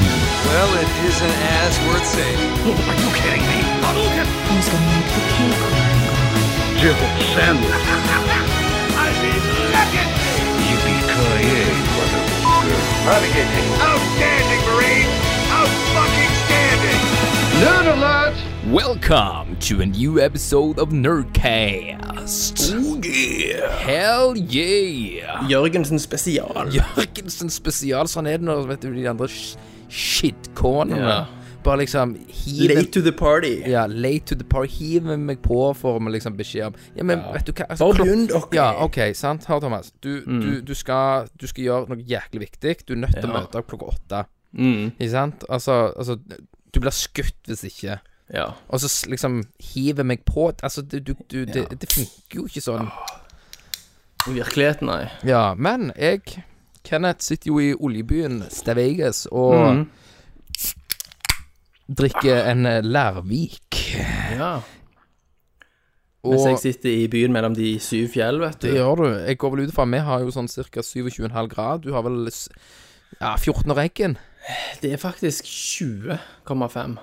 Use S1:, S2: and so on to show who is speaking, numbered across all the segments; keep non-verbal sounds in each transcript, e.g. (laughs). S1: Well, it isn't as worth saving.
S2: Who's gonna make the cake?
S3: Welcome to a new episode of Nerdcast. Oh yeah! Hell yeah!
S4: Jørgensen spesial.
S3: Jørgensen spesial, sånn er det når vet du, de andre sh- shitcornene
S4: Ja.
S3: bare liksom hiver
S4: Late to the party.
S3: ja, late to the party. Hiver meg på for med liksom beskjed om Ja, men vet du hva altså,
S4: Bare
S3: klok-
S4: begynn, dere.
S3: Ja, OK, sant? Hør, Thomas. Du, du, du, skal, du skal gjøre noe jæklig viktig. Du er nødt til å
S4: Mm. Ja.
S3: møte opp klokka åtte.
S4: Mm,
S3: Ikke sant? Altså, altså Du blir skutt hvis ikke.
S4: ja.
S3: Og så s- liksom hiver meg på Altså, du, du, du det, det funker jo ikke sånn.
S4: I virkeligheten, nei.
S3: Ja, men jeg Kenneth sitter jo i oljebyen Stavegas og drikker en eh, Lærvik.
S4: Ja.
S3: Og
S4: Mens jeg sitter i byen mellom de syv fjell, vet du.
S3: det gjør du. Jeg går vel ut ifra vi har jo sånn ca. 27,5 grad. Du har vel s- ja, 14 og regn.
S4: Det er faktisk 20,5.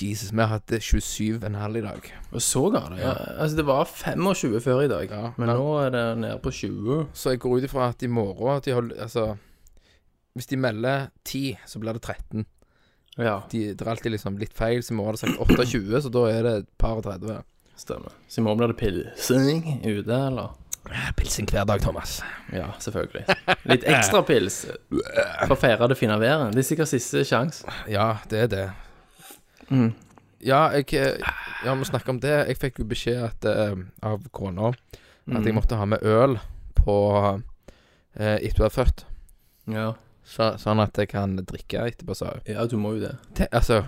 S3: Jesus, vi har hatt eh, 27,5 i dag.
S4: Og så ga det, ja. Altså, det var 25 før i dag, men nå er det nede på 20.
S3: Så jeg går ut ifra at i morgen at de holder, Altså, hvis de melder 10, så blir det 13.
S4: Ja,
S3: de, det er alltid liksom litt feil, så i morgen har det sagt 28, så da er det et par og 30.
S4: stemmer. Så i morgen blir det pilsing ute, eller?
S3: Pilsing hver dag, Thomas.
S4: Ja, (laughs) selvfølgelig. Litt ekstra pils for å feire det fine været. Det er sikkert siste sjanse.
S3: Ja, det er det.
S4: Mm.
S3: Ja, jeg eh, Ja, vi snakker om det. Jeg fikk jo beskjed at, eh, av kona at jeg måtte ha med øl på eh, etter du er født.
S4: Ja.
S3: Så, sånn at jeg kan drikke etterpå, sa hun.
S4: ja, du må jo det.
S3: Det- Altså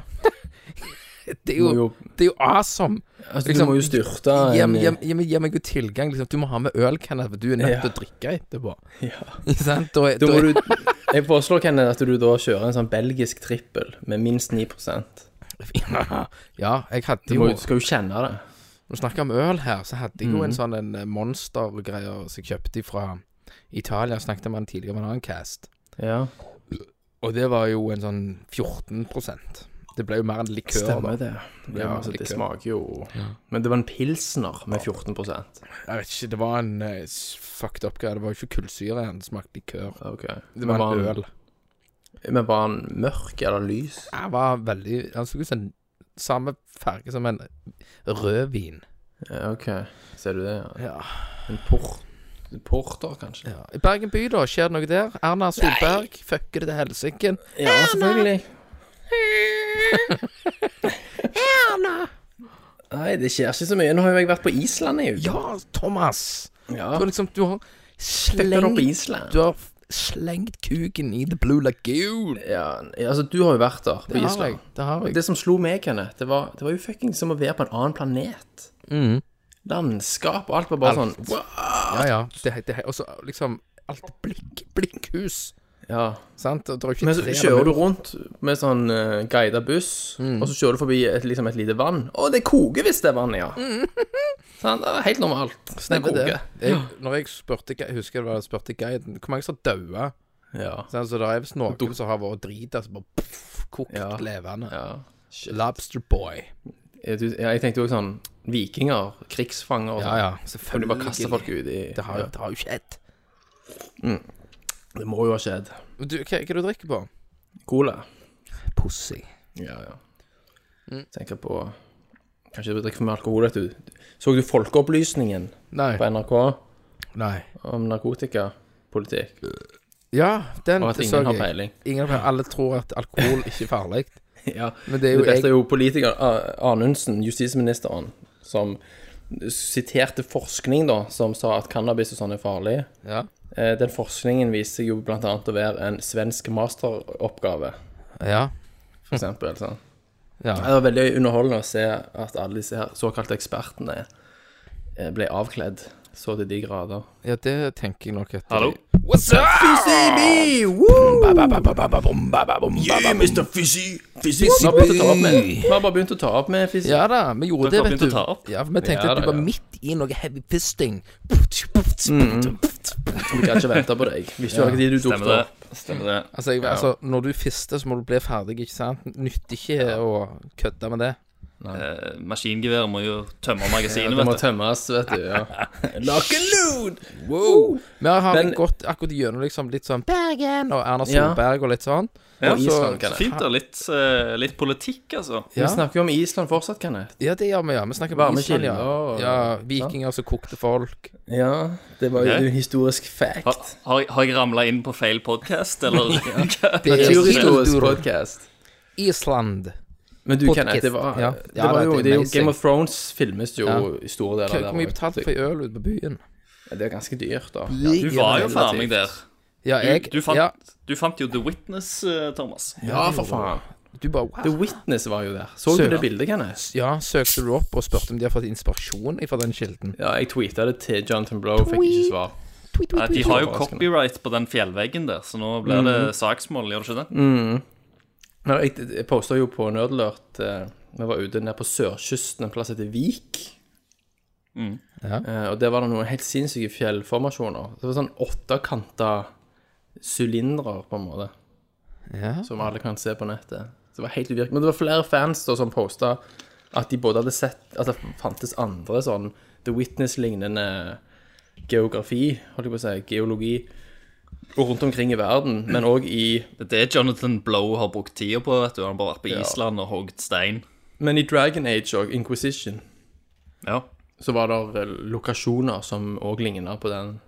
S3: det
S4: Du
S3: er,
S4: må
S3: jo,
S4: jo,
S3: det er jo awesome.
S4: altså,
S3: liksom,
S4: du må jo styrte en-
S3: Gi meg- gi meg gi meg jo tilgang. Liksom. Du må ha med øl, Kenneth, for du er nødt
S4: Ja.
S3: til å drikke etterpå. (laughs)
S4: Ja.
S3: Ikke sant? Da, er-
S4: Da
S3: da
S4: må
S3: er-
S4: du Jeg foreslår Kenneth at du da kjører en sånn belgisk trippel med minst 9 Du
S3: (laughs) Ja, jeg hadde
S4: må,
S3: jo
S4: jo- skal jo kjenne det.
S3: Når vi snakker om øl her, så hadde jeg jo en sånn en eh, monstergreie som jeg kjøpte fra Italia. Jeg Snakket om den tidligere med en annen cast.
S4: Ja,
S3: Og det var jo en sånn 14 Det ble jo mer enn
S4: stemmer
S3: likør. da.
S4: det.
S3: Ja,
S4: Ja, altså,
S3: det
S4: det
S3: kø.
S4: smaker jo Men det var en pilsner med 14
S3: Jeg vet ikke, det var en eh, s- fucked up greie. Det var jo ikke kullsyre igjen, det smakte likør.
S4: Ok.
S3: Det var en øl.
S4: Men var han mørk eller lys?
S3: Den var veldig Den så ut som en samme farge som en rødvin.
S4: Ja, ok. Ser du det? Ja.
S3: Ja.
S4: En port. Porter, kanskje?
S3: ja. I Bergen by, da, skjer det noe der? Erna Solberg fucker det til helsike.
S4: Ja, selvfølgelig. Nei, det skjer ikke så mye. Nå har jo jeg vært på Island i uke.
S3: Ja, Thomas!
S4: Ja.
S3: Du har liksom Du har
S4: Fikk dere
S3: slengt
S4: på Island?
S3: Du har f- slengt kuken i The Blue Lagoon.
S4: Ja, altså, du har jo vært der, på Island.
S3: Det har jeg.
S4: Det som slo meg, Kenneth, det var, det var jo fucking som å være på en annen planet. Landskap og alt var bare
S3: Mm. Alt.
S4: sånn wow.
S3: Ja, ja. Det, det, og så liksom alt blikk, blikkhus.
S4: Ja.
S3: Sant? Og Det er jo ikke
S4: Men så
S3: tre
S4: kjører du
S3: eller-
S4: rundt med sånn uh, guida buss,
S3: Mm.
S4: og så kjører du forbi et, liksom et lite vann. Å, det koker hvis det er vann, ja.
S3: (laughs)
S4: Sånn, det er helt normalt. Det
S3: Stemmer Mm. det.
S4: koker.
S3: Jeg, når jeg spurte gu- jeg husker det var jeg spurte guiden hvor mange som daua
S4: Ja.
S3: Så altså, det er visst noen som har vært drita, som bare pff, kokt
S4: Ja.
S3: levende.
S4: ja.
S3: Lobster boy.
S4: Jeg, du- ja, jeg tenkte jo sånn Vikinger, krigsfanger og
S3: Ja,
S4: sånn.
S3: ja.
S4: Kan du
S3: Selvfølgelig.
S4: bare kaste folk ut i
S3: Det har, jo- det har jo skjedd.
S4: det må jo ha skjedd.
S3: Men Du, hva, hva du drikker på?
S4: Cola.
S3: Pussy.
S4: Ja, ja. Tenker på Kanskje du drikker for mye alkohol, vet du. Så du Folkeopplysningen
S3: Nei.
S4: på NRK
S3: Nei.
S4: om narkotikapolitikk?
S3: Ja, den
S4: Og at
S3: det
S4: ingen
S3: så
S4: har
S3: jeg.
S4: peiling.
S3: Ingen har peiling. Alle tror at alkohol ikke er farlig.
S4: (laughs) Ja.
S3: Men
S4: Det,
S3: det er jo
S4: beste
S3: jeg
S4: er jo politiker A- Anundsen, justisministeren, som siterte forskning da, som sa at cannabis og sånn er farlig.
S3: ja.
S4: Eh, Den forskningen viser seg jo blant annet å være en svensk masteroppgave,
S3: ja.
S4: for eksempel. Sånn.
S3: Ja.
S4: Det var veldig underholdende å se at alle disse her såkalte ekspertene eh, ble avkledd Så til de grader.
S3: Ja, det tenker jeg nok etter.
S2: Hallo?
S3: What's up?
S4: Fizzy Woo!
S2: Yeah, Mr. Fizzy! Fizzy!
S4: Vi har begynt å ta opp med- vi har bare begynt å ta opp med Fizzy.
S3: Ja da, vi gjorde det,
S2: Dere har
S3: vet
S2: begynt
S3: du.
S2: å ta opp?
S3: Ja, for Vi tenkte
S4: Ja
S3: at du
S4: da,
S3: var
S4: ja.
S3: midt i noe heavy fisting. Mm.
S4: Vi kan ikke vente på deg. Hvis du har ikke tid du tok
S2: Stemmer
S4: det.
S2: det. Stemmer det.
S3: Altså, jeg, altså, når du fister, så må du bli ferdig, ikke sant? Nytter ikke å kødde med det.
S2: Eh, maskingeværet må jo tømme magasinet,
S4: Det må
S2: vet du.
S4: tømmes, vet du. (laughs) Ja.
S3: Wow! Vi har
S4: Men-
S3: gått akkurat gjennom liksom litt sånn Bergen og Erna
S4: Ja.
S3: Solberg og litt sånn.
S4: Og
S3: så-
S4: Island, kan
S2: Så
S4: jeg.
S2: fint, da. Litt, eh, litt politikk, altså.
S4: Vi
S3: Ja,
S4: snakker jo om Island fortsatt, Kenneth.
S3: ja det gjør vi, ja. Vi snakker
S4: Varme
S3: om Island, ja.
S4: kilder og-
S3: ja. Vikinger som kokte folk.
S4: Ja, det var jo
S2: Ok.
S4: en historisk
S2: Har,
S4: fact.
S2: har, har jeg ramla inn på feil podkast, (laughs) eller? hva?
S3: Det er
S4: Naturhistorisk
S3: Island.
S4: podcast.
S3: Island.
S4: Men du,
S3: Podcast.
S4: Kenneth, det var,
S3: Ja.
S4: det
S3: Ja,
S4: var
S3: det
S4: jo,
S3: er
S4: det er jo
S3: amazing.
S4: Game of Thrones filmes jo
S3: Ja.
S4: i store deler
S3: Hva
S4: der.
S3: hvor mye
S4: og-
S3: betalte for øl ute på byen?
S4: Det er ganske dyrt, da.
S2: Du var jo faen meg der.
S3: Ja, jeg
S2: Du, du, fant,
S3: ja,
S2: du fant jo The Witness, eh, Thomas.
S4: Ja, for faen.
S3: du bare wow.
S4: The Witness var jo der. Så du
S3: Søren.
S4: det bildet, Kenneth?
S3: Ja, søkte du opp og spurte om de har fått inspirasjon fra den kilden?
S4: Ja, jeg tweeta det til Jonathan Blow, fikk ikke svar.
S2: Nei, de har jo
S4: overraskende.
S2: copyright på den fjellveggen der, så nå blir det
S3: Mm.
S2: saksmål, gjør det ikke det?
S4: Nei, jeg, jeg posta jo på Nerdlert eh, Vi var ute nede på sørkysten, en plass heter Vik.
S3: Ja.
S4: Eh, og der var det noen helt sinnssyke fjellformasjoner. Det var sånn åttekanta sylindere, på en måte,
S3: Ja.
S4: som alle kan se på nettet. Så det var helt uvirkelig. Men det var flere fans da som posta at de både hadde sett At det fantes andre sånn The Witness-lignende geografi, holdt jeg på å si, geologi, og rundt omkring i verden, men òg i
S2: Det er det Jonathan Blow har brukt tida på, vet du. Han har bare vært på Island og hogd stein.
S4: Men i Dragon Age og Inquisition
S2: Ja.
S4: så var det eh, lokasjoner som òg ligner på den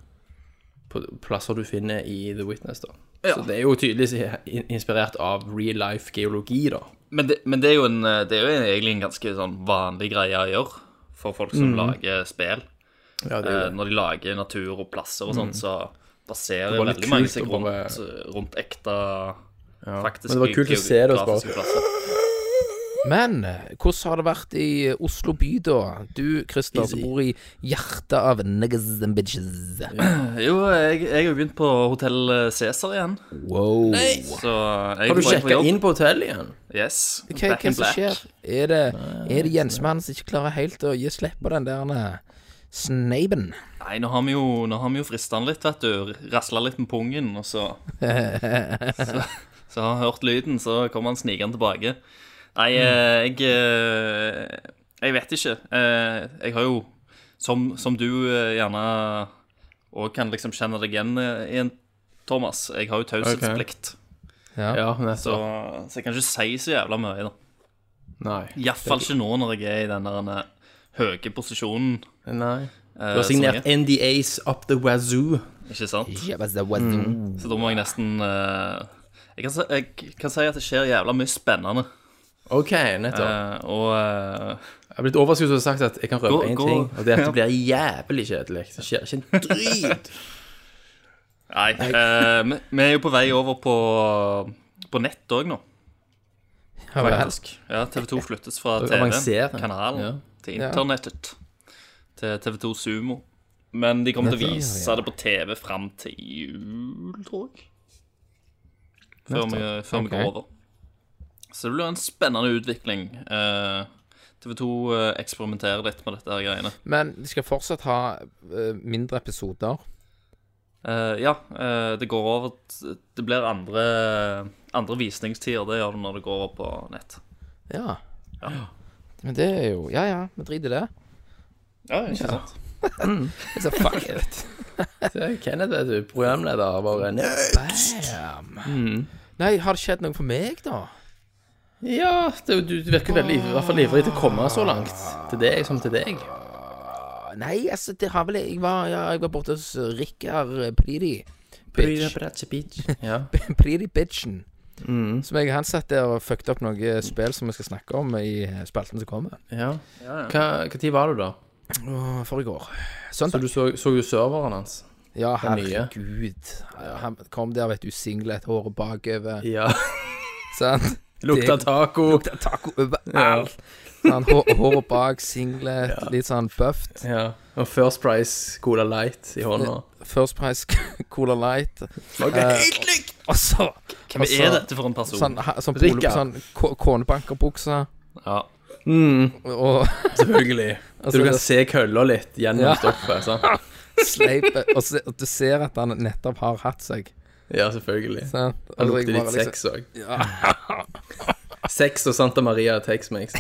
S4: på plasser du finner i The Witness, da. Så det er jo tydeligvis i- inspirert av real life geologi, da.
S2: Men, det, men det, er jo en, eh, det er jo en- egentlig en ganske sånn vanlig greie å gjøre for folk som lager spill.
S4: Ja, Mm. det
S2: Eh,
S4: er jo det. Mm.
S2: Når de lager natur og plasser og sånn, så baserer
S4: var litt
S2: veldig mange
S4: kult
S2: seg
S4: å
S2: rundt, eh,
S4: bare-
S2: rundt ekte faktisk
S4: Men det var kult å se det og
S2: geografiske plasser.
S3: Men eh, hvordan har det vært i eh, Oslo by, da? Du, Christer, som bor i hjertet av niggas and bitches.
S2: Jo, jeg, jeg har jo begynt på Hotell Cæsar igjen.
S3: Wow.
S2: Så eh, jeg
S4: Har du
S2: får ikke på
S4: sjekka
S2: jobb.
S4: inn på hotellet igjen?
S2: Yes.
S3: Ok, Hva er det som skjer? Er det, er det Jensmann som ikke klarer helt å gi slipp på den der eh, sneipen?
S2: Nei, nå har vi jo, nå har vi jo frista den litt, vet du. Rasla litt med pungen,
S4: (laughs)
S2: og så Så, så har han hørt lyden, så kommer han snikende tilbake. Nei, eh, jeg eh, Jeg vet ikke. Eh, Jeg har jo, som, som du eh, gjerne òg kan liksom kjenne deg igjen eh, i, en Thomas, jeg har jo taushetsplikt.
S4: Ja,
S2: Så,
S4: nettopp.
S2: så jeg kan ikke si så jævla mye, da.
S4: Nei.
S2: Iallfall ikke nå når jeg er i den der eh, høye posisjonen.
S4: Nei.
S2: eh,
S4: Du har signert
S2: som jeg-
S4: NDAs up the wazoo.
S2: Ikke sant?
S3: Mm.
S2: Så da må jeg nesten eh, jeg, kan si, jeg kan si at det skjer jævla mye spennende.
S4: OK, nettopp.
S2: Eh, og eh,
S4: Jeg har blitt overrasket og sagt at jeg kan
S2: Gå-
S4: røpe én
S2: gå-
S4: ting, og det er at det
S2: (laughs) Ja.
S4: blir jævlig kjedelig. Det skjer ikke en drit.
S2: Nei, eh, vi, vi er jo på vei over på, på nett òg nå,
S3: Ja, vel.
S2: faktisk. Ja, TV2 flyttes fra
S4: Det avanserer.
S2: TV-kanalen
S4: Ja.
S2: til internettet. Til TV2 Sumo. Men de kommer til å
S3: Nettopp.
S2: vise det på TV fram til jul, tror jeg. Før, vi, før vi
S3: Ok.
S2: går over. Så det blir en spennende utvikling. Eh, TV2 eh, eksperimenterer litt med dette her greiene.
S3: Men de skal fortsatt ha eh, mindre episoder.
S2: Eh, ja, eh, det går over t- Det blir andre, andre visningstider, det gjør det når det går over på nett.
S3: Ja.
S2: Ja.
S3: Men det er jo Ja ja, vi driter i det.
S2: (laughs) Ja, ikke sant?
S3: Altså, fuck it.
S4: Det er Kenneth, vet du. Programleder. Bare Nei.
S3: Damn. Nei, har det skjedd noe for meg, da?
S4: Ja, det, du du virker veldig, i hvert fall ivrig til å komme så langt. Til deg som til deg.
S3: Nei, altså, det har vel Jeg var, ja, jeg var borte hos Rikard Pridi. Bitch.
S4: (laughs) Ja.
S3: (laughs) Pridi Bitchen.
S4: Mm.
S3: Som jeg han satt der og fucket opp noe spill som vi skal snakke om i spalten som kommer.
S4: ja. Hva, hva tid var du da?
S3: Åh, For i går.
S4: Så
S3: Søndag.
S4: du så, så jo serveren hans?
S3: Ja,
S4: er mye.
S3: herregud. Ja, Han kom der, vet du, singlet, håret bakover.
S4: Ja.
S3: Sant?
S4: (laughs) Lukta
S3: Det-
S4: taco.
S3: Taco overalt. Sånn, hår, håret bak, singlet, litt sånn buffed.
S4: Ja. Og First Price Cola Light i hånda.
S3: First Price (laughs) Cola Light. Eh,
S4: Okay.
S3: Og så
S2: Hvem
S3: Altså,
S2: er dette for en person?
S3: sånn, ha- sånn, polo-
S4: Rikard.
S3: sånn k- konebankerbukse.
S2: Ja.
S4: Mm.
S3: Og (laughs)
S4: Selvfølgelig. (laughs)
S3: Altså,
S4: Så du kan
S3: det-
S4: se kølla litt gjennom
S3: Ja.
S4: stoffet. (laughs) Sant?
S3: sleip Og se- og du ser at han nettopp har hatt seg.
S4: Ja, selvfølgelig.
S3: sant?
S4: Han
S3: Altså, jeg
S4: lukter litt
S3: bare liksom-
S4: sex òg. (laughs) Sex og Santa Maria (laughs) Tex-Mex.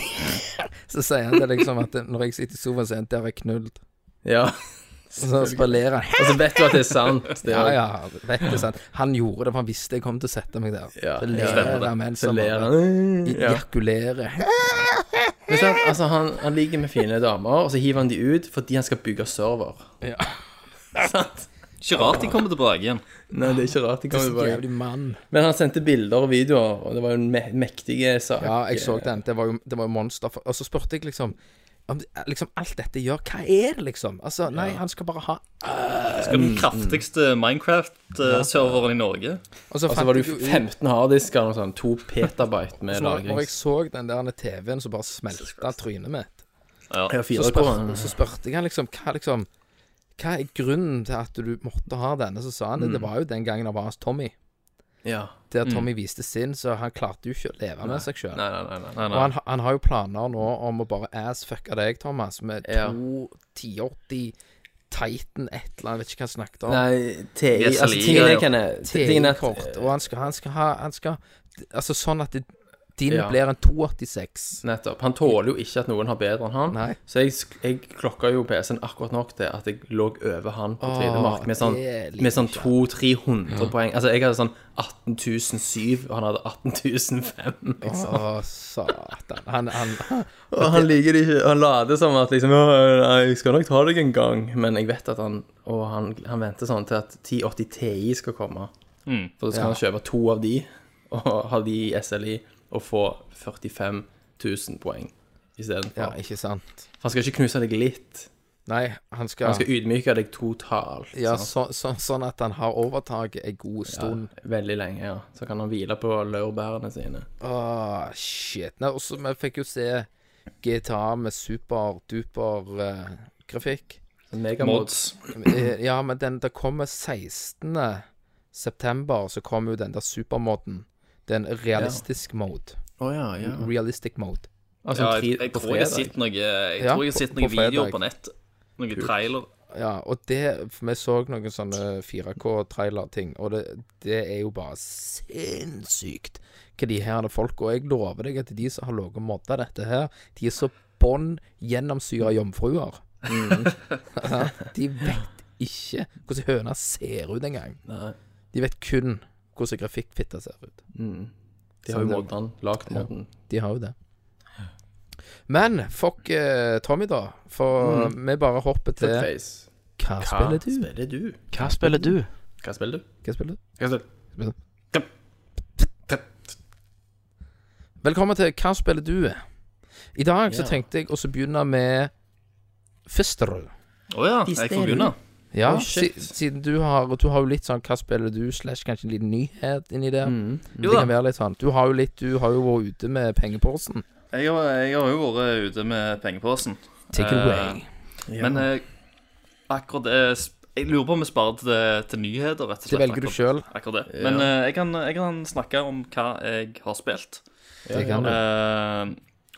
S3: Så sier han det liksom at det- når jeg sitter i sofaen, så er han der er knullt.
S4: Ja.
S3: Så spallerer han.
S4: Og så vet du at det er sant. Det
S3: Ja,
S4: er-
S3: ja, vet du sant. Han gjorde det, for han visste jeg kom til å sette meg der.
S4: Ja,
S3: så
S4: ja,
S3: ler han mens
S4: Så
S3: han
S4: ler
S3: bare
S4: han. Ja.
S3: ejakulerer.
S4: Men sant, altså, han, han ligger med fine damer, og så hiver han de ut fordi han skal bygge server.
S3: Ja.
S4: Sant?
S2: Ikke rart de kommer tilbake igjen.
S4: Nei, det er ikke rart. De kommer tilbake.
S3: Jævlig mann.
S4: Men han sendte bilder og videoer, og det var jo en me mektige sak.
S3: Ja, jeg så den. Det var jo, det var jo monster. Og så spurte jeg liksom om liksom, alt dette gjør Hva er det, liksom? Altså, nei, han skal bare ha
S2: Skal
S3: Mm.
S2: den kraftigste Minecraft-serveren i Norge?
S3: Og så,
S4: Og
S3: Altså, fant
S4: så Altså, var det
S3: jeg
S4: jo
S3: ut-
S4: 15 harddisker og sånn. To petabyte med
S3: Så når, når jeg
S4: lagrings...
S3: så den der TV-en som bare smelta trynet mitt,
S4: Ja,
S3: så,
S4: fire på
S3: spør,
S4: den.
S3: så spurte jeg han liksom hva, liksom hva er grunnen til at du måtte ha denne? Så sa han
S4: Mm.
S3: det. Det var jo den gangen han var hos Tommy.
S4: Ja.
S3: Der Tommy viste sin, så han klarte jo ikke å leve med seg sjøl.
S4: Mm. Nei, nei, nei. nei.
S2: Nei,
S3: Og
S2: nei.
S3: han, han har jo planer nå om å bare ass-fucke deg, Thomas, med
S4: Ja.
S3: to 1080 Titan, et eller annet, vet ikke hva han snakket om.
S4: Nei, TI
S2: Yes,
S4: Altså,
S2: Lee,
S4: tingen
S2: ja.
S4: er, Kenneth, tingen er
S3: TI-kort.
S4: at
S3: Og han skal, han skal ha han skal, Altså sånn at det, din
S4: Ja.
S3: blir en 286.
S4: Nettopp. Han tåler jo ikke at noen har bedre enn han.
S3: Nei.
S4: Så jeg, sk- jeg klokka jo PC-en akkurat nok til at jeg lå over han på
S3: Åh,
S4: 3D-mark med sånn,
S3: det liker
S4: med sånn
S3: jeg ikke.
S4: 200-300 poeng. Altså, jeg hadde sånn 18007, og han hadde 18005, liksom.
S3: Å, satan. Han, (laughs) han,
S4: Og han liker det ikke. Han later som at liksom «Åh, nei, jeg skal nok ta deg en gang. Men jeg vet at han Og han, han venter sånn til at 1080 TI skal komme. For da skal han kjøpe to av de, og ha de i SLI, og få 45 000 poeng istedenfor.
S3: Ja, ikke sant.
S4: Han skal ikke knuse deg litt.
S3: Nei, han skal,
S4: Han skal ydmyke deg totalt.
S3: Ja,
S4: sant?
S3: så, så, sånn at han har overtaket en god
S2: sånn.
S3: stund.
S4: Veldig lenge, ja. Så kan han hvile på laurbærene sine.
S3: Å, shit. Nei, også, vi fikk jo se GTA med super-duper eh, grafikk.
S4: Megamods.
S2: Mods.
S3: Eh, Ja, men den der kommer 16. september, så kommer jo den der supermoden. Det er en realistisk mode.
S4: Å ja, ja.
S3: Realistic mode.
S4: Altså,
S2: Ja,
S4: tre,
S2: jeg, jeg
S4: på
S2: tror jeg har
S4: fredag.
S2: sett noe Jeg
S3: Ja,
S2: tror jeg har
S3: på-
S2: sett
S3: på
S2: noen videoer
S3: fredag.
S2: på nett. Noen trailer.
S3: Ja, og det For vi så noen sånne 4K-trailer-ting, og det, det er jo bare sinnssykt hva de her er folk Og jeg lover deg at de som har ligget og modda dette her, de er så bånn gjennomsyra jomfruer.
S4: Mm.
S3: (laughs) Ja, de vet ikke hvordan høna ser ut engang.
S4: Nei.
S3: De vet kun hvordan grafikkfitta ser ut.
S4: Mm. De har
S3: Sånn,
S4: jo
S3: det-
S4: modden, han. Lagt modden.
S3: De har jo det. Men fuck eh, Tommy, da. For
S4: Mm.
S3: vi bare hopper til Hva
S4: Face.
S3: spiller du?
S4: spiller du?
S5: Hva spiller du?
S4: Hva spiller du?
S3: Hva spiller du?
S4: Hva spiller du?
S3: Velkommen til Hva spiller du? I dag så
S4: Ja.
S3: tenkte jeg også begynne med Fisterød.
S2: Å ja, jeg får begynne.
S3: Ja,
S4: Oi,
S3: si,
S4: shit.
S3: siden du har Du har jo litt sånn Hva spiller du? slash kanskje en liten nyhet inni der.
S4: Mm.
S2: Jo
S3: Det
S2: da.
S3: kan være litt sånn Du har jo litt Du har jo vært ute med pengeposen.
S2: Jeg har, jeg har jo vært ute med pengeposen.
S3: Take it
S2: Eh,
S3: away.
S2: Men eh, akkurat det Jeg lurer på om vi sparer det til, til nyheter, rett og
S3: Det
S2: slett.
S3: velger du
S2: akkurat-
S3: selv.
S2: Akkurat det. Men eh, jeg, kan, jeg kan snakke om hva jeg har spilt.
S3: Det kan du.
S2: Eh,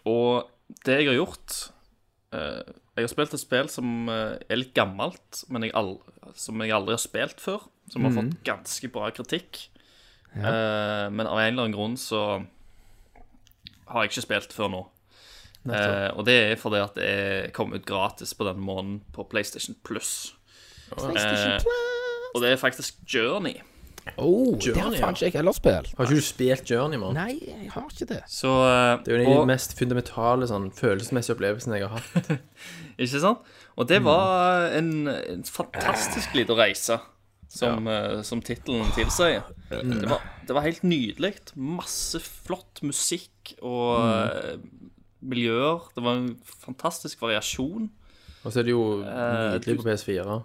S2: og det jeg har gjort eh, Jeg har spilt et spill som eh, er litt gammelt, men jeg al som jeg aldri har spilt før. Som har
S4: Mm.
S2: fått ganske bra kritikk. Eh, men av en eller annen grunn så har jeg ikke spilt før nå. Eh, og det er fordi at det kom ut gratis på denne måneden på PlayStation Plus. Eh, og det er faktisk Journey.
S3: Oh, det har
S4: Journey, ja.
S3: faen ikke jeg heller spilt.
S4: Har ikke du spilt Journey, mann?
S3: Nei, jeg har ikke det.
S2: Så, eh,
S4: Det er jo den
S2: og-
S4: mest fundamentale sånn, følelsesmessige opplevelsen jeg har hatt.
S2: Ikke sant? Og
S4: Mm.
S2: det var en, en fantastisk liten reise, som, ja. som tittelen tilsier.
S4: Mm.
S2: Det var, det var helt nydelig. Masse flott musikk og
S4: Mm.
S2: eh, miljøer. Det var en fantastisk variasjon.
S4: Og så er det jo
S2: (laughs) Eh,
S4: nydelig på PS4.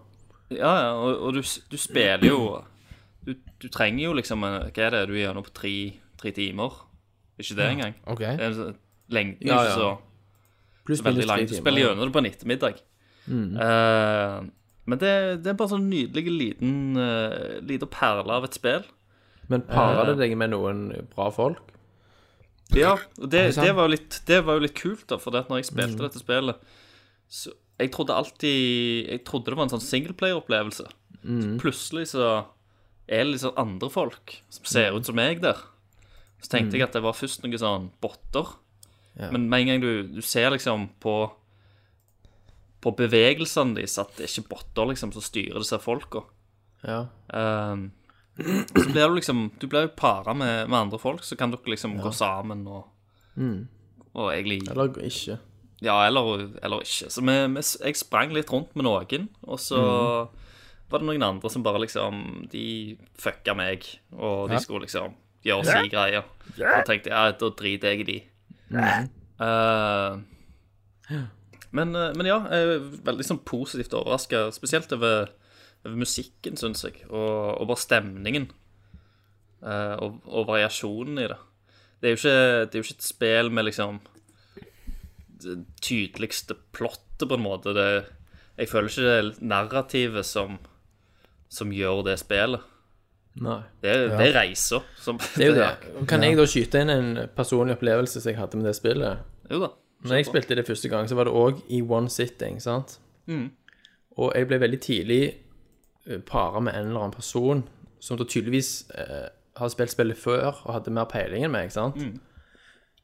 S2: Ja, ja, og, og du, s- du spiller jo du, du trenger jo liksom eh, Hva er det du er gjennom på tre, tre timer? Ikke det engang.
S3: OK.
S2: Det er så- Lengden er
S4: Ja,
S2: ikke
S4: ja.
S2: så
S4: Pluss
S2: veldig
S4: minus tre
S2: langt. Du spiller
S4: timer. Mm.
S2: gjennom det på en ettermiddag. Eh, men det, det er bare sånn nydelig liten uh, liten perle av et spill.
S4: Men
S2: Eh.
S4: parer det deg med noen bra folk?
S2: Ja, og det,
S3: sant?
S2: det, var jo litt, det var jo litt kult, da, for det at når jeg spilte dette spillet så Jeg trodde alltid Jeg trodde det var en sånn singleplayer-opplevelse. Så plutselig så er det liksom andre folk som ser ut som meg der. Så tenkte jeg at det var først noen sånn botter. Men med en gang du, du ser liksom på På bevegelsene deres at det er ikke botter liksom som styrer disse folka.
S4: Ja.
S2: Ehm, så blir du liksom Du blir jo para med, med andre folk, så kan dere liksom gå sammen og Og egentlig
S4: Eller ikke?
S2: Ja, eller, eller ikke. Så vi, vi, jeg sprang litt rundt med noen, og så var det noen andre som bare liksom De fucka meg, og de skulle liksom gjøre si greier. Da tenkte jeg ja, da driter jeg i de. Eh, men, eh, men ja, jeg er veldig sånn positivt overraska, spesielt over, over musikken, syns jeg, og, og bare stemningen. eh, og, og variasjonen i det. Det er, jo ikke, det er jo ikke et spill med liksom det tydeligste plottet, på en måte. Det, jeg føler ikke det er narrativet som, som gjør det spillet.
S4: Nei.
S2: Det, er- det er reiser. Som,
S4: Det er jo det. Kan jeg da skyte inn en personlig opplevelse som jeg hadde med det spillet?
S2: Jo da.
S4: Når jeg spilte det første gang, så var det òg i one sitting, sant?
S3: Mm.
S4: Og jeg ble veldig tidlig eh, para med en eller annen person som da tydeligvis eh, har spilt spillet før og hadde mer peiling enn meg, sant?
S3: Mm.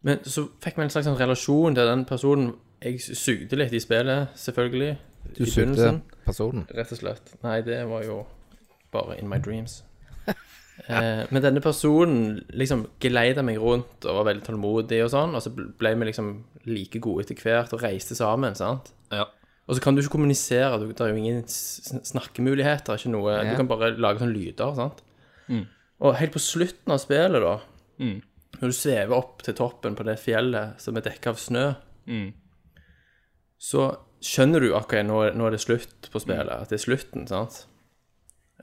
S4: Men så fikk vi en slags sånn relasjon til den personen. Jeg sugde litt i spillet, selvfølgelig. i
S3: Du sugde
S4: begynnelsen.
S3: personen.
S4: Rett og slett. Nei, det var jo bare in my dreams. Eh, men denne personen liksom geleida meg rundt og var veldig tålmodig og sånn, og så bl- ble vi liksom like gode etter hvert og reiste sammen, sant?
S2: Ja.
S4: Og så kan du ikke kommunisere, du, det er jo ingen s- snakkemuligheter, ikke noe, du kan bare lage sånne lyder, sant? Og helt på slutten av spillet da, når du svever opp til toppen på det fjellet som er dekket av snø, så skjønner du akkurat nå, nå er det slutt på spillet,
S2: Mm.
S4: at det er slutten, sant?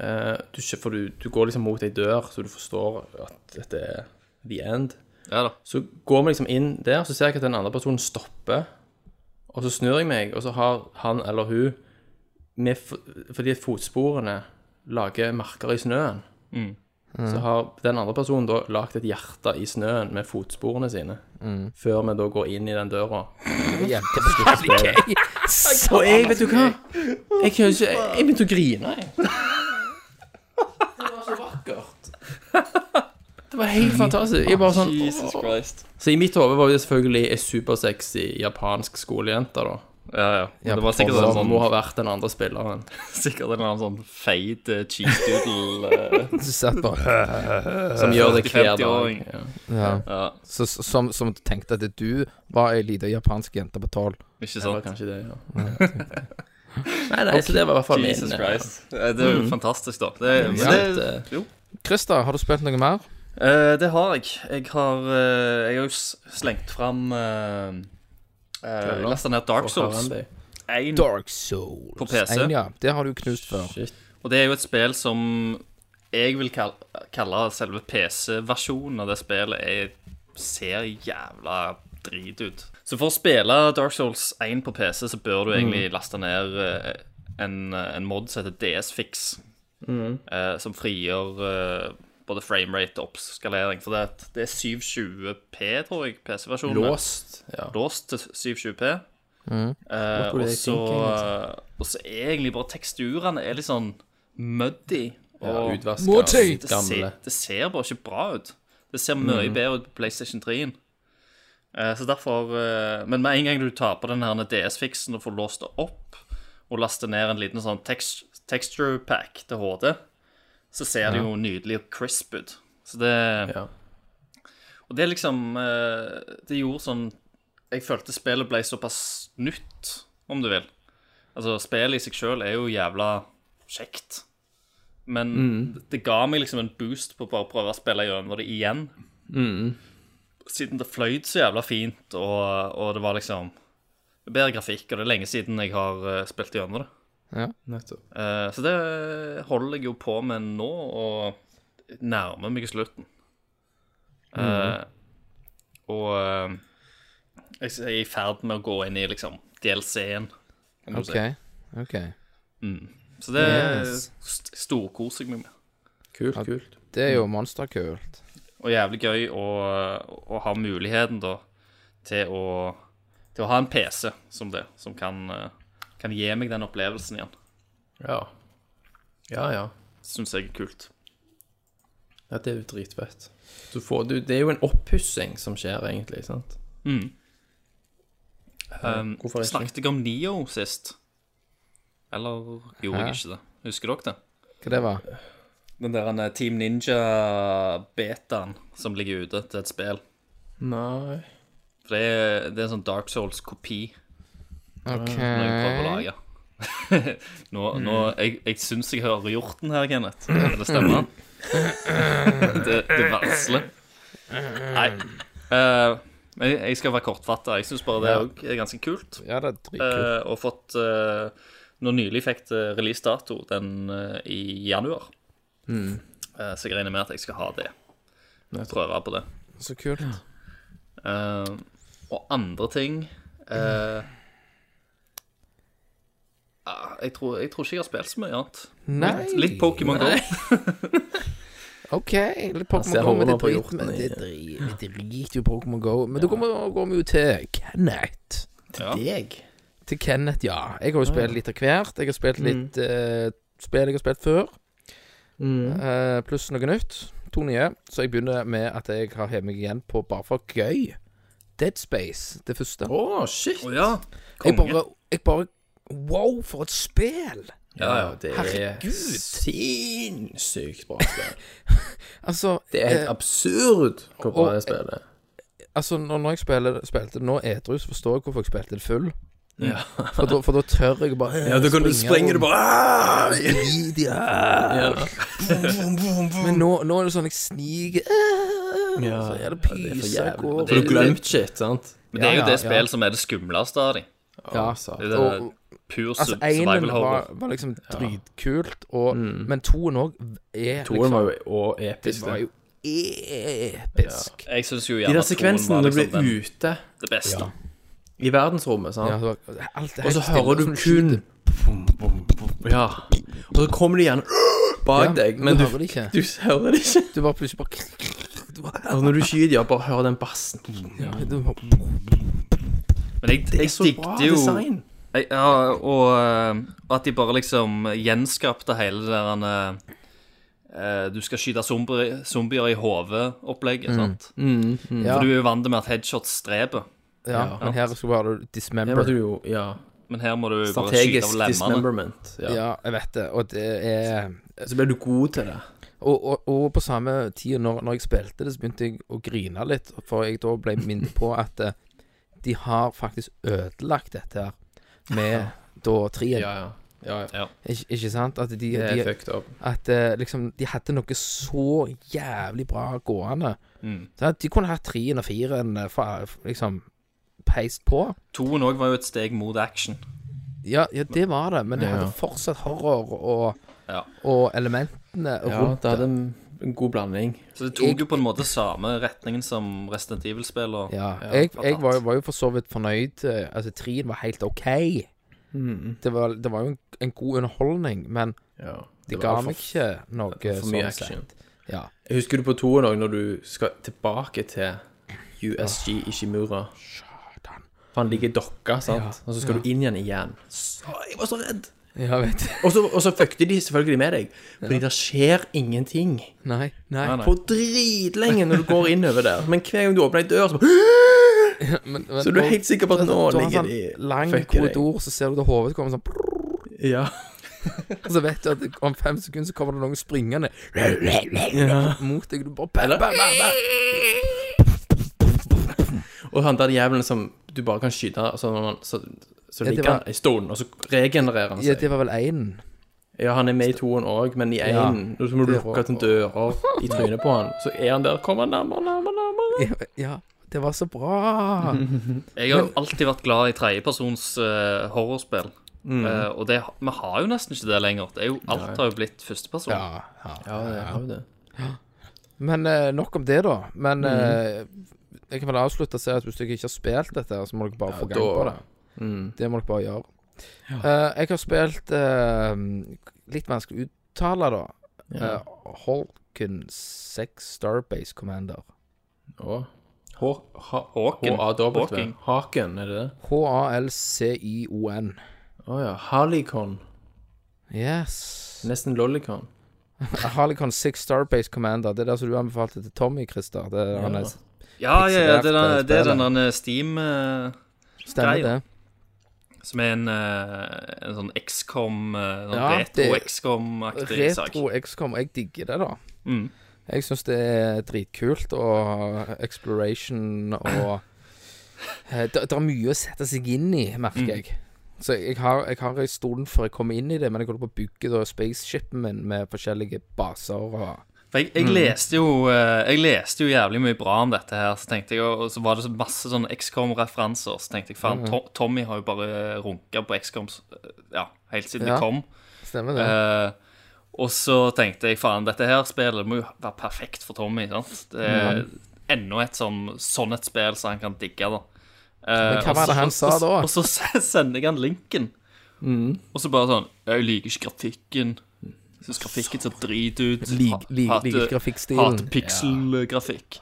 S4: Eh, du, skjø- for du, du går liksom mot ei dør, så du forstår at dette er the end.
S2: ja da.
S4: Så går vi liksom inn der, så ser jeg at den andre personen stopper. Og så snur jeg meg, og så har han eller hun med, f- Fordi fotsporene lager merker i snøen.
S2: Mm.
S4: Så har den andre personen da lagd et hjerte i snøen med fotsporene sine. Før vi da går inn i den døra. (laughs) Og jeg, vet du hva Jeg, kan ikke, jeg begynte å grine, jeg. Det var så vakkert. Det var helt fantastisk. Jeg bare sånn
S2: Jesus Christ.
S4: så i mitt hode var det selvfølgelig ei supersexy japansk skolejente, da.
S2: Ja, ja. Men det var
S4: Og
S2: sikkert en
S4: som
S2: sånn,
S4: må ha vært den andre spilleren.
S2: sikkert en eller annen sånn feit eh, cheese
S4: (laughs)
S2: doodle eh,
S3: (laughs) Du satt bare
S4: Som gjør det hver
S2: 40-åring.
S4: dag. Ja.
S3: ja.
S2: ja,
S3: så, som, som tenkte at du var ei lita japansk jente på tolv.
S2: Ikke
S4: Det var
S2: sant?
S4: kanskje det, ja. Nei, nei, så det var i hvert fall min
S2: Jesus
S4: eh, Mm.
S2: Christ. Eh, Det er jo fantastisk, da. Det, men
S4: sant,
S2: det,
S4: eh.
S2: jo.
S3: Christer, har du spilt noe mer?
S2: Eh, det har jeg. Jeg har, eh, jeg har jo s- slengt fram uh, uh, Lasta ned Dark Souls.
S4: Randy.
S2: En-
S3: Dark Souls.
S2: På PC.
S3: En, ja. Det har du knust før.
S4: Shit.
S2: Og det er jo et spill som jeg vil kalle, kalle selve PC-versjonen av det spillet er, ser jævla drit ut. Så for å spille Dark Souls 1 på PC, så bør du egentlig laste ned eh, en, en mod som heter DSFix, eh, som frigjør eh, både framerate og oppskalering. For det, er et- det er 720P, tror jeg, PC-versjonen. er
S4: Låst. Ja. Mm.
S2: låst til 720p. Eh,
S4: were
S2: og,
S4: they
S2: så,
S4: thinking, altså?
S2: og så er egentlig bare teksturene er litt sånn muddy.
S4: ja
S2: Og
S4: Utvaska.
S3: Morty!
S2: det,
S4: Gamle. Mm.
S2: ser, det ser bare ikke bra ut. Det ser mye bedre ut på PlayStation 3-en. Eh, så derfor eh, Men med en gang du tar på den her DS-fiksen og får låst det opp, og laster ned en liten sånn tekst, texture pack til HD, så ser det jo nydelig og crisp ut. Så det
S4: Ja.
S2: og det er liksom eh, Det gjorde sånn Jeg følte spillet ble såpass nytt, om du vil. Altså, spillet i seg sjøl er jo jævla kjekt. Men
S3: Mm.
S2: det ga meg liksom en boost på bare å prøve å spille gjennom det igjen.
S3: Mm.
S2: Siden det fløyt så jævla fint, og, og det var liksom bedre grafikk, og det er lenge siden jeg har eh, spilt gjennom det.
S4: Nettopp.
S2: Eh, så det holder jeg jo på med nå, og
S3: Mm.
S2: nærmer meg slutten. Eh, og eh, Jeg er i ferd med å gå inn i liksom DLC-en. kan du
S3: OK. ok
S2: Si. Så det
S3: Yes.
S2: st storkoser jeg meg med.
S4: Kult, kult.
S3: Det er jo monsterkult.
S2: Og jævlig gøy å, å ha muligheten da til å, til å ha en PC som det, som kan, eh, kan gi meg den opplevelsen igjen.
S4: Ja. Ja, ja.
S2: Syns jeg er kult.
S4: Ja, det er jo dritfett. Du får, du, det er jo en oppussing som skjer, egentlig. sant?
S2: Um,
S4: Hvorfor ikke?
S2: Snakket jeg om Nio sist? Eller gjorde
S3: Hæ?
S2: jeg ikke det? Husker dere det?
S3: Hva det var?
S2: Den der eh, Team Ninja-betaen som ligger ute til et spill.
S4: Nei
S2: For det er, det er en sånn Dark Souls-kopi
S3: OK.
S2: når jeg prøver å lage. (laughs) nå, nå,
S3: Mm.
S2: jeg jeg syns jeg hører hjorten her, Kenneth. Kan det
S3: (laughs)
S2: stemme? det, det varsler. Nei. Eh, men jeg jeg skal være kortfatta. Jeg syns bare det òg er ganske kult.
S3: Ja, det er dritkult.
S2: Eh, og fått eh, Nå nylig fikk det releasedato den eh, i januar.
S3: Mm.
S2: Eh, så jeg regner med at jeg skal ha det. Prøve på det.
S3: Så kult.
S2: Eh, og andre ting eh, ah, jeg, tror, jeg tror ikke jeg har spilt så mye annet.
S3: Nei.
S2: Litt Pokémon Go.
S3: OK. Litt Pokémon
S4: ser
S3: Go, men det
S4: hodet på
S3: driter
S4: hjorten
S3: men
S4: i-
S3: det drit- vi driter jo i Pokémon Go. Men da kommer går vi jo til Kenneth.
S2: Ja.
S4: Deg?
S3: Til Kenneth, ja. Jeg har jo spilt litt av hvert. Jeg har spilt litt eh, spill jeg har spilt før, eh, pluss noe nytt. To nye. Så jeg begynner med at jeg har hevet meg igjen på bare for gøy. Dead Space, det første.
S4: Å, shit!
S2: Å ja.
S3: (laughs) jeg,
S2: Konge.
S3: bare, jeg bare Wow, for et spill!
S4: Ja, ja, det
S3: Herregud.
S4: er sinnssykt bra spill.
S3: Altså,
S4: Det er helt absurd hvor bra
S3: og-
S4: det spillet er.
S3: altså når, når jeg spiller, spilte det nå edru, så forstår jeg hvorfor jeg spilte det full. For, da, for da tør jeg bare eh, Ja,
S4: bare
S3: Men nå, nå er det sånn jeg sniker eh,
S4: Ja,
S3: Så
S4: ja, det
S3: er det
S4: er for
S3: pyser
S4: jævlig.
S3: går
S4: For du glemte shit, sant?
S2: Men det er
S3: Ja,
S2: jo
S3: ja,
S2: det
S3: ja.
S2: spillet som er det skumleste av dem.
S3: Ja.
S4: sa-
S2: Det er
S3: Og-
S2: pur
S3: Altså,
S2: survival
S3: Einen
S2: horror.
S3: var, var liksom dritkult, og, men toen òg er
S4: Mm. Toen
S3: liksom
S4: var jo også episk.
S3: var
S4: det.
S3: jo episk.
S2: Jeg syns jo
S4: De
S2: gjerne
S4: der
S2: at toen
S4: sekvensene
S2: var
S4: når du
S2: liksom
S4: blir
S2: den,
S4: ute
S2: det beste.
S4: i verdensrommet, sant?
S3: Ja, det var, alt er
S4: Og så
S3: helt stille,
S4: hører du
S3: sånn
S4: kun
S3: skyter.
S4: Ja. Og så kommer de gjerne (gasps) bak
S3: Ja,
S4: deg, men du,
S3: hører det ikke.
S4: du hører det ikke.
S3: Du bare plutselig bare du bare,
S4: Og Altså, når du skyter, ja, bare hører den bassen.
S3: du bare,
S2: Men jeg,
S4: Det
S2: jeg
S4: er så bra
S2: digget jo
S4: design.
S2: Jeg- Ja, og, eh, og at de bare liksom gjenskapte hele det der eh, eh, Du skal skyte zombier, zombier i
S3: Mm.
S2: hodet-opplegget, sant?
S4: Mm,
S3: ja,
S2: For du er jo vant med at headshots streper.
S3: ja, men her skal bare du
S4: Det var
S3: dismember.
S4: du jo, ja.
S2: Men her må du bare skyte
S4: Strategisk
S2: av lemmene.
S4: dismemberment. Ja.
S3: Ja, jeg vet det, og det er
S4: Så ble du god til det.
S3: Og, og, og på samme tid, når, når jeg spilte det, så begynte jeg å grine litt, for jeg da ble minnet på at eh, de har faktisk ødelagt dette her med da trien.
S4: Ja, ja. ja, ja.
S3: Ikke, ikke sant? At, de,
S4: Det er
S3: de,
S4: fucked up.
S3: at eh, liksom, de hadde noe så jævlig bra gående.
S4: Mm.
S3: Så at de kunne hatt trien og firen eh, fa- liksom peist på.
S2: Toen òg var jo et steg mot action.
S3: Ja, ja, det var det, men det
S4: Ja.
S3: hadde fortsatt horror og,
S2: Ja.
S3: og elementene
S4: Ja,
S3: rundt
S4: det hadde en, en god blanding.
S2: Så det tok jo på en måte samme retningen som Resident Evil-spill. Og...
S3: Ja, jeg, jeg
S2: fortapt.
S3: var, jo- var jo for så vidt fornøyd. eh, Altså, trien var helt OK.
S4: Mm.
S3: Det, var, det var jo en, en god underholdning, men
S4: Ja.
S3: det,
S4: var
S3: ga
S4: altfor-
S3: meg ikke noe
S4: for mye
S3: sånn
S4: action.
S3: sett. Ja.
S4: Jeg husker du på toen òg, når du skal tilbake til USG Ishimura. For han ligger i dokka, sant? Og så skal du inn igjen igjen. Så, jeg var så redd!
S3: ja, vet du. (laughs)
S4: Og så, og så fuckte de selvfølgelig med deg, fordi det skjer ingenting
S3: Nei, nei.
S2: Nei, nei.
S4: på dritlenge når du går innover der. Men hver gang du åpner ei dør, så bare (gasps)
S3: Men, men,
S4: Så du er helt sikker på at nå
S3: du har en
S4: ligger
S3: sånn
S4: de
S3: lang
S4: fucker deg.
S3: korridor, så ser du til hodet kommer sånn brrr,
S4: Ja.
S3: Og så vet du at om fem sekunder så kommer det noen springende mot deg. Du bare bam,
S4: Eller-
S3: bam, bam, bam.
S4: Og han der jævelen som du bare kan skyte, og så, når man- så, så
S3: Ja, det
S4: ligger
S3: var-
S4: han i stolen, og så regenererer han
S3: Ja,
S4: seg.
S3: det var vel én.
S4: Ja, han er med i toen òg, men i
S3: Ja,
S4: én Nå må du
S3: det
S4: lukke
S3: var-
S4: til dører i trynet på han, så er han der. Kommer han nærmere, nærmere, nærmere.
S3: Ja, ja, det var så bra.
S2: Jeg har jo alltid vært glad i tredjepersons eh, horrorspill. Eh, og det, vi har jo nesten ikke det lenger. Det er jo, alt har jo blitt førsteperson.
S3: Ja, ja.
S4: Ja, det er jo det.
S3: Men eh, nok om det, da. Men eh, jeg kan vel avslutte og si at hvis dere ikke har spilt dette, her, så må dere bare få gang
S4: da-
S3: på det.
S4: Mm,
S3: Det må dere bare gjøre. Eh, jeg har spilt eh, Litt vanskelig å uttale, da.
S4: Ja.
S3: Eh, Holken 6 Starbase Commander.
S4: Å.
S2: Håken.
S4: H-A-W.
S2: Håking.
S4: Haken, er det det?
S3: H-A-L-C-I-O-N.
S4: Å ja. Harlicon.
S3: Yes.
S4: Nesten Lollicon.
S3: Harlicon 6 Starbase Commander. Det er det som du anbefalte til Tommy, Christer. Det er han er-
S2: Ja, ja, ja, det, er-
S3: Pixelert,
S2: det er
S3: spillet.
S2: den der Steam eh,
S3: Stemmer
S2: Greia.
S3: det?
S2: som er en, eh, en sånn XCOM, eh, sånn
S3: Ja, det-
S2: retro-XCOM-aktig sak.
S3: Retro XCOM. Jeg digger det, da.
S2: Mm.
S3: Jeg syns det er dritkult, og exploration og eh, Det er mye å sette seg inn i, merker jeg. Så jeg har, jeg har en stund før jeg kommer inn i det, men jeg holder på å bygge da spaceshipen min med forskjellige baser og
S2: For jeg, jeg, leste jo, eh, jeg leste jo jævlig mye bra om dette her, så tenkte jeg, og så var det så masse sånne XCOM-referanser, så tenkte jeg, faen, To- Tommy har jo bare runket på XCOM, s- ja, helt siden
S3: Ja.
S2: det kom.
S3: Stemmer det?
S2: Eh, og så tenkte jeg, faen, dette her spillet må jo være perfekt for Tommy, sant? Det er
S3: Mm.
S2: enda et sånn, sånn et spill som han kan digge, da. Eh,
S3: Men hva
S2: og
S3: var det
S2: så-
S3: han
S2: og-
S3: sa
S2: og-
S3: da? Mm.
S2: Og så (laughs) sender jeg han linken. Og så bare sånn, jeg liker ikke grafikken. Jeg synes grafikken ser drit ut.
S3: Lik-
S2: Ha-
S3: lik-
S2: hater-
S3: liker grafikkstilen.
S2: Hater pixelgrafikk.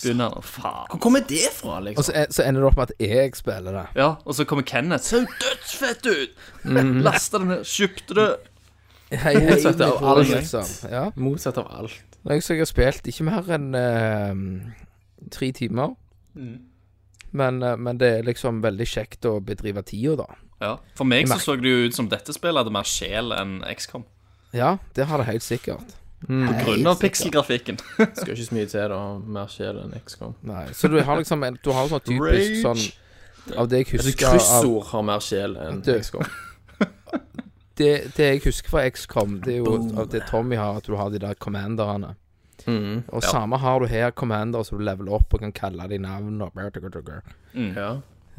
S2: Begynner han å faen.
S4: Hvor kommer det fra, liksom?
S3: Og så, så ender det opp med at jeg spiller (laughs) det.
S2: Ja, og så kommer Kenneth. Ser jo dødsfett ut!
S3: Mm.
S2: Lasta den ned, kjøpte det.
S3: Hei, hei,
S4: Motsatt av
S3: Nicole,
S4: alt.
S3: liksom. Ja.
S4: Motsatt av alt.
S3: Og Jeg, så jeg har spilt ikke mer enn eh, tre timer. Mm. Men, eh, men det er liksom veldig kjekt å bedrive tida, da.
S2: Ja, For meg så så det jo ut som dette spillet hadde mer sjel enn XCOM.
S3: Ja, det har det helt sikkert.
S2: På grunn av pikselgrafikken.
S4: Skal ikke så mye til, da. Mer sjel enn XCOM.
S3: Nei, så du har liksom en, du har sånn typisk
S2: Rage.
S3: sånn Av det jeg
S4: Altså,
S3: husker av,
S4: kryssord har mer sjel enn
S3: Du.
S4: XCOM.
S3: det, det jeg husker fra XCOM, det er jo av det Tommy har, at du har de der commanderne.
S4: Mhm.
S3: Og samme har du her commander som du leveler opp og kan kalle de navn og
S4: Ja.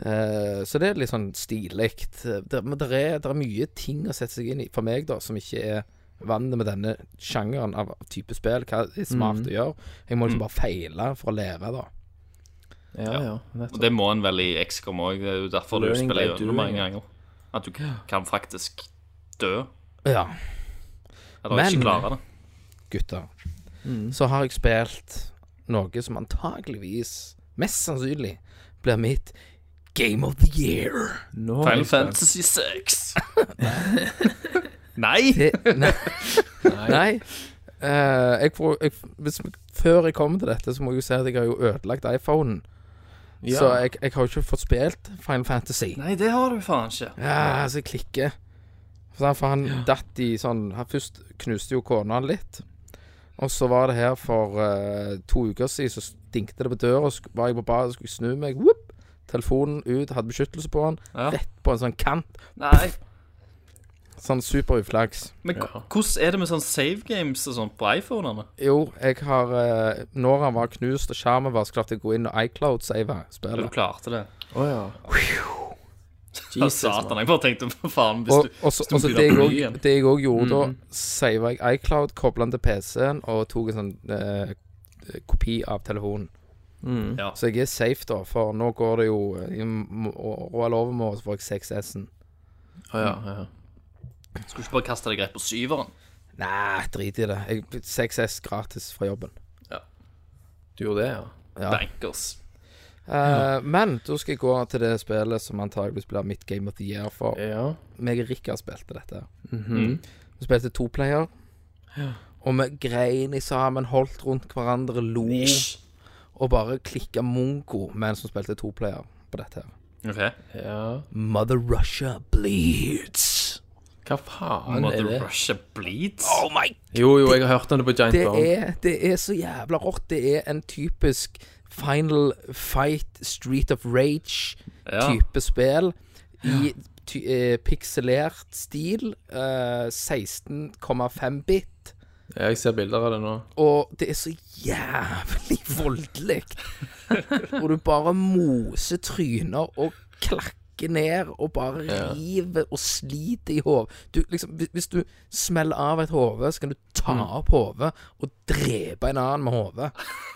S3: Eh, Så det er litt sånn stilig. Det- Men det er, det er mye ting å sette seg inn i, for meg, da, som ikke er vant med denne sjangeren av type spill. Hva er smart å gjøre? Jeg må liksom bare feile for å lære, da.
S4: Ja, ja.
S2: (laughs) Og
S4: Nettopp.
S2: det må en vel i XCOM òg. Det er jo derfor du
S4: Learning
S2: spiller
S4: by
S2: gjennom mange
S4: doing.
S2: ganger. At du kan faktisk dø.
S3: Ja,
S2: Eller
S3: Men-
S2: ikke klare det.
S3: gutter. Så har jeg spilt noe som antakeligvis, mest sannsynlig, blir mitt Game of the Year.
S4: Nå er
S2: Final
S4: jeg spent.
S2: Fantasy 6. Nei!
S3: Det, nei. nei. Eh, jeg får, jeg, hvis, før jeg kommer til dette, så må jeg jo si at jeg har jo ødelagt iPhonen.
S4: Ja.
S3: Så jeg, jeg har jo ikke fått spilt Final Fantasy.
S2: Nei, det har du faen ikke.
S3: Ja, så jeg klikker. For han, for han datt i sånn han Først knuste jo kona litt. Og så var det her for eh, to uker siden, så stinkte det på døra, og sk- var jeg på badet og skulle snu meg. Whoop! Telefonen ut, hadde beskyttelse på den.
S2: Ja.
S3: Rett på en sånn kant.
S2: Nei.
S3: Sånn super uflaks.
S2: Men k- hvordan er det med sånn save games og sånt på iPhonene?
S3: Jo, jeg har eh, Når han var knust og skjermen var, så klarte jeg å gå inn og iCloud-save
S2: Du
S3: spillet.
S2: klarte det.
S4: Å ja. Jesus,
S2: Satan,
S4: mann.
S2: jeg bare tenkte på faen hvis
S3: Og
S2: du,
S3: og
S2: hvis
S3: så-
S2: du
S3: og så
S2: begynner
S3: det jeg
S2: på ny
S3: også-
S2: igjen.
S3: det jeg òg gjorde da, sava jeg iCloud, kobla den til PC-en og tok en sånn eh, kopi av telefonen.
S2: Ja.
S3: Så jeg er safe, da, for nå går det jo eh, i m- å- å- eller overmorgen så får jeg 6S-en.
S4: Å ja, ja, ja.
S2: Skulle ikke bare kaste deg rett på syveren?
S3: Nei, drit i det. Jeg, 6S gratis fra jobben.
S4: Du gjorde det, ja?
S3: Ja.
S2: Bankers.
S3: Eh, men da skal jeg gå til det spillet som antageligvis blir mitt game of the year, for
S4: Ja.
S3: meg og Rikard spilte dette. Mhm. Vi spilte toplayer, og vi grein i sammen, holdt rundt hverandre, lo og bare klikka mongo mens vi spilte toplayer på dette. her
S2: OK.
S4: ja.
S3: Mother Russia bleeds.
S4: Hva faen er
S2: Mother
S4: det?
S2: Russia bleeds.
S3: Oh my
S4: Jo, jo, jeg har hørt om det på Giant
S3: Det
S4: Bomb.
S3: er, det er så jævla rått. Det er en typisk Final Fight, Street of
S2: Ja.
S3: Rage-type spill. I ty eh, pikselert stil. Eh, 16,5 bit.
S4: Ja, jeg ser bilder av det nå.
S3: Og det er så jævlig (laughs) voldelig. Hvor du bare moser tryner og klakker hakker ned og bare river og sliter i hodet. Liksom, hvis- hvis du smeller av et hode, så kan du ta opp hodet og drepe en annen med hodet.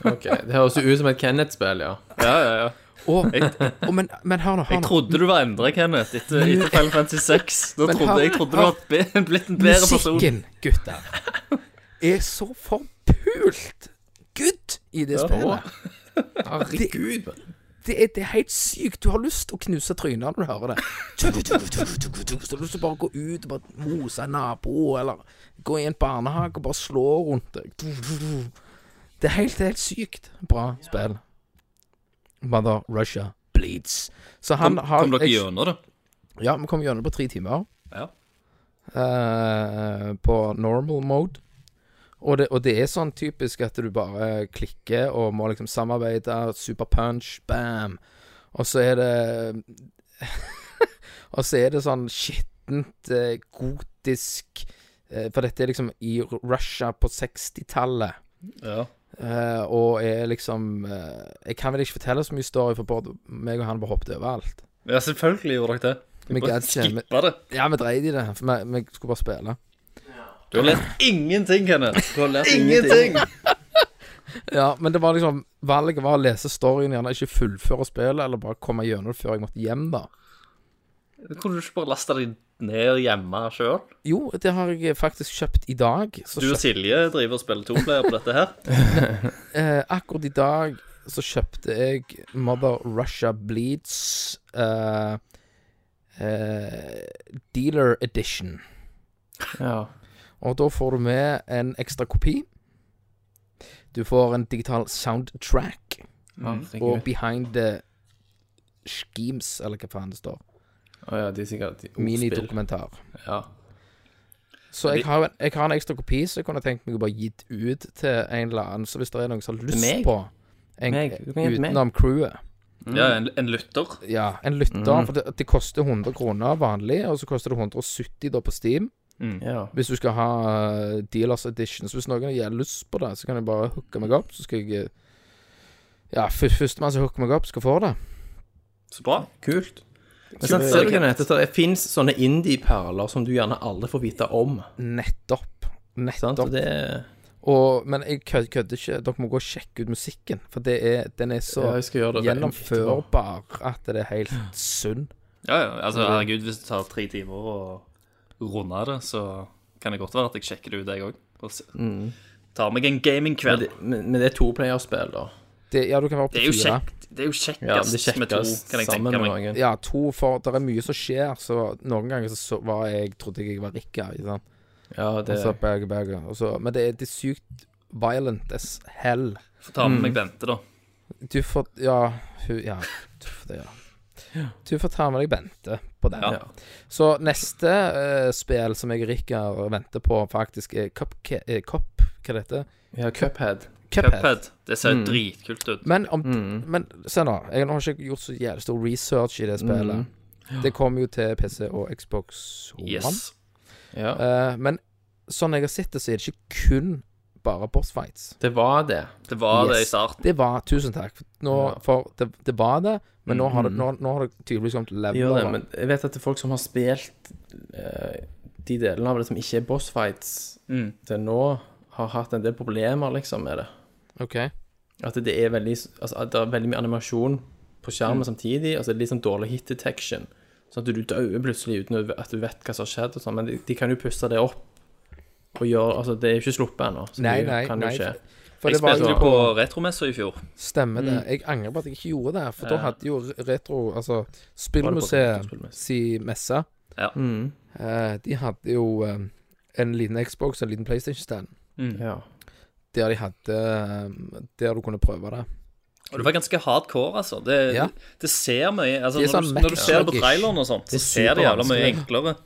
S4: Ok, Det høres jo ut som et Kenneth-spill, ja.
S2: Ja, ja, ja.
S3: Og, og men, men hør nå, hør
S2: Jeg
S3: nå.
S2: trodde du var endra, Kenneth, etter, etter Final Fantasy 6. Da
S3: Men
S2: trodde
S3: har-
S2: jeg trodde du var be- blitt en bedre person.
S3: Musikken, gutter, er så forpult good i det spillet.
S4: Herregud.
S3: Det er, det er helt sykt. Du har lyst til å knuse trynet når du hører det. Så du har lyst til å bare gå ut og bare mose en nabo, eller gå i en barnehage og bare slå rundt deg. Det er helt, det er helt sykt bra spill. Mother Russia bleeds. Så han
S2: Kom,
S3: har
S2: kom dere
S3: jeg-
S2: gjennom det?
S3: Ja, vi kom gjennom på tre timer.
S2: Ja.
S3: Eh, på normal mode. Og det, og det er sånn typisk at du bare klikker og må liksom samarbeide. Super punch, bam. Og så er det (laughs) Og så er det sånn skittent, eh, gotisk eh, For dette er liksom i Russia på 60-tallet.
S2: Ja.
S3: Eh, og er liksom eh, Jeg kan vel ikke fortelle så mye story, for både meg og han bare hoppet over alt.
S2: ja, selvfølgelig gjorde dere det.
S3: Vi
S2: Bare
S3: gadd ikke. vi-
S2: skippa det.
S3: Ja, vi dreit i det, for vi, vi skulle bare spille.
S2: Du har lært ingenting, Kenneth. Du har lært ingenting.
S3: Ja, men det var liksom Valget var å lese storyen, gjerne ikke fullføre spillet, eller bare komme gjennom det før jeg måtte hjem, da.
S2: Kunne du ikke bare lasta deg ned hjemme sjøl?
S3: Jo, det har jeg faktisk kjøpt i dag. Så
S2: Du og
S3: kjøp,
S2: Silje driver og spiller toplayer på dette (laughs) her.
S3: eh, akkurat i dag så kjøpte jeg Mother Russia Bleeds eh, eh, Dealer Edition.
S4: Ja.
S3: Og da får du med en ekstra kopi. Du får en digital soundtrack
S2: Mm.
S3: og
S4: Herregud.
S3: behind the schemes, eller hva faen det står.
S4: Å ja, de er sikkert de- ordspill.
S3: Minidokumentar.
S4: Ja.
S3: Så jeg har, en, jeg har en ekstra kopi som jeg kunne tenkt meg å bare gitt ut til en eller annen. Så hvis det er noen som har lyst
S4: Meg?
S3: på en,
S4: Meg? Du kan gi den til meg.
S3: utenom crewet
S2: Ja, en, en lytter.
S3: Ja, en lytter.
S4: Mm.
S3: For det, det koster 100 kroner vanlig, og så koster det 170 da på Steam.
S2: Mm.
S4: ja.
S3: Hvis du skal ha eh, Dealers Edition. Så hvis noen har lyst på det, så kan jeg bare hooke meg opp. Så skal jeg eh, Ja, fø- førstemann som hooker meg opp, skal få det.
S2: Så bra.
S4: Kult. Men sant, ser du hva det heter? Det fins sånne indie-perler som du gjerne aldri får vite om.
S3: Nettopp.
S4: Sant?
S3: Nettopp.
S4: Og det
S3: Og, men jeg kød- kødder ikke. Dere må gå og sjekke ut musikken. For det er, den er så
S4: Ja, jeg skal gjøre det etterpå.
S3: gjennomførbar at det er helt sunn.
S2: Ja, ja. Altså, herregud, hvis det tar tre timer å runde det, så kan det godt være at jeg sjekker det ut, jeg òg. Og s-
S3: Mm.
S2: tar meg en
S4: Men
S2: gamingkveld.
S4: det- Men men det er toplayerspill, da.
S3: Det, ja, du kan være opp
S2: Det
S3: til
S2: er jo
S3: fire.
S2: kjekt. Det er jo kjekkest,
S4: Ja, det
S2: med to,
S4: sjekkes
S2: kan jeg
S4: sammen
S2: tenke
S4: med
S2: meg.
S4: noen.
S3: Ja, to, for det er mye som skjer. Så noen ganger så, så var jeg trodde jeg var Rikka. ikke sant?
S4: Ja,
S3: Og
S4: det
S3: så berge, berge, og så, men det er, det er sykt violent as hell.
S2: Få ta med meg
S3: Mm.
S2: Bente, da.
S3: Du får Ja, hun Ja. Du får, det, ja. Du får ta med deg Bente på den.
S2: Ja.
S3: Så neste eh, spill som jeg og Rikard venter på, faktisk er Cupca... eh, Cup... Hva det heter
S4: Ja, Cuphead. Mm.
S3: Cuphead.
S2: Cuphead.
S3: Mm.
S2: Det ser dritkult ut.
S3: Men, om, men se nå, jeg har ikke gjort så jævlig stor research i det
S4: Mm.
S3: spillet. Det kommer jo til PC og Xbox One.
S2: Yes.
S4: Ja.
S3: Eh, men sånn jeg har sett det, så er det ikke kun bare bossfights.
S4: Det var det.
S2: Det var det i
S3: Yes.
S2: starten.
S3: Det var Tusen takk. Nå,
S4: Ja.
S3: For det, det var det, men nå, har det, nå, nå har det tydeligvis kommet
S4: Det
S3: level.
S4: gjør det,
S3: over.
S4: men jeg vet at det er folk som har spilt eh, de delene av det som ikke er boss fights
S2: Mm.
S4: til nå, har hatt en del problemer liksom med det.
S3: Ok.
S4: At det er veldig, altså, at det er veldig mye animasjon på
S3: Mm.
S4: skjermen samtidig, altså det er litt sånn dårlig hit detection. Sånn at du dør plutselig uten å- at du vet hva som har skjedd og sånn, men de, de kan jo pusse det opp. Og gjøre, altså Det er jo ikke sluppet ennå, så
S3: Nei,
S4: det
S3: nei,
S4: kan jo
S3: nei.
S4: skje.
S3: For
S2: Jeg
S3: det var
S2: spilte
S3: jo
S2: det på retromessa i fjor.
S3: Stemmer det.
S4: Mm.
S3: Jeg angrer på at jeg ikke gjorde det, for da
S2: Ja.
S3: hadde jo retro Altså
S4: Var det
S3: Spillmuseet
S4: på Retrospillmesse?
S3: si messe.
S2: Ja.
S4: Mm.
S3: Eh, de hadde jo eh, en liten Xbox og en liten PlayStation-stand
S4: Ja.
S3: der de hadde eh, Der du kunne prøve det.
S2: Og det var ganske hardcore, altså. Det,
S3: Ja.
S2: det ser mye altså,
S3: Det er
S2: når,
S3: sånn
S2: du, når du ser det på
S3: Mac-ish.
S2: traileren og sånt, så
S4: Det er
S2: ser det jævla mye
S4: supervanskelig.
S2: enklere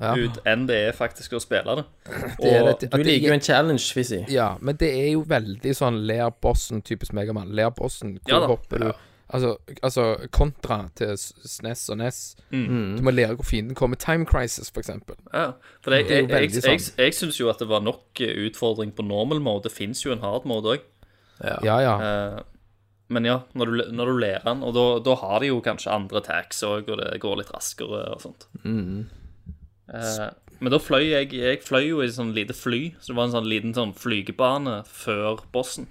S3: Ja.
S2: ut enn det er faktisk å spille det. Og
S3: Det er det- at
S4: Du
S3: det
S4: liker
S3: gikk-
S4: jo en challenge, Fizzy.
S3: Ja, men det er jo veldig sånn Ler bossen, typisk Megaman. Ler bossen, hvor
S2: Ja da.
S3: hopper du? Altså, altså kontra til S- SNES og NES.
S2: Mm.
S3: Du må lære hvor fienden kommer. Time Crisis, for eksempel.
S2: ja. For jeg,
S3: Det er jo
S2: jeg, jeg,
S3: veldig sånn.
S2: jeg, jeg, syns jo at det var nok eh, utfordring på normal mode. Det fins jo en hard mode òg.
S3: Ja, ja.
S2: Men ja, når du, når du ler den, og da, da har de jo kanskje andre tags òg, og det går litt raskere og sånt. Mm. Eh, men da fløy jeg Jeg fløy jo i et sånn lite fly, så det var en sånn liten sånn flygebane før bossen.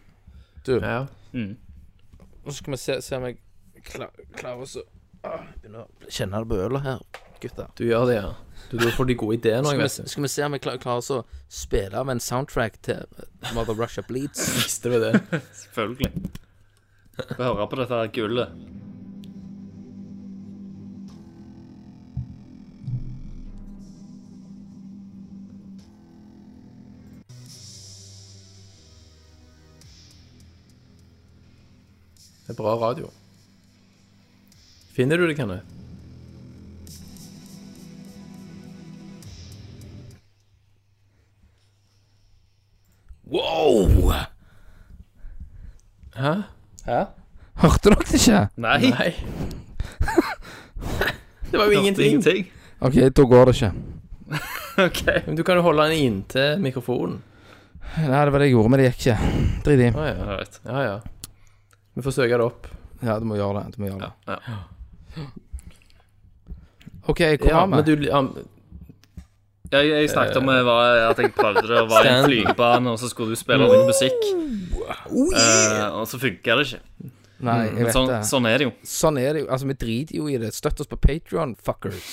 S3: Du,
S4: Ja.
S2: Mm.
S3: nå skal vi se, se om jeg kla- klarer å så- Åh, jeg Begynner å kjenne det på ølet her, gutter.
S4: Du gjør det, ja. Du, du får de gode ideene òg,
S3: Skal vi,
S4: vet du.
S3: skal vi se om vi klar, klarer oss å spille av en soundtrack til Mother Russia Bleeds?
S4: (laughs) Visste vi det?
S2: Selvfølgelig. Få høre på dette her gullet.
S4: Det er bra radio. Finner du det, Kenneth?
S3: Wow!
S4: Hæ?
S2: Hæ?
S3: Hørte dere det ikke?
S2: Nei.
S3: (laughs)
S4: Nei. det var jo
S2: hørte
S4: ingenting.
S2: ingenting.
S3: OK, da går det ikke.
S2: (laughs) OK.
S4: Men du kan jo holde den inntil mikrofonen.
S3: Nei, det var det jeg gjorde, men det gikk ikke. Drit i.
S4: Å ja.
S2: All right.
S4: ja, ja. Vi får søke det opp.
S3: Ja, du må gjøre det. Du må gjøre det.
S2: Ja.
S3: OK, hvor
S4: Ja,
S3: var
S4: men
S3: vi?
S4: du ja,
S2: Jeg, jeg snakket om eh, jeg var, at jeg prøvde det, og var i en
S4: Stand.
S2: flygebane, og så skulle du spille noe musikk, eh, og så funka det ikke.
S3: Nei, jeg
S2: Men
S3: vet
S2: sånn,
S3: det.
S2: sånn er det jo.
S3: Sånn er det jo. Altså, vi driter jo i det. Støtt oss på Patrion, fuckers.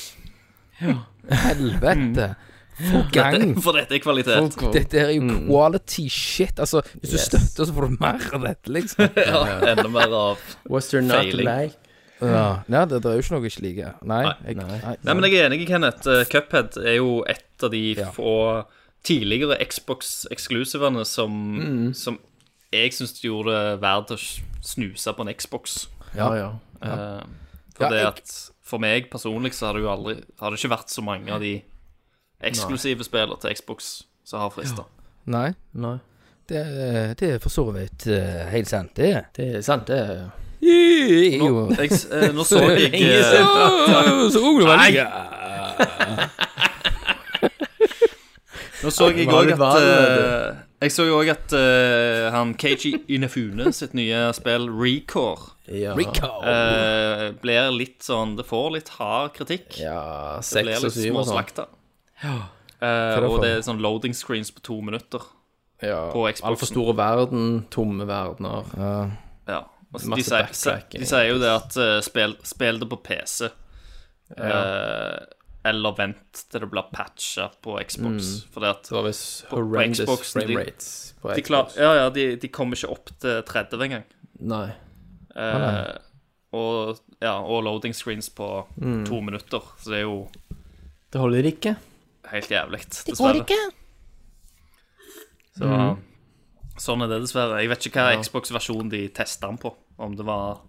S3: Helvete. Få gang.
S2: Mm. Dette, (laughs) Mm. for dette er kvalitet.
S3: Dette er jo quality shit. Altså, hvis du støtter, så får du mer av dette,
S2: (laughs)
S3: liksom.
S2: Ja, enda mer av
S4: Was there not
S2: Feiling.
S4: like
S3: Ja. Nei, det, det er jo ikke noe jeg ikke liker. Nei. Jeg,
S4: Nei.
S2: Nei, men jeg er enig, Kenneth. Eh, Cuphead er jo et av de
S3: Ja.
S2: få tidligere Xbox-eksklusivene som, som jeg syns gjorde det verdt å s- snuse på en Xbox.
S3: Ja.
S4: ja.
S2: Eh, for
S3: Ja,
S2: det
S3: jeg-
S2: at For meg personlig så har det jo aldri Har det ikke vært så mange av de eksklusive spillene til Xbox som har frister.
S3: Nei.
S4: Nei.
S3: Det, er- det er for så vidt eh, helt sant, det. er.
S4: Det er sant, det. er-
S3: Det er
S2: Nå,
S3: jo
S2: jeg, s- eh, nå så jeg
S4: lenge
S2: eh,
S3: Så ung du var.
S2: Nei! Nå så jeg
S4: Ja, det var
S2: òg
S4: litt
S2: at
S4: vel,
S2: eh, Jeg så jo òg at eh, han Keiji Inafune sitt nye spill Recore
S4: Ja.
S2: eh, blir litt sånn Det får litt hard kritikk.
S4: ja
S2: det blir
S4: Seks og
S2: litt
S4: syv og sånn.
S2: småslakta. Eh,
S3: For det
S2: og
S3: får-
S2: det er sånn loading screens på to minutter.
S4: sånn. Ja.
S2: på Xboxen.
S4: Altfor store verden, tomme verdener.
S2: Ja. Og så de,
S4: Masse
S2: sier,
S4: backtracking.
S2: de sier jo det at eh, spill, spill det på PC, eh, eller vent til det blir patcha på Xbox. Fordi at
S4: Det var visst
S2: på
S4: horrendous
S2: Xboxen, de-
S4: frame rates Mm. på
S2: De,
S4: Xbox.
S2: klar, ja, ja, de, de kommer ikke opp til 30 engang.
S4: Ah, Nei.
S2: Eh, og, ja, og loading screens på
S4: Mm.
S2: to minutter. Så det er jo
S4: Det holder ikke.
S2: helt jævlig, dessverre. Så, Sånn er det, dessverre. Jeg vet ikke hva Xbox-versjon de testa den på. Om det var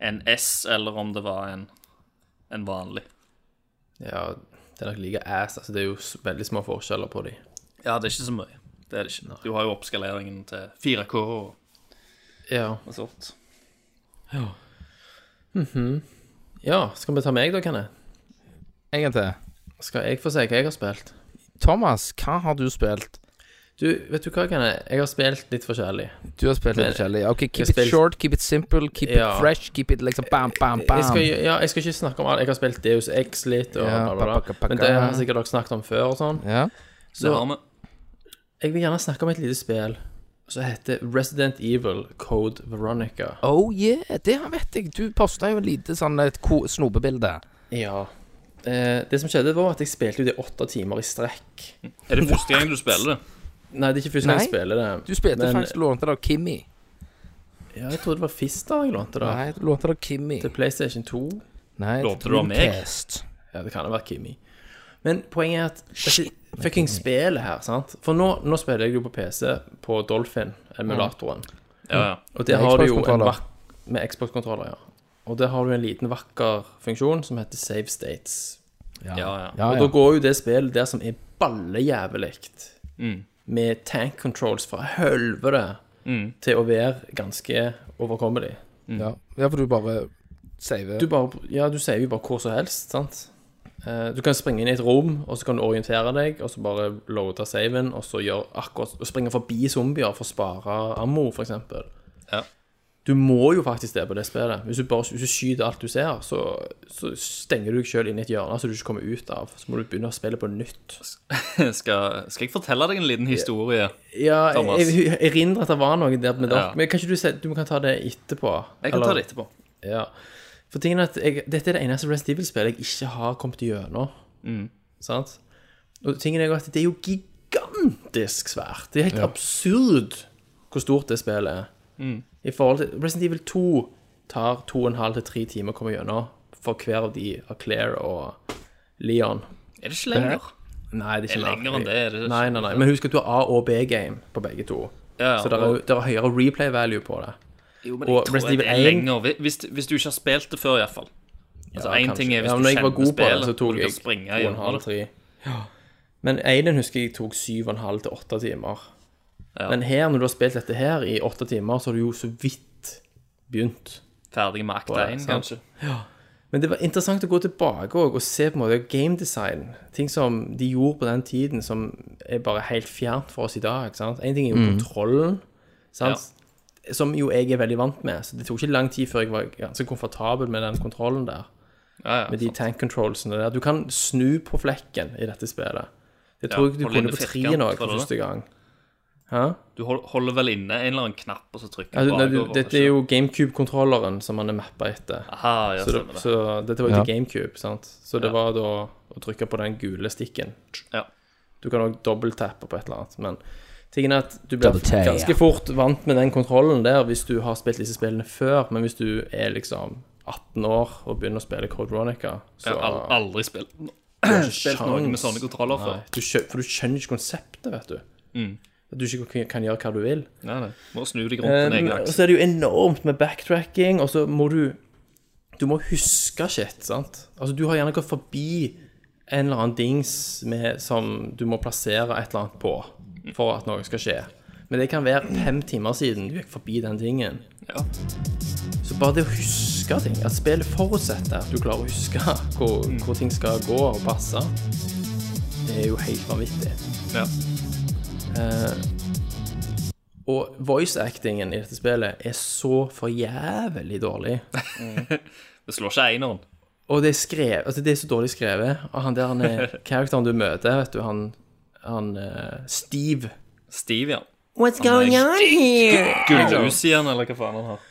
S2: en S, eller om det var en, en vanlig.
S4: Ja, det er nok like ass. Altså, det er jo s- veldig små forskjeller på de.
S2: Ja, det er ikke så mye. Det er det ikke. Du har jo oppskaleringen til 4K og,
S4: Ja.
S2: og sånt.
S4: ja. Skal vi ta meg, da, Kenneth?
S3: En gang til.
S4: Skal jeg få si hva jeg har spilt?
S3: Thomas, hva har du spilt?
S4: Du, vet du hva, Kenneth? Jeg har spilt litt forskjellig.
S3: Du har spilt litt
S4: Men-
S3: forskjellig. OK,
S4: Jeg
S3: keep it
S4: spilt-
S3: short, keep it simple, keep
S4: Ja.
S3: it fresh, keep it liksom bam, bam, bam.
S4: Jeg skal, ja, jeg skal ikke snakke om alt. Jeg har spilt Deus X litt, og bla,
S3: Ja,
S4: bla,
S3: pakka,
S4: bla.
S3: pakka.
S4: Men det har sikkert dere snakket om før og sånn.
S3: Ja.
S2: Det har vi.
S4: Jeg vil gjerne snakke om et lite spill som heter Resident Evil Code Veronica.
S3: Oh yeah, det her vet jeg. Du posta jo en lite sånn et ko- snopebilde.
S4: Ja. Eh, det som skjedde, var at jeg spilte jo det åtte timer i strekk.
S2: Er det første gang du spiller det?
S4: Nei, det er ikke første gang jeg
S3: Nei.
S4: spiller det.
S3: Du spilte
S4: Men-
S3: faktisk lånte det av Kimmy.
S4: Ja, jeg trodde det var Fister jeg lånte, da.
S3: Nei, du lånte det av Kimmy.
S4: Til PlayStation 2.
S3: Nei,
S2: Lånte
S3: til
S2: du av meg?
S3: Dreamcast.
S4: Ja, det kan ha vært Kimi. Men poenget er at dette fucking spillet her, sant For nå, nå spiller jeg jo på PC på Dolphin, emulatoren.
S2: Ja, ja.
S4: Og det
S3: Med
S4: har du jo en
S3: Xbox-kontroller.
S4: vak med Xbox-kontroller, ja. Og der har du en liten vakker funksjon som heter Save States.
S2: ja, ja.
S3: Ah, Ja,
S4: Og da
S3: ja.
S4: går jo det spillet der som er ballejævlig
S2: Mm.
S4: med tank controls fra helvete
S2: Mm.
S4: til å være ganske overkommelig.
S3: ja. ja, for du bare saver.
S4: Du bare, ja, du sier jo bare hvor som helst, sant? Eh, Du kan springe inn i et rom, og så kan du orientere deg, og så bare loade saven, og så gjør akkurat, og springe forbi zombier for å spare ammo, for eksempel.
S2: Ja.
S4: Du må jo faktisk det på det spillet. Hvis du, bare, hvis du skyter alt du ser, så, så stenger du deg sjøl inn i et hjørne så du ikke kommer ut av. Så må du begynne å spille på nytt.
S2: (laughs) Skal, skal jeg fortelle deg en liten historie?
S4: Ja,
S2: Thomas.
S4: jeg jeg erindrer at det var noe der med dere.
S2: Ja.
S4: Men kan ikke du se, du kan ta det etterpå?
S2: Jeg kan
S4: Eller-
S2: ta det etterpå.
S4: Ja. For tingen er at jeg, dette er det eneste Rest Evil-spillet jeg ikke har kommet gjennom.
S2: Mm.
S4: Sant? Og tingen er jo at det er jo gigantisk svært. Det er helt absurd hvor stort det spillet er.
S2: Mm.
S4: I forhold til Resident Evil 2 tar to og en halv til tre timer å komme gjennom for hver av de av Claire og Leon.
S2: Er det ikke lenger?
S4: Nei, det er
S2: Er
S4: ikke
S2: det lenger enn det? Er det ikke?
S4: Nei, nei, nei. Men husk at du har A- og B-game på begge to.
S2: Ja,
S4: Så det er,
S2: og-
S4: jo- det er høyere replay value på det.
S2: Jo, men
S4: Og
S2: jeg tror
S4: Resident
S2: det er
S4: Evil 1.
S2: lenger hvis- hvis, hvis du ikke har spilt det før, iallfall. Altså,
S4: Ja,
S2: én
S4: kanskje.
S2: ting er hvis
S4: Ja, men når
S2: du
S4: jeg var
S2: kjenner
S4: god på
S2: spillet,
S4: det, så tok
S2: og du
S4: jeg
S2: kan springe
S4: to og en halv,
S2: gjennom det.
S4: tre. Men Aiden husker jeg tok syv og en halv til åtte timer. Men her, når du har spilt dette her i åtte timer, så har du jo så vidt begynt.
S2: Ferdig med akt
S4: Bare,
S2: 1,
S4: sant?
S2: kanskje.
S4: Men det var interessant å gå tilbake og, og se på en måte gamedesign. Ting som de gjorde på den tiden, som er bare helt fjernt for oss i dag. ikke sant? En ting er jo kontrollen, sant? som jo jeg er veldig vant med. Så det tok ikke lang tid før jeg var ganske komfortabel med den kontrollen der.
S2: Ja, ja,
S4: Med de tank controlsene der. Du kan snu på flekken i dette spillet. Det tror
S2: Ja,
S4: jeg du
S2: holde inne
S4: kunne på
S2: firkant,
S4: trien òg
S2: tror du
S4: for
S2: det?
S4: første gang. Hæ?
S2: Du hol- holder vel inne en eller annen knapp, og så trykker
S4: Ja, du, Altså, nei, du,
S2: bakover,
S4: dette
S2: ikke?
S4: er jo GameCube-kontrolleren som han er mappa etter.
S2: Aha, ja,
S4: Så,
S2: stemmer
S4: det,
S2: det.
S4: så dette var jo
S3: Ja.
S4: til GameCube, sant. Så det
S2: Ja.
S4: var da å trykke på den gule stikken.
S2: Ja.
S4: Du kan òg dobbelttappe på et eller annet, men tingen er at du blir
S5: Double tap.
S4: ganske fort vant med den kontrollen der hvis du har spilt disse spillene før, men hvis du er liksom 18 år og begynner å spille Code Ronica, så
S2: Jeg har al- aldri spilt Spilt noe med
S4: Sjans.
S2: sånne kontroller før.
S4: Nei, du skjø- for du skjønner ikke konseptet, vet du. At du ikke kan- kan gjøre hva du vil.
S2: Nei, nei. Må snu deg rundt på
S4: Um,
S2: din egen
S4: og
S2: akse.
S4: så er det jo enormt med backtracking, og så må du Du må huske shit, sant? Altså, du har gjerne gått forbi en eller annen dings med, som du må plassere et eller annet på for at noe skal skje. Men det kan være fem timer siden du gikk forbi den tingen.
S2: Ja.
S4: Så bare det å huske ting, at spillet forutsetter at du klarer å huske (laughs) hvor,
S2: Mm.
S4: hvor ting skal gå og passe, det er jo helt vanvittig. Eh,
S2: Ja.
S4: Og voice-actingen i dette spillet er så for jævlig dårlig.
S2: Det slår ikke eineren.
S4: Og det er, skrevet, altså det er så dårlig skrevet. Og han der han er
S2: (laughs)
S4: karakteren du møter, vet du, han, han eh, Steve
S2: Steve, ja.
S4: What's going on here?
S2: Gullhus igjen, eller hva faen han har.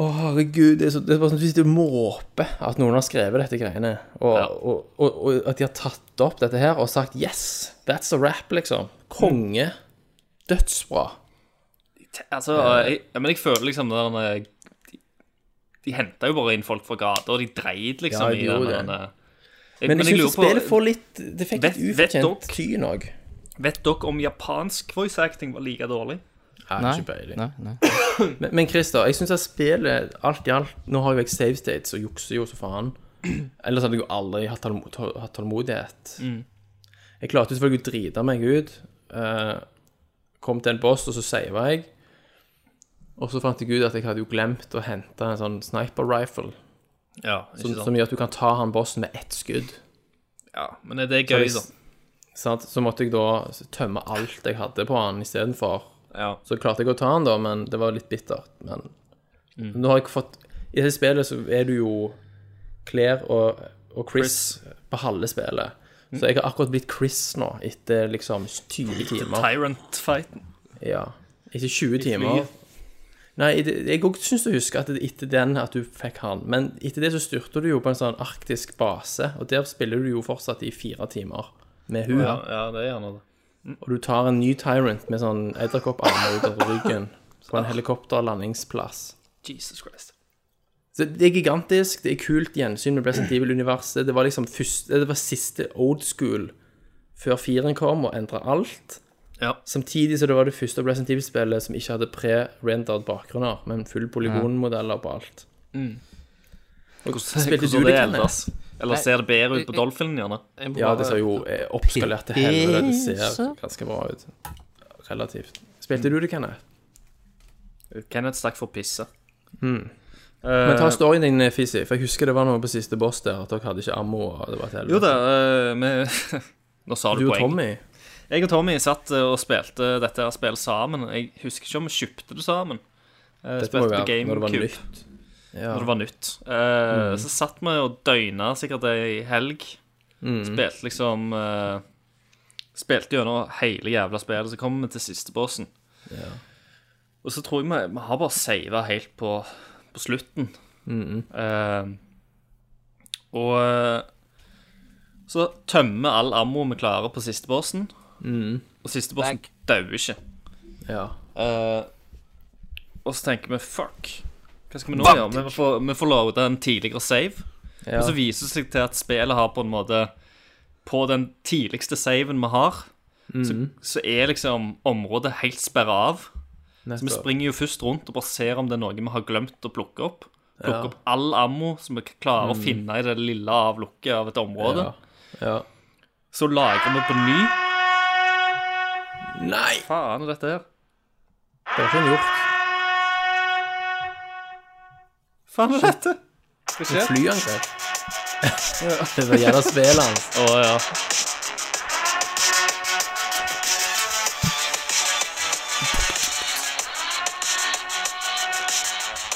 S4: Å, herregud. Det er, så, det er bare sånn at du sitter og måper at noen har skrevet dette greiene. Og,
S2: Ja.
S4: og, og, og at de har tatt opp dette her og sagt yes, that's a rap, liksom. Konge. Dødsbra.
S2: Te- Altså, jeg, ja, men jeg føler liksom der eh, De, de henta jo bare inn folk fra gata, og de dreit liksom
S4: Ja, de
S2: i
S4: gjorde
S2: den
S4: det.
S2: eh, jeg-
S4: Men, jeg
S2: lurer
S4: syns spillet får litt Det fikk
S2: Vet-
S4: litt
S2: vet
S4: ufortjent
S2: dere-
S4: tyn òg.
S2: Vet dere om japansk voice acting var like dårlig?
S4: Nei,
S5: Nei, nei, nei.
S4: Men, men Christer, jeg syns at spillet alt i alt Nå har jo jeg save states og jukser jo så
S2: (clears throat)
S4: faen. Ellers hadde jeg jo aldri hatt, tålmo- tå- hatt tålmodighet.
S2: Mm.
S4: Jeg klarte jo selvfølgelig å drite meg ut. eh, kom til en boss, og så sava jeg. Og så fant jeg ut at jeg hadde jo glemt å hente en sånn sniper rifle.
S2: Ja,
S4: Som,
S2: ikke sant?
S4: sånn som gjør at du kan ta han bossen med ett skudd.
S2: ja men er det er gøy, da.
S4: Sant? Så måtte jeg da tømme alt jeg hadde på han istedenfor.
S2: Ja.
S4: Så klarte jeg å ta han da, men det var litt bittert. Men nå har jeg fått I dette spillet så er du jo Claire og, og Chris, på halve spillet. Så jeg har akkurat blitt Chris nå, etter liksom 20 timer.
S2: Tyrant fighten.
S4: Ja, Etter 20 timer. Nei, det- jeg òg syns jeg husker at det- etter den at du fikk han. Men etter det så styrter du jo på en sånn arktisk base, og der spiller du jo fortsatt i fire timer med hun.
S2: Ja, ja, det er gjerne det.
S4: Og du tar en ny Tyrant med sånn edderkopparmer ut av ryggen på en helikopterlandingsplass.
S2: Jesus Christ.
S4: Så det er gigantisk, det er kult gjensyn med Resident Evil-universet. Det var liksom første, det var siste old school før firen kom og endra alt.
S2: Ja.
S4: Samtidig så det var det første Resident Evil-spillet som ikke hadde pre-rendered bakgrunner, men full polygonmodeller på alt. Og spilte du
S2: Hvordan
S4: det,
S2: er
S4: Kenneth?
S2: ellers? Eller ser det bedre ut på Dolphinen, gjerne?
S4: Ja, det ser jo eh, oppskalert til helvete. Det ser ganske bra ut. Relativt. Spilte du det, Kenneth?
S2: Kenneth stakk for
S4: Eh,
S2: pisse.
S4: Men
S2: Eh,
S4: ta storyen din, Fisi, for jeg husker det var noe på siste boss der, at dere hadde ikke ammo, og det var et helvete.
S2: Jo da, eh, vi (laughs) Nå sa du,
S4: Du og
S2: poeng.
S4: Tommy?
S2: Jeg og Tommy satt eh, og spilte dette her spillet sammen. Jeg husker ikke om vi kjøpte det sammen, Eh,
S4: Dette må jo
S2: spilte på
S4: være når det var
S2: GameCube
S4: nytt. Mm. Ja.
S2: når det var nytt. Eh, Så satt vi og døgna sikkert ei helg.
S4: Mm,
S2: Spilte liksom eh, Spilte gjennom hele jævla spillet, så kom vi til siste bossen. Og så tror jeg vi, vi har bare sava helt på, på slutten. Eh, og eh, så tømmer vi all ammo vi klarer på siste bossen, og siste bossen dauer ikke.
S4: ja.
S2: Eh, og så tenker vi fuck, hva skal vi nå gjøre? Vi får, vi får loada en tidligere save.
S4: Ja.
S2: Og så viser det seg til at spillet har på en måte På den tidligste saven vi har, så, så er liksom området helt sperra av. Så vi
S4: Nettopp.
S2: springer jo først rundt og bare ser om det er noe vi har glemt å plukke opp. Plukke opp all ammo som vi klarer å finne i det lille avlukket av et område.
S4: Ja. ja.
S2: Så lager vi på ny.
S4: Nei!
S2: Faen er dette her?
S4: Det var ikke en hjort.
S2: Faen er dette? Hva
S4: Et
S2: skjer?
S4: flyangrep. altså. (laughs) Det var gjerne svelet hans.
S2: Å ja.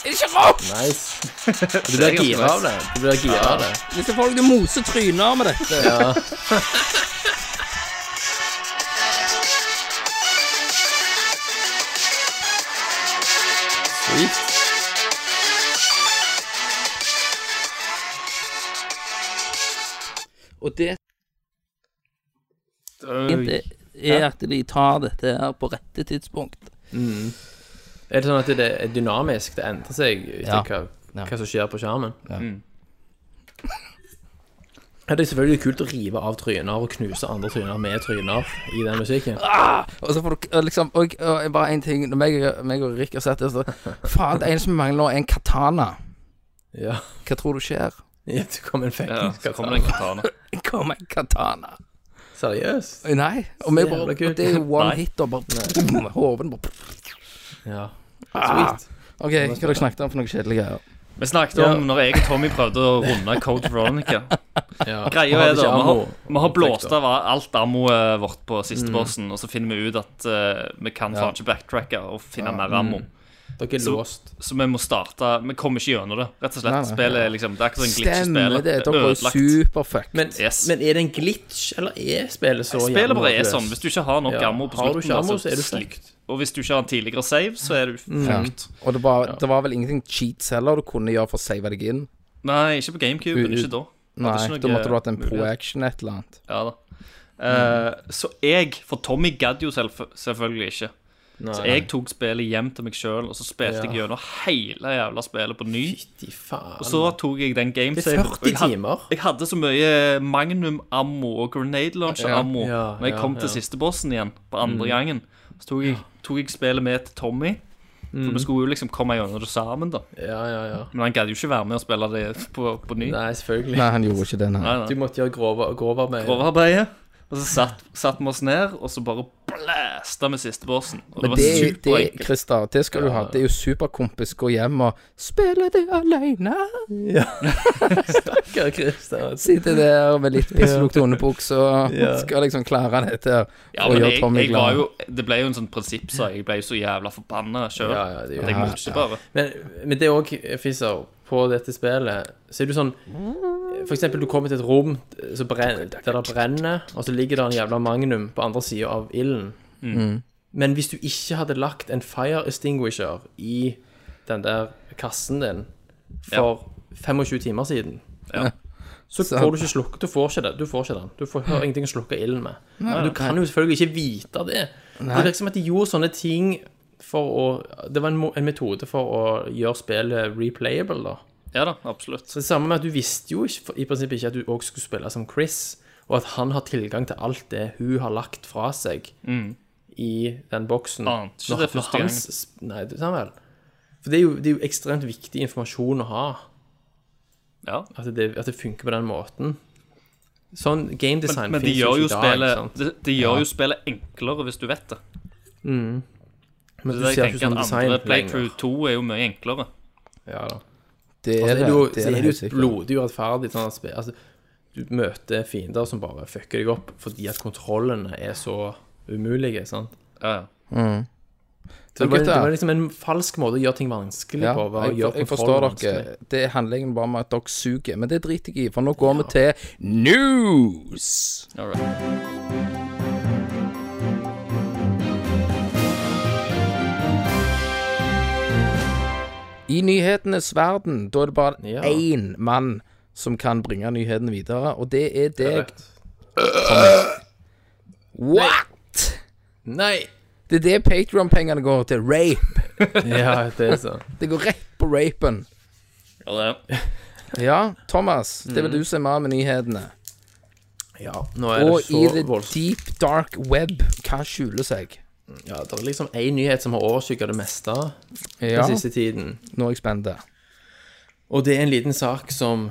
S5: Ikke ropp!
S2: (laughs)
S4: Nice. Du blir gira av det. Du blir gira av det.
S5: Disse folkene moser tryner med dette.
S4: Ja. Sweet.
S5: Og det fint er at de tar dette her på rette tidspunkt.
S4: Er det sånn at det er dynamisk? Det endrer seg
S5: Ja.
S4: etter
S5: Ja.
S4: hva, hva som skjer på skjermen?
S5: Ja.
S2: Mm.
S4: Ja, det er selvfølgelig kult å rive av tryner og knuse andre tryner med tryner i den musikken.
S5: Og så får du og liksom Og, og bare én ting. Når meg, meg og Rick har sett det, så Faen, det eneste vi mangler nå, er en katana.
S4: Ja.
S5: Hva tror du skjer?
S4: Ja, Det kom en fucking
S2: Ja, så kommer det en katana.
S5: Kom en katana.
S4: Seriøst?
S5: Nei. Og, vi bare,
S4: Jævla kult.
S5: og det er jo one
S2: Nei.
S5: hit, og bare boom, Hoven bare
S4: Ja.
S5: Ah.
S4: Sweet.
S5: OK, hva har dere snakket om for noe kjedelig greier?
S2: Vi snakket om når jeg og Tommy prøvde å runde Code Veronica.
S4: Ja. Man
S2: Greia er da,
S4: ikke
S2: vi har,
S4: ammo. Mm.
S2: vi har blåst av alt ammoet vårt på siste bossen, og så finner vi ut at eh, vi kan faen ikke backtracke og finne mer
S4: Mm.
S2: ammo.
S4: Dere er låst.
S2: Så vi må starte Vi kommer ikke gjennom det, rett og slett.
S5: Nei, nei.
S2: Spillet er liksom Det er ikke sånn glitch i
S5: Stemmer
S2: spillet.
S5: det. Dere var jo superfuck.
S4: Men,
S2: Yes.
S4: men er det en glitch, eller er spillet så
S2: Spillet bare er
S4: jævlig
S2: sånn. Hvis du ikke har nok
S4: Ja,
S2: ammo på
S4: har du
S2: slutten,
S4: ikke ammo,
S2: da,
S4: så er du
S2: slik-
S4: fucked. Mm.
S2: Og hvis du ikke har en tidligere save, så er du fucked.
S5: Og det var, det var vel ingenting cheats heller du kunne gjøre for å save deg inn?
S2: Nei, ikke på
S5: U-
S2: GameCube. Ikke da.
S5: Nei,
S2: Hadde ikke
S5: da
S2: noe
S5: måtte du hatt en
S2: mulighet.
S5: pro-action et eller annet.
S2: Ja da. Eh, Så jeg, for Tommy gadd jo selv, selvfølgelig ikke. Så jeg tok spillet hjem til meg sjøl, og så spilte jeg gjennom hele jævla spillet på ny.
S4: Fytti faen.
S2: Og så tok jeg den
S4: Det er
S2: gamesaven.
S4: 40 timer.
S2: Jeg hadde så mye magnum-ammo og grenade launcher-ammo
S4: Ja, ja,
S2: når jeg kom
S4: ja, Mm.
S2: til
S4: ja.
S2: siste bossen igjen, på andre gangen. Så tok jeg, tok jeg spillet med til Tommy, for
S4: Mm.
S2: vi skulle jo liksom komme gjennom det sammen, da.
S4: Ja, ja, ja.
S2: Men han gadd jo ikke være med og spille det på, på ny. Nei,
S4: Nei, selvfølgelig.
S5: Nei, han gjorde ikke det, nei.
S4: Du
S2: nei.
S4: måtte gjøre grove, grove med
S2: Overarbeidet. Og så satt, satt vi oss ned, og så bare blæsta vi siste bossen. Og det
S5: Men
S2: var
S5: det, det
S2: superenkelt.
S5: Christer, det skal du ha. Det er jo superkompis. Gå hjem og spille det alene.
S4: Stakkar Christer.
S5: Sitte der med litt
S2: (laughs)
S5: pisselukt og underbukse og skal liksom klare dette her.
S2: Ja,
S5: og
S2: men
S5: gjøre
S2: jeg,
S5: Tommy
S2: jeg var
S5: glad.
S2: jo, det ble jo en sånn prinsippsak. Jeg ble jo så jævla forbanna sjøl.
S4: Ja, ja, det gjør
S2: jeg
S4: jeg.
S2: måtte bare.
S4: Men, men det er òg, Fisser, på dette spillet, så er du sånn For eksempel, du kommer til et rom så brenner, der det brenner, og så ligger det en jævla magnum på andre sida av ilden. Men hvis du ikke hadde lagt en fire extinguisher i den der kassen din for 25 timer siden
S2: Ja.
S4: Så får du ikke slukket, du får ikke det, du får ikke den. Du får hører ingenting å slukke ilden med. Men du kan jo selvfølgelig ikke vite det. Det virker som at de gjorde sånne ting for å Det var en, mo- en metode for å gjøre spillet replayable, da.
S2: Ja da, absolutt.
S4: Så det samme med at du visste jo ikke, i prinsippet ikke at du òg skulle spille som Chris, og at han har tilgang til alt det hun har lagt fra seg i den boksen.
S2: Ante ikke
S4: Når-
S2: det
S4: når
S2: første
S4: hans sp- Nei, du sa vel. For det er, jo, det er jo ekstremt viktig informasjon å ha,
S2: Ja.
S4: at det, at det funker på den måten. Sånn game design
S2: Men de
S4: finnes
S2: gjør
S4: jo
S2: jo
S4: ikke i dag. ikke
S2: spillet,
S4: sant?
S2: de, de gjør jo spillet enklere hvis du vet det.
S4: Men
S2: Så
S4: du
S2: det
S4: ser
S2: jeg
S4: ikke
S2: tenker
S4: sånn
S2: at
S4: design
S2: andre Playthrough
S4: lenger.
S2: 2 er jo mye enklere.
S4: Ja, da.
S5: Det
S2: altså,
S5: er
S4: Og så er
S5: det.
S4: Altså, det jo,
S5: det,
S4: så er
S5: er
S4: det
S5: helt
S4: jo
S5: sikkert.
S4: blodig urettferdig. Sånn at, spe- altså, du møter fiender som bare fucker deg opp fordi at kontrollene er så umulige. Sant?
S2: Ja, ja.
S4: Det var, det
S3: gutter.
S4: var liksom en falsk måte å gjøre ting vanskelig
S3: Ja,
S4: på. var å
S3: jeg,
S4: gjøre
S3: jeg forstår
S4: kontroll
S3: dere.
S4: vanskelig.
S5: Det er handlingen bare med at dere suger. Men det driter jeg i, for nå går vi til news.
S2: All right.
S5: I nyhetenes verden, da er det bare
S4: Ja.
S5: én mann som kan bringe nyhetene videre, og det er deg. What?!
S4: Nei!
S5: Det er det Patron-pengene går til. Rape.
S4: Ja, det er sånn.
S5: Det går rett på rapen.
S2: Ja, det.
S5: Ja, Thomas, det er vel du som er mann med nyhetene.
S4: Ja, nå er
S5: Og
S4: det
S5: i
S4: så
S5: the
S4: voldsomt.
S5: deep dark web, hva skjuler seg?
S4: Ja, det er liksom én nyhet som har overskygget det meste
S5: Ja,
S4: den siste tiden.
S5: nå er jeg spent.
S4: Og det er en liten sak som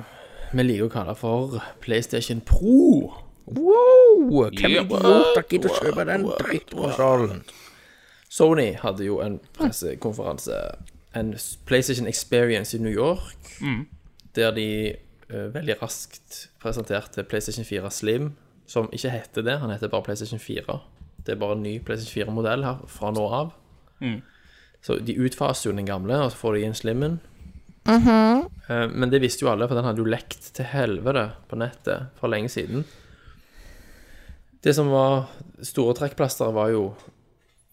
S4: vi liker å kalle for PlayStation Pro.
S5: Wow! Hvem er idioter gidder å kjøpe den drittkonsollen?
S4: Sony hadde jo en pressekonferanse, en PlayStation Experience i New York, der de eh, veldig raskt presenterte PlayStation 4 Slim, som ikke heter det, han heter bare PlayStation 4. Det er bare en ny PlayStation 4-modell her fra nå av. Så de utfaser jo den gamle, og så får de inn Slimmen. Eh, Men det visste jo alle, for den hadde jo lekt til helvete på nettet for lenge siden. Det som var store trekkplaster, var jo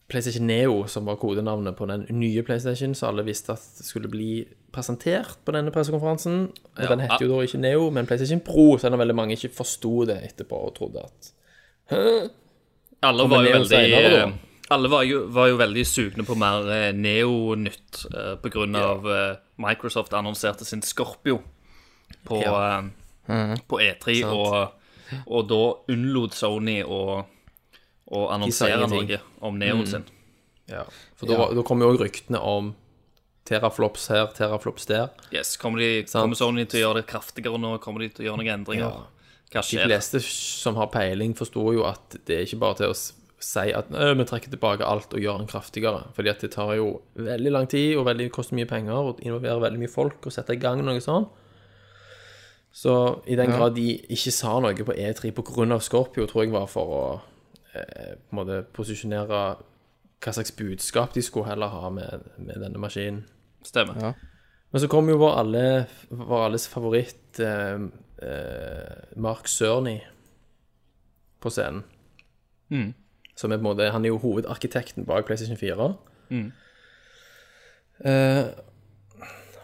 S4: PlayStation Neo, som var kodenavnet på den nye PlayStation, så alle visste at det skulle bli presentert på denne pressekonferansen. Og Den het jo da ikke Neo, men PlayStation Pro, selv om veldig mange ikke forsto det etterpå og trodde at
S2: Alle var jo
S4: Neo
S2: veldig
S4: senere, da?
S2: eh, Alle var jo, var jo veldig sugne på mer eh, Neo-nytt eh, på grunn av eh, Microsoft annonserte sin Scorpio på,
S4: Ja. Mhm.
S2: eh, på E3, og, og da unnlot Sony å, å annonsere
S4: ingenting. Mhm.
S2: noe om Neoen sin.
S4: For da, da kom jo òg ryktene om teraflops her, teraflops der.
S2: Yes, kommer, de, kommer Sony til å gjøre det kraftigere nå? Kommer de til å gjøre noen endringer? Hva
S4: De
S2: skjer?
S4: fleste som har peiling, forsto jo at det er ikke bare til å s- si at «Ø, vi trekker tilbake alt og gjør den kraftigere. Fordi at det tar jo veldig lang tid og veldig, koster mye penger og involverer veldig mye folk og setter i gang noe sånn. Så i den grad de ikke sa noe på E3 pga. Scorpio, tror jeg var for å eh, på en måte posisjonere hva slags budskap de skulle heller ha med, med denne maskinen.
S2: Stemmer.
S4: Men så kom jo vår, alle, vår alles favoritt eh, eh, Mark Cerny på scenen. Som er på en måte, Han er jo hovedarkitekten bak PlayStation 4. Eh,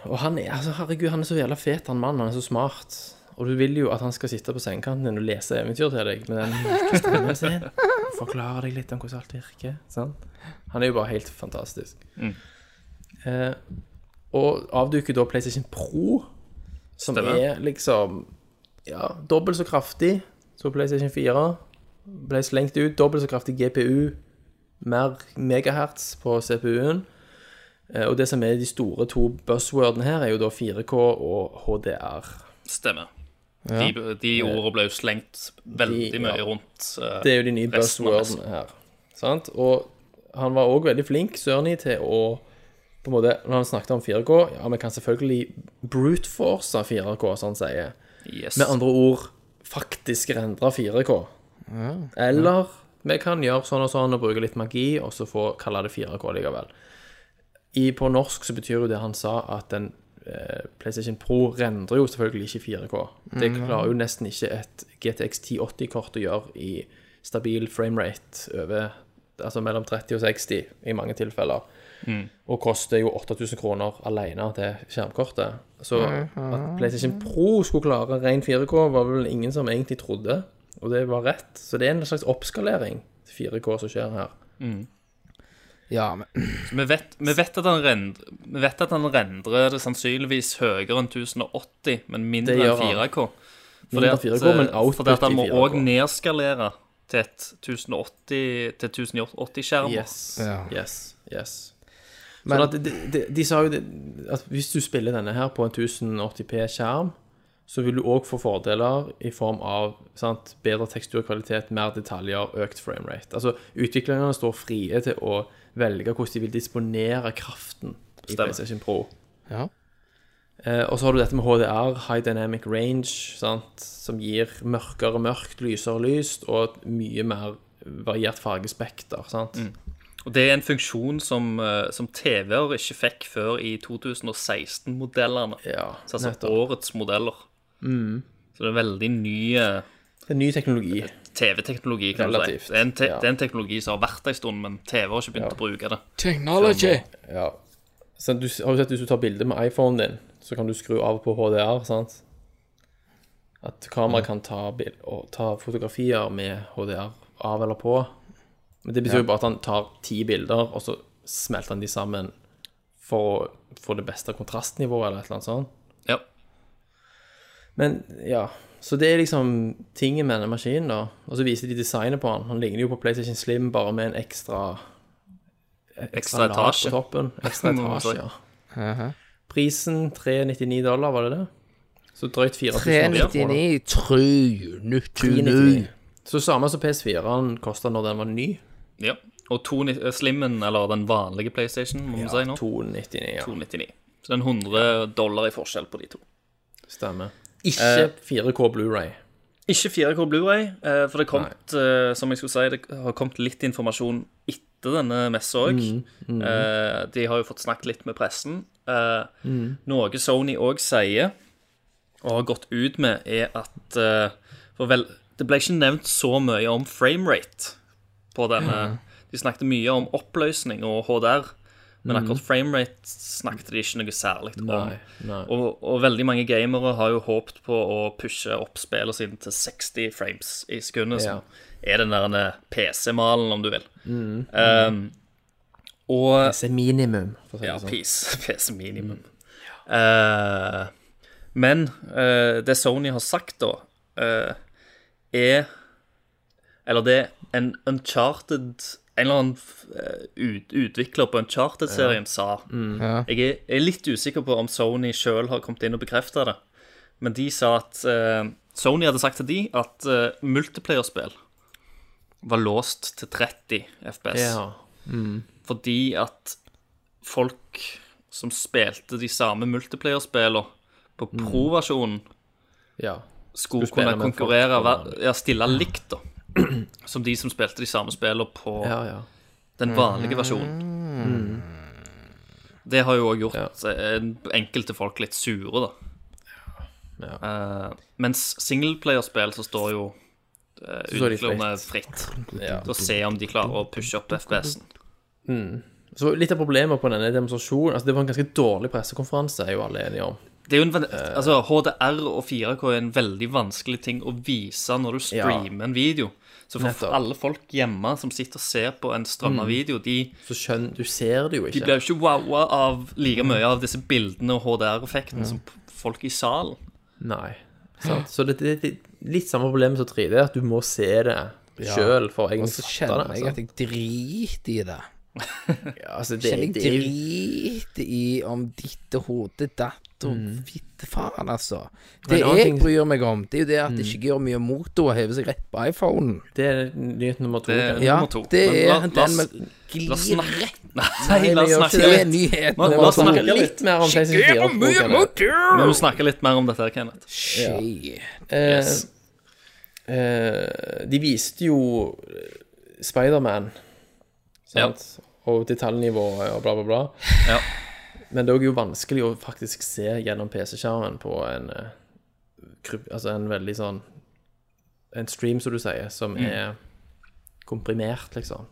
S4: og han er altså, herregud, han er så jævla fet, han mannen. Han er så smart. Og du vil jo at han skal sitte på sengekanten din og lese eventyr til deg med den myke stemmen sin. Forklare deg litt om hvordan alt virker. Sant? Han er jo bare helt fantastisk. Eh, og avduker da PlayStation Pro, som
S2: Stemmer.
S4: er liksom ja, dobbelt så kraftig som PlayStation 4. Ble slengt ut. Dobbelt så kraftig GPU. Mer megahertz på CPU-en. Eh, Og det som er de store to buzzwordene her, er jo da 4K og HDR.
S2: Stemmer. De, de ordene ble jo slengt veldig
S4: De-
S2: mye
S4: ja.
S2: rundt. eh,
S4: Det er jo de nye
S2: Resten av messen.
S4: buzzwordene her. Sant? Og han var òg veldig flink, Sørny, til å på en måte, Når han snakket om 4K Ja, vi kan selvfølgelig brute-force 4K, sånn som han sier.
S2: yes.
S4: Med andre ord faktisk rendra 4K. Eller vi kan gjøre sånn og sånn og bruke litt magi, og så få kalle det 4K likevel. I, på norsk så betyr jo det han sa, at den eh, PlayStation Pro rendrer jo selvfølgelig ikke 4K. Det klarer jo nesten ikke et GTX 1080-kort å gjøre i stabil framerate over Altså mellom 30 og 60 i mange tilfeller. Og koster jo 8000 kroner alene til skjermkortet. Så at PlayStation Pro skulle klare ren 4K, var vel ingen som egentlig trodde. Og det var rett. Så det er en slags oppskalering til 4K som skjer her.
S5: Ja, men
S2: Vi vet, vi, vet at han rendrer, vi vet at han rendrer det sannsynligvis høyere enn 1080, men mindre
S4: Det gjør
S2: enn
S4: han.
S2: 4K. Fordi
S4: Mindre
S2: at,
S4: 4K, men
S2: eh,
S4: output
S2: fordi at han
S4: i
S2: må
S4: 4K.
S2: òg nedskalere til et 1080 til 1080-skjerm.
S4: Yes,
S5: Ja.
S4: yes, yes.
S5: Men-
S4: sånn at de, de, de sa jo det, at hvis du spiller denne her på en 1080p-skjerm, så vil du òg få fordeler i form av sant, bedre teksturkvalitet, mer detaljer, økt framerate. Altså, utviklerne står frie til å velge hvordan de vil disponere kraften i
S2: Stemmer.
S4: PlayStation Pro.
S5: Ja.
S4: Eh, og så har du dette med HDR, High Dynamic Range, sant? som gir mørkere mørkt, lysere lyst, og et mye mer variert fargespekter. sant?
S2: Og det er en funksjon som, eh, som TV-er ikke fikk før i 2016-modellene.
S4: Ja,
S2: Så altså
S4: nettopp. Mm.
S2: årets modeller. Så det er veldig ny eh,
S4: Det er ny teknologi.
S2: TV-teknologi, kan du
S4: Relativt,
S2: si. Det er, en te
S4: ja.
S2: det er en teknologi som har vært der en stund, men TV har ikke begynt å bruke det.
S5: Technology.
S4: Ja. Så du, har du sett hvis du tar bilde med iPhonen din, så kan du skru av på HDR, sant? At kameraet kan ta, bil, og ta fotografier med HDR av eller på. Men det betyr jo bare at han tar ti bilder, og så smelter han de sammen for å få det beste kontrastnivået, eller et eller annet sånt.
S2: Ja.
S4: Men ja, så det er liksom tingen med denne maskinen da. Og så viser de designet på han. Han ligner jo på PlayStation Slim, bare med en ekstra
S2: Ekstra
S4: lag
S2: etasje.
S4: På toppen. (laughs) Ekstra
S2: Må man si.
S4: etasje, ja. Prisen 399 dollar, var det det? Så drøyt 4000 dollar.
S5: 399, 399.
S4: 399. Så samme som PS4-en kosta når den var ny.
S2: ja. Og to, ni- eh, Slimmen, eller den vanlige PlayStation, må vi si nå,
S4: 299, ja.
S2: 299. Så det er en 100 dollar i forskjell på de to.
S4: Stemmer. Ikke 4K Blu-ray.
S2: Ikke 4K Blu-ray, eh, for det kom, eh, som jeg skulle si, det har kommet litt informasjon etter denne messa òg. Eh, de har jo fått snakket litt med pressen. Eh, Noe Sony òg sier, og har gått ut med, er at eh, For vel, det ble ikke nevnt så mye om framerate på denne. De snakket mye om oppløsning og HDR, men akkurat framerate snakket de ikke noe særlig om.
S4: nei.
S2: Og, og veldig mange gamere har jo håpet på å pushe opp spillet sitt til 60 frames i sekundet, som er den der PC-malen, om du vil. Um, og
S4: Det er minimum. For å si
S2: ja,
S4: det sånn.
S2: (laughs) PC, PC minimum.
S4: Mm.
S2: Eh, men eh, det Sony har sagt, da, eh, er Eller det er en Uncharted En eller annen eh, ut, utvikler på Uncharted-serien sa.
S4: Mm.
S2: Jeg, er, jeg er litt usikker på om Sony sjøl har kommet inn og bekrefta det. Men de sa at eh, Sony hadde sagt til de at eh, multiplayerspill var låst til 30 FPS.
S4: Ja.
S2: Fordi at folk som spilte de samme multiplayer-spillene på pro-versjonen,
S4: ja.
S2: skulle
S4: Mm. spille
S2: kunne
S4: med
S2: konkurrere
S4: folk på Mm.
S2: hver- ja, stille likt, da. (clears throat) Som de som spilte de samme spillene på
S4: Ja, Mm. ja.
S2: den vanlige versjonen. Det har jo òg gjort eh, enkelte folk litt sure, da. Eh, mens singleplayerspill så står jo uh,
S4: står de
S2: utviklerne fritt
S4: Ja.
S2: til å se om de klarer å pushe opp FPS-en.
S4: Så litt av problemet på denne demonstrasjonen Altså, det var en ganske dårlig pressekonferanse, er jo alle enige om.
S2: Det er jo en, ven- altså, HDR og 4K er en veldig vanskelig ting å vise når du streamer en video. Så for
S4: Nettopp.
S2: alle folk hjemme som sitter og ser på en
S5: Mm.
S2: strømma video, de,
S4: Så skjønn Du ser det jo
S2: de
S4: ikke.
S2: blir jo ikke wowa av
S5: Mm.
S2: like mye av disse bildene og HDR-effektene som p- folk i salen.
S4: Nei. Sant? Så det det- det er litt samme problem som 3D, at du må se det sjøl for å
S5: Og
S4: egentlig
S5: så
S4: fatte
S5: kjenner
S4: det.
S5: jeg at
S4: sant?
S5: jeg driter i det.
S4: Ja, altså, det,
S5: Kjenner jeg
S4: det er jo-
S5: driter i om ditt og hode datt og fitte faen, altså.
S4: en
S5: Det
S4: annen
S5: jeg
S4: ting-
S5: bryr meg om, det er jo det at det ikke gjør mye mot å heve seg rett på iPhonen.
S4: det er nyhet nummer to.
S2: Det er
S4: Kenneth.
S5: Ja,
S2: nummer to.
S5: det
S2: Men
S5: er
S2: la, la,
S5: den
S2: oss-
S5: med
S2: la oss
S5: glir
S2: snakke
S5: Nei,
S2: (laughs) Nei,
S5: vi
S2: la oss
S5: gjør ikke
S2: snakke
S5: det. sånn-
S2: litt.
S5: Nyhet
S2: La-
S5: nummer
S2: la oss
S5: to.
S2: snakke
S4: Snakke litt mer om PlayStation 4.
S5: Gjør
S4: på
S5: mye
S4: Kenneth.
S5: mot
S2: Vi
S5: det!
S2: må snakke litt mer om dette, her, Kenneth.
S5: Shit.
S4: Eh,
S2: Yes.
S4: eh, de viste jo Spiderman, sant? Og detaljnivået og bla, bla, bla.
S2: Ja.
S4: Men det er jo vanskelig å faktisk se gjennom PC-skjermen på en eh, kryp- Altså en veldig sånn En stream, som du sier, som
S2: Mm.
S4: er komprimert, liksom.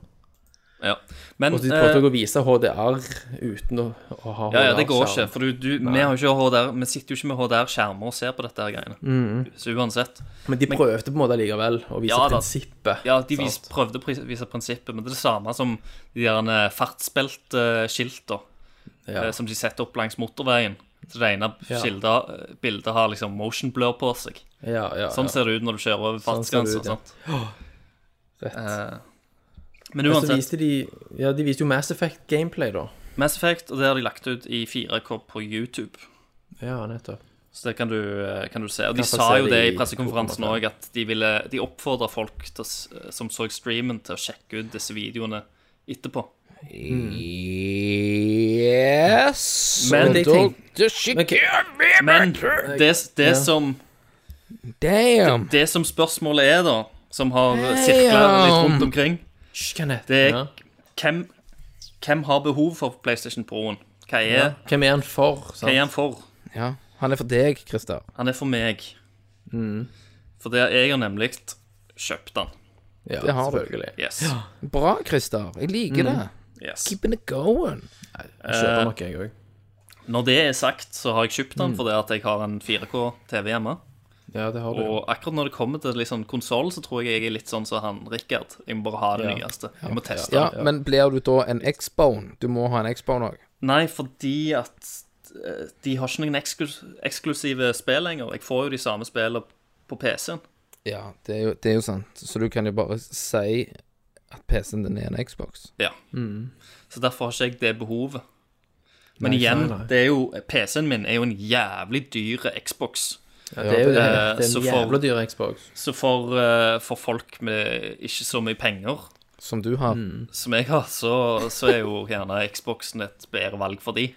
S2: Ja. Men
S4: Og de prøvde
S2: eh,
S4: å vise HDR uten å, å ha HDR-skjerm.
S2: Ja, ja, det går ikke. For du, du, vi, har jo ikke HDR, vi sitter jo ikke med HDR-skjermer og ser på dette her greiene.
S5: Mm.
S2: Så uansett.
S4: Men de prøvde på en måte likevel å vise
S2: Ja, da.
S4: prinsippet.
S2: Ja, de vis,
S4: sant?
S2: prøvde å pri- vise prinsippet, men det er det samme som de der fartsbeltskilta
S4: Ja.
S2: som de setter opp langs motorveien. Så det ene skildet, eh, bildet har liksom motion blur på seg.
S4: ja, ja,
S2: Sånn
S4: ja.
S2: ser det ut når du kjører over
S4: Sånn ser det
S2: fartsgrensa.
S4: ut, ja.
S2: sant?
S4: Rett.
S2: Eh, Men
S4: Men så
S2: uansett,
S4: viste de Ja, de viste jo Mass Effect gameplay, da.
S2: Mass Effect, og det har de lagt ut i 4K på YouTube.
S4: Ja, nettopp.
S2: Så det kan du, eh, kan du se. Og de
S4: Kan få
S2: sa
S4: se
S2: jo
S4: det
S2: det i
S4: i
S2: pressekonferansen
S4: 2,5.
S2: òg, at de, ville, de oppfordra folk til, å s- eh, som så streamen, til å sjekke ut disse videoene etterpå.
S3: Eh,
S5: Yes.
S2: Men-
S5: Men det tenkte skikkelig
S2: Men det, det, som,
S5: Damn.
S2: det som spørsmålet er, da, som har sirkla litt rundt omkring,
S4: Hysj, Kenneth.
S2: det er
S4: Ja.
S2: hvem, Hvem har behov for PlayStation Pro-en? Hva er,
S4: Hvem er han for?
S2: hva
S4: Sant?
S2: er han for?
S3: Ja. Han er for deg, Christer.
S2: Han er for meg. For det jeg har nemlig kjøpt den.
S4: Ja,
S3: Det har du.
S4: selvfølgelig.
S2: Yes.
S3: Bra, Christer. Jeg liker det.
S2: yes.
S3: Keeping it going.
S4: Jeg kjøper nok, jeg òg.
S2: Når det er sagt, så har jeg kjøpt den fordi at jeg har en 4K-TV hjemme.
S4: Ja, det har du.
S2: Og akkurat når det kommer til liksom konsoll, så tror jeg jeg er litt sånn som han Rikard. Jeg må bare ha det nyeste. Jeg må teste
S3: Ja,
S2: det.
S3: men blir du da en X-bone? Du må ha en X-bone òg.
S2: Nei, fordi at eh, de har ikke noen eksklus eksklusive spill lenger. Jeg får jo de samme spillene på PC-en.
S3: Ja, det er, jo, det er jo sant. Så du kan jo bare si at PC-en din er en Xbox.
S2: Ja. Så derfor har ikke jeg det behovet. Men
S4: Nei,
S2: igjen,
S4: nei, nei.
S2: det er jo PC-en min er jo en jævlig dyr Xbox.
S4: Ja, det er jo det.
S2: Eh,
S4: Det er
S2: så
S4: en
S2: for-
S4: jævla dyr Xbox.
S2: Så for, eh, for folk med ikke så mye penger
S3: Som du har.
S2: som jeg har, så, så er jo gjerne Xboxen et bedre valg for de.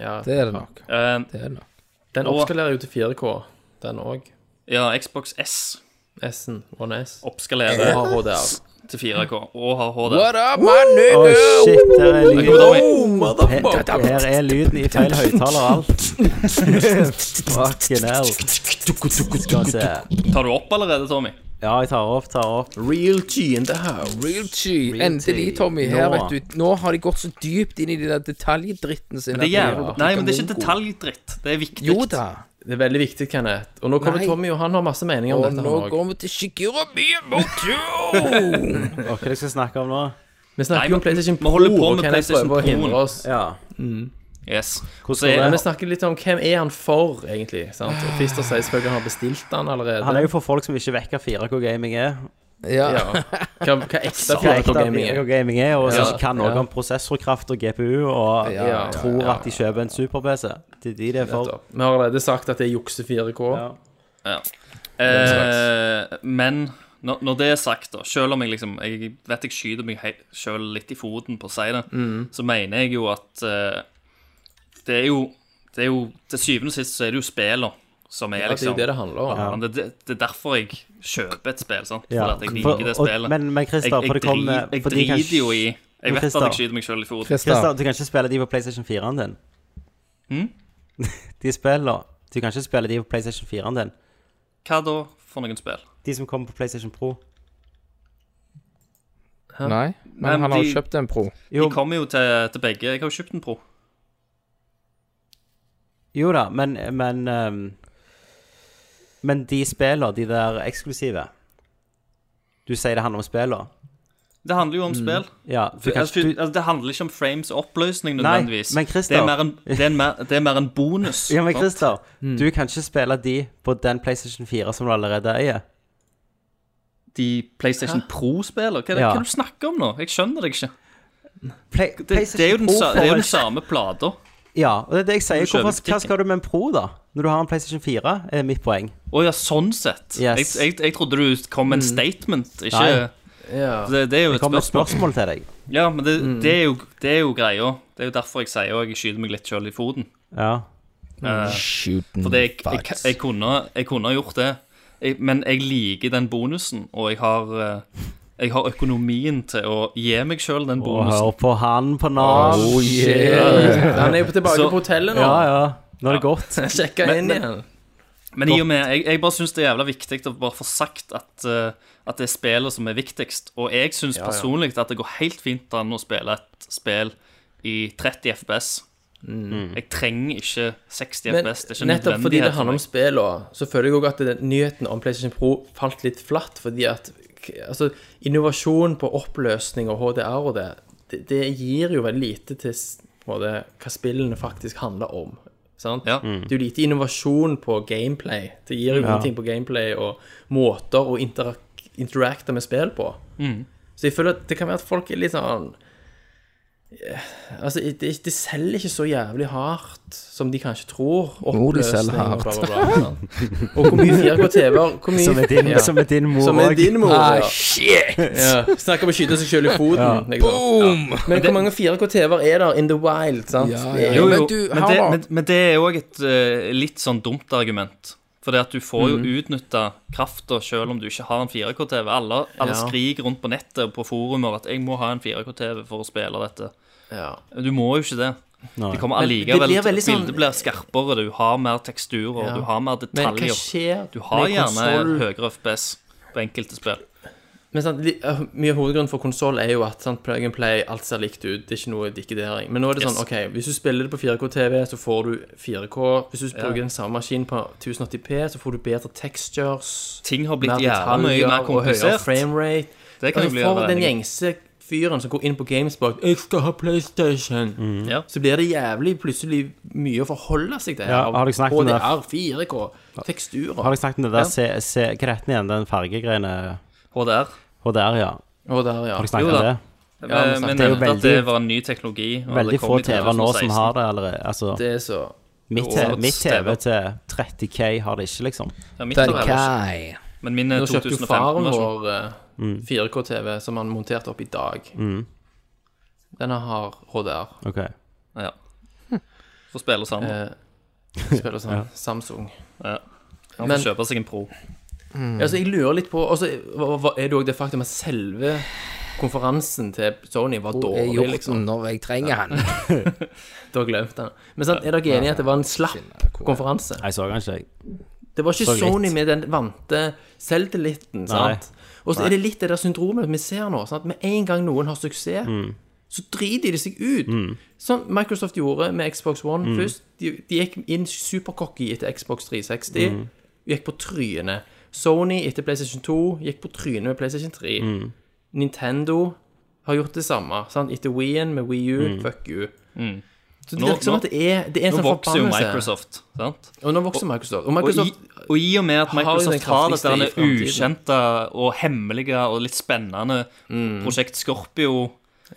S4: Ja.
S3: Det er det nok.
S2: Eh,
S3: Det er det nok.
S4: Den
S2: Og-
S4: oppskalerer jo til 4K, den òg.
S2: ja, Xbox S
S4: S-en. One S.
S2: oppskalerer
S4: Har HDR.
S2: til 4K og har HD.
S3: What up, my nigga?
S6: shit, her er
S2: Der kommer
S6: lyden
S3: Oh,
S2: Tommy.
S6: her, her er lyden i feil høyttaler og alt. Fucking hell. Skal vi se.
S2: Tar du opp allerede, Tommy?
S6: Ja, jeg tar opp, tar opp.
S4: Real G in the house.
S3: Real G. Endelig, Tommy. Her,
S6: Nå.
S3: vet du. Nå har de gått så dypt inn i de der detaljdritten sin.
S2: Det er
S3: at de
S2: jævlig.
S3: har
S2: Nei,
S3: blitt
S2: men det er ikke
S3: mongo.
S2: detaljdritt. Det er viktig.
S3: Jo da.
S4: Det er veldig viktig, Kenneth. Og nå kommer
S3: Nei.
S4: Tommy, og han har masse meninger om
S3: Og
S4: dette.
S3: nå
S4: han også.
S3: går vi til Shigura Miyamoto.
S6: Hva er det jeg skal snakke om nå?
S4: Vi
S2: Nei,
S4: snakker
S2: men-
S4: jo om PlayStation
S2: vi
S4: Pro,
S2: holder på
S4: og
S2: med
S4: Kenneth
S2: PlayStation
S4: prøver å
S2: Proen.
S4: hindre oss.
S6: Ja.
S2: Yes. Så
S6: Hvordan
S2: er-
S6: går
S4: Men vi
S6: det?
S4: snakker litt om hvem er han for, egentlig. sant? Og Christer sier selvfølgelig han har bestilt den allerede.
S6: Han er jo for folk som ikke vet hva 4K-gaming er.
S3: ja.
S4: ja. Hva, hva ekte
S6: Hva ekte
S4: 4K-gaming er.
S6: 4K-gaming er, og som
S4: Ja.
S6: ikke kan noe om prosessorkraft og GPU, og
S3: Ja, ja,
S6: tror at de kjøper en super-PC. Det er de det er for.
S4: Vi har allerede sagt at det er jukse 4K.
S6: Ja.
S2: Ja. Eh, men når, når det er sagt, da, selv om jeg liksom Jeg vet jeg skyter meg hei- selv litt i foten på å si det, så mener jeg jo at eh, det er jo Det er jo Til syvende og sist så er det jo spiller som er
S4: Ja, det er
S2: liksom
S4: jo det det handler om.
S2: Men Det, det er derfor jeg kjøper et spill, sant? Fordi
S6: Ja.
S2: at jeg
S6: For-
S2: liker det
S6: og-
S2: spillet.
S6: men- men Christer,
S2: jeg, jeg,
S6: for det kommer-
S2: dri- jeg
S6: for de kan
S2: driter jo i Jeg
S6: Men
S2: vet at jeg
S6: Christer-
S2: skyter meg selv i foten.
S6: Christer,
S3: Christer.
S6: du kan ikke spille de på PlayStation 4-en din.
S2: Hm?
S6: (laughs) De spiller Du kan ikke spille de på PlayStation 4-en din.
S2: Hva da for noen spill?
S6: De som kommer på PlayStation Pro.
S3: Nei,
S2: Men
S3: men han har
S2: de-
S3: jo kjøpt en pro.
S6: Jo,
S2: De kommer jo til, til begge. Jeg har jo kjøpt en Pro.
S6: jo da, men Men, ehm, men de spiller, de der eksklusive. Du sier det handler om spiller.
S2: Det handler jo om
S6: Mm.
S2: spill.
S6: Ja, du kan
S2: altså,
S6: ikke du,
S2: altså, det handler ikke om frames og oppløsning nødvendigvis.
S6: men Christer-
S2: det, er mer en, det, er en mer, det er mer en bonus.
S6: Ja, men
S2: sant?
S6: Christer, du kan ikke spille de på den PlayStation 4 som du allerede eier.
S2: De PlayStation Pro-spiller, hva er det hva
S6: Ja.
S2: er det du snakker om nå? Jeg skjønner det ikke.
S6: Play,
S2: Det, det er jo den, sa, det er jo den samme
S6: samme
S2: plata.
S6: Ja, og det er det jeg sier.
S2: Du kjøper
S6: Hvorfor, hva
S2: butikken.
S6: skal du med en Pro, da? Når du har en PlayStation 4, er mitt poeng.
S2: Å ja, sånn sett.
S6: Yes. Mm.
S2: Jeg, jeg, jeg trodde du kom med en statement, ikke
S6: Nei.
S4: Ja.
S2: det, det er jo
S6: Det
S2: et
S6: kommer et
S2: spørsmål.
S6: spørsmål Mm. til deg.
S2: Ja, men det, det, er jo, det er jo greia. Det er jo derfor jeg sier at jeg skyter meg litt sjøl i foten.
S6: Ja. Mm.
S2: Eh,
S3: Shooten
S2: Fordi jeg, jeg, jeg, kunne, jeg kunne ha gjort det, jeg, men jeg liker den bonusen, og jeg har, eh, jeg har økonomien til å gi meg sjøl den
S6: Og
S2: bonusen.
S6: hør på han på Nav.
S3: Oh yeah.
S4: Shit. Han er jo tilbake
S2: Så-
S4: på hotellet nå. (laughs)
S6: ja, ja. Nå er det godt.
S4: Sjekka
S2: Men-
S4: inn
S2: men-
S4: igjen.
S2: Men i og med, jeg, jeg bare syns det er jævla viktig å bare få sagt at, eh, at det er spillet som er viktigst. Og jeg syns personlig at det går helt fint an å spille et spill i 30 FPS. Jeg trenger ikke 60
S4: Mm. Men
S2: FPS. Det er ikke
S4: nettopp fordi det
S2: nødvendighet for
S4: handler om
S2: meg.
S4: spill, og så føler jeg òg at det- nyheten om PlayStation Pro falt litt flatt, fordi at k- altså, innovasjon på oppløsning og HDR og det, det, det gir jo veldig lite til s- på en måte, hva spillene faktisk handler om. Sant?
S2: Ja.
S4: Det er jo lite innovasjon på gameplay. Det gir jo ingenting på gameplay og måter å interak interacte med spill på. Så jeg føler at det kan være at folk er litt sånn Altså, de, de selger ikke så jævlig hardt som de kanskje tror.
S3: Jo, de
S4: Oppløsning
S3: selger
S4: og
S3: hardt.
S4: bla, bla, bla, sånn. Og hvor mye 4K-TV-er hvor mye-
S6: Som er din,
S4: ja.
S6: som er din mor
S4: Som er
S6: òg.
S4: din mor.
S3: Ah,
S4: ja.
S3: shit!
S4: ja. Snakker om å skyte seg sjøl i foten. Liksom.
S3: Boom!
S4: Men hvor mange 4K-TV-er er der in the wild? sant?
S3: Ja,
S4: Det er
S3: ja.
S2: Jo, jo,
S4: jo-
S2: men,
S3: Men du,
S2: det,
S3: Harald-
S2: men, men det er òg et eh, litt sånn dumt argument. For det at du får jo
S4: Mhm.
S2: utnytta krafta sjøl om du ikke har en 4K-TV. Alle, alle
S4: Ja.
S2: skriker rundt på nettet og på forumer at 'jeg må ha en 4K-TV for å spille dette'.
S4: Ja.
S2: Du må jo ikke det.
S6: Nei.
S2: Det kommer
S4: Men det
S2: allikevel
S4: blir veldig
S2: Bildet
S4: sånn-
S2: blir skarpere, du har mer teksturer,
S4: Ja.
S2: du har mer
S4: Men hva
S2: detaljer.
S4: skjer
S2: Du har
S4: med
S2: gjerne
S4: konsol-
S2: høyere FPS på enkelte spill.
S4: Men sant, li- eh, Mye av hovedgrunnen for konsoll er jo at sant, plug and play, alt ser likt ut. Det er ikke noe dikkedering. Men nå er det sånn,
S2: Yes.
S4: ok, hvis du spiller det på 4K-TV, så får du 4K. Hvis du bruker den samme maskinen på 1080P, så får du bedre textures.
S2: Ting har
S4: mer
S2: blitt jævla mye
S4: detaljer
S2: mer
S4: og høyere
S2: komplisert.
S4: framerate.
S2: Det kan
S4: Altså,
S2: jeg bli
S4: for den
S2: enig i.
S4: gjengse fyren som går inn på GameSpot 'Jeg skal ha PlayStation',
S2: Ja.
S4: så blir det jævlig plutselig mye å forholde seg til.
S6: Ja,
S4: her.
S6: har dere snakket om det?
S4: HDR, 4K, teksturer
S6: Har dere snakket om det der
S2: Ja.
S6: se, se, Hva er den igjen? Den fargegreiene
S2: HDR.
S6: HDR, ja.
S4: HDR, ja.
S6: Har dere
S2: Jo
S6: snakket
S2: da.
S6: om det?
S4: Ja, men
S2: Eh, men
S4: sant,
S2: men
S4: det er jo
S2: nevnte at
S6: veldig-
S2: det var en ny teknologi. og det
S6: Veldig
S2: kom
S6: få
S2: i
S6: TV-er nå som
S2: 2016.
S6: har det allerede. Altså,
S4: Det er så
S6: mitt,
S2: det er
S6: te- mitt
S2: årets
S6: TV til 30K har det ikke, liksom.
S2: Ja, mitt
S5: Den
S2: har heller ikke.
S5: Kai.
S2: Men min eh, er
S4: Nå kjøpte jo faren
S2: 2015-versjon.
S4: vår eh, 4K-TV som han monterte opp i dag. Denne har HDR.
S6: Ok.
S2: Ja. Får spille sammen.
S4: Eh, spiller sånn Samsung.
S2: Ja. Han
S4: Men-
S2: får kjøpe seg en Pro.
S4: Ja, så jeg lurer litt på Og så hva- hva- er det òg det faktum at selve konferansen til Sony var
S5: Hvor er
S4: dårlig, liksom.
S5: hjorten
S3: Mm.
S5: når jeg trenger han?
S4: Du har glemt den. Men sant, er dere enige i at det var en slapp konferanse?
S6: Jeg så den ikke, jeg.
S4: Det var ikke
S6: Så litt.
S4: Sony med den vante selvtilliten, sant? Og så er det litt det der syndromet vi ser nå. Sant? Med en gang noen har suksess,
S6: Mm.
S4: så driter de seg ut. Sånn Microsoft gjorde med Xbox One
S6: Mm.
S4: først. De, de gikk inn supercocky etter Xbox 360.
S6: Mm.
S4: Gikk på trynet. Sony etter PlayStation 2 gikk på trynet med PlayStation 3.
S6: Mm.
S4: Nintendo har gjort det samme. Sant? Etter Wii-en med Wii U,
S6: Mm.
S4: fuck you. Så det
S2: Mm. Nå-
S4: virker som
S2: nå-
S4: at det er, det er en
S2: Nå
S4: sånn
S2: vokser jo
S4: forbannelse.
S2: Microsoft, sant?
S4: Og nå vokser Microsoft. Og
S2: Og i,
S4: Microsoft
S2: og i og med at
S4: har jo den
S2: Microsoft har
S4: kraftigste
S2: dette
S4: i
S2: denne
S4: fremtiden.
S2: ukjente og hemmelige og litt spennende
S4: Mm.
S2: Prosjekt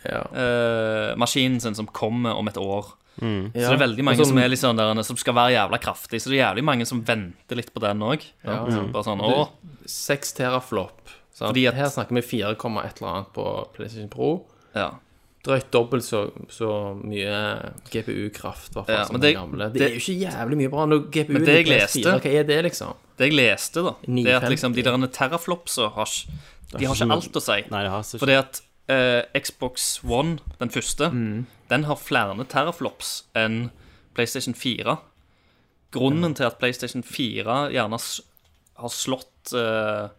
S4: ja.
S2: Scorpio-maskinen sin som kommer om et år. Så det er veldig
S4: Og
S2: mange
S4: som-
S2: som, er litt sånn der, som skal være jævla kraftig, så det er jævlig mange som venter litt på den òg.
S4: Mm.
S2: Bare sånn, å,
S4: 6 teraflop. sant?
S2: Fordi at-
S4: Her snakker vi 4, et eller annet på PlayStation Pro.
S2: ja.
S4: Drøyt dobbelt så, så mye GPU-kraft, i hvert fall,
S2: Ja,
S4: som det,
S2: men det-
S4: gamle. Det,
S2: det-
S4: er jo ikke jævlig mye bra. Når GPU
S2: Men det
S4: er
S2: jeg
S4: PS4,
S2: leste-
S4: Hva er det, liksom?
S2: Det jeg leste, da, det er at
S4: 950.
S2: liksom, de der terraflopsa har, ikke- de har ikke alt å si.
S6: Nei, det har ikke
S2: Fordi at eh, Xbox One, den første, den har flere teraflops enn PlayStation 4. Grunnen til at PlayStation 4 gjerne s- har slått eh,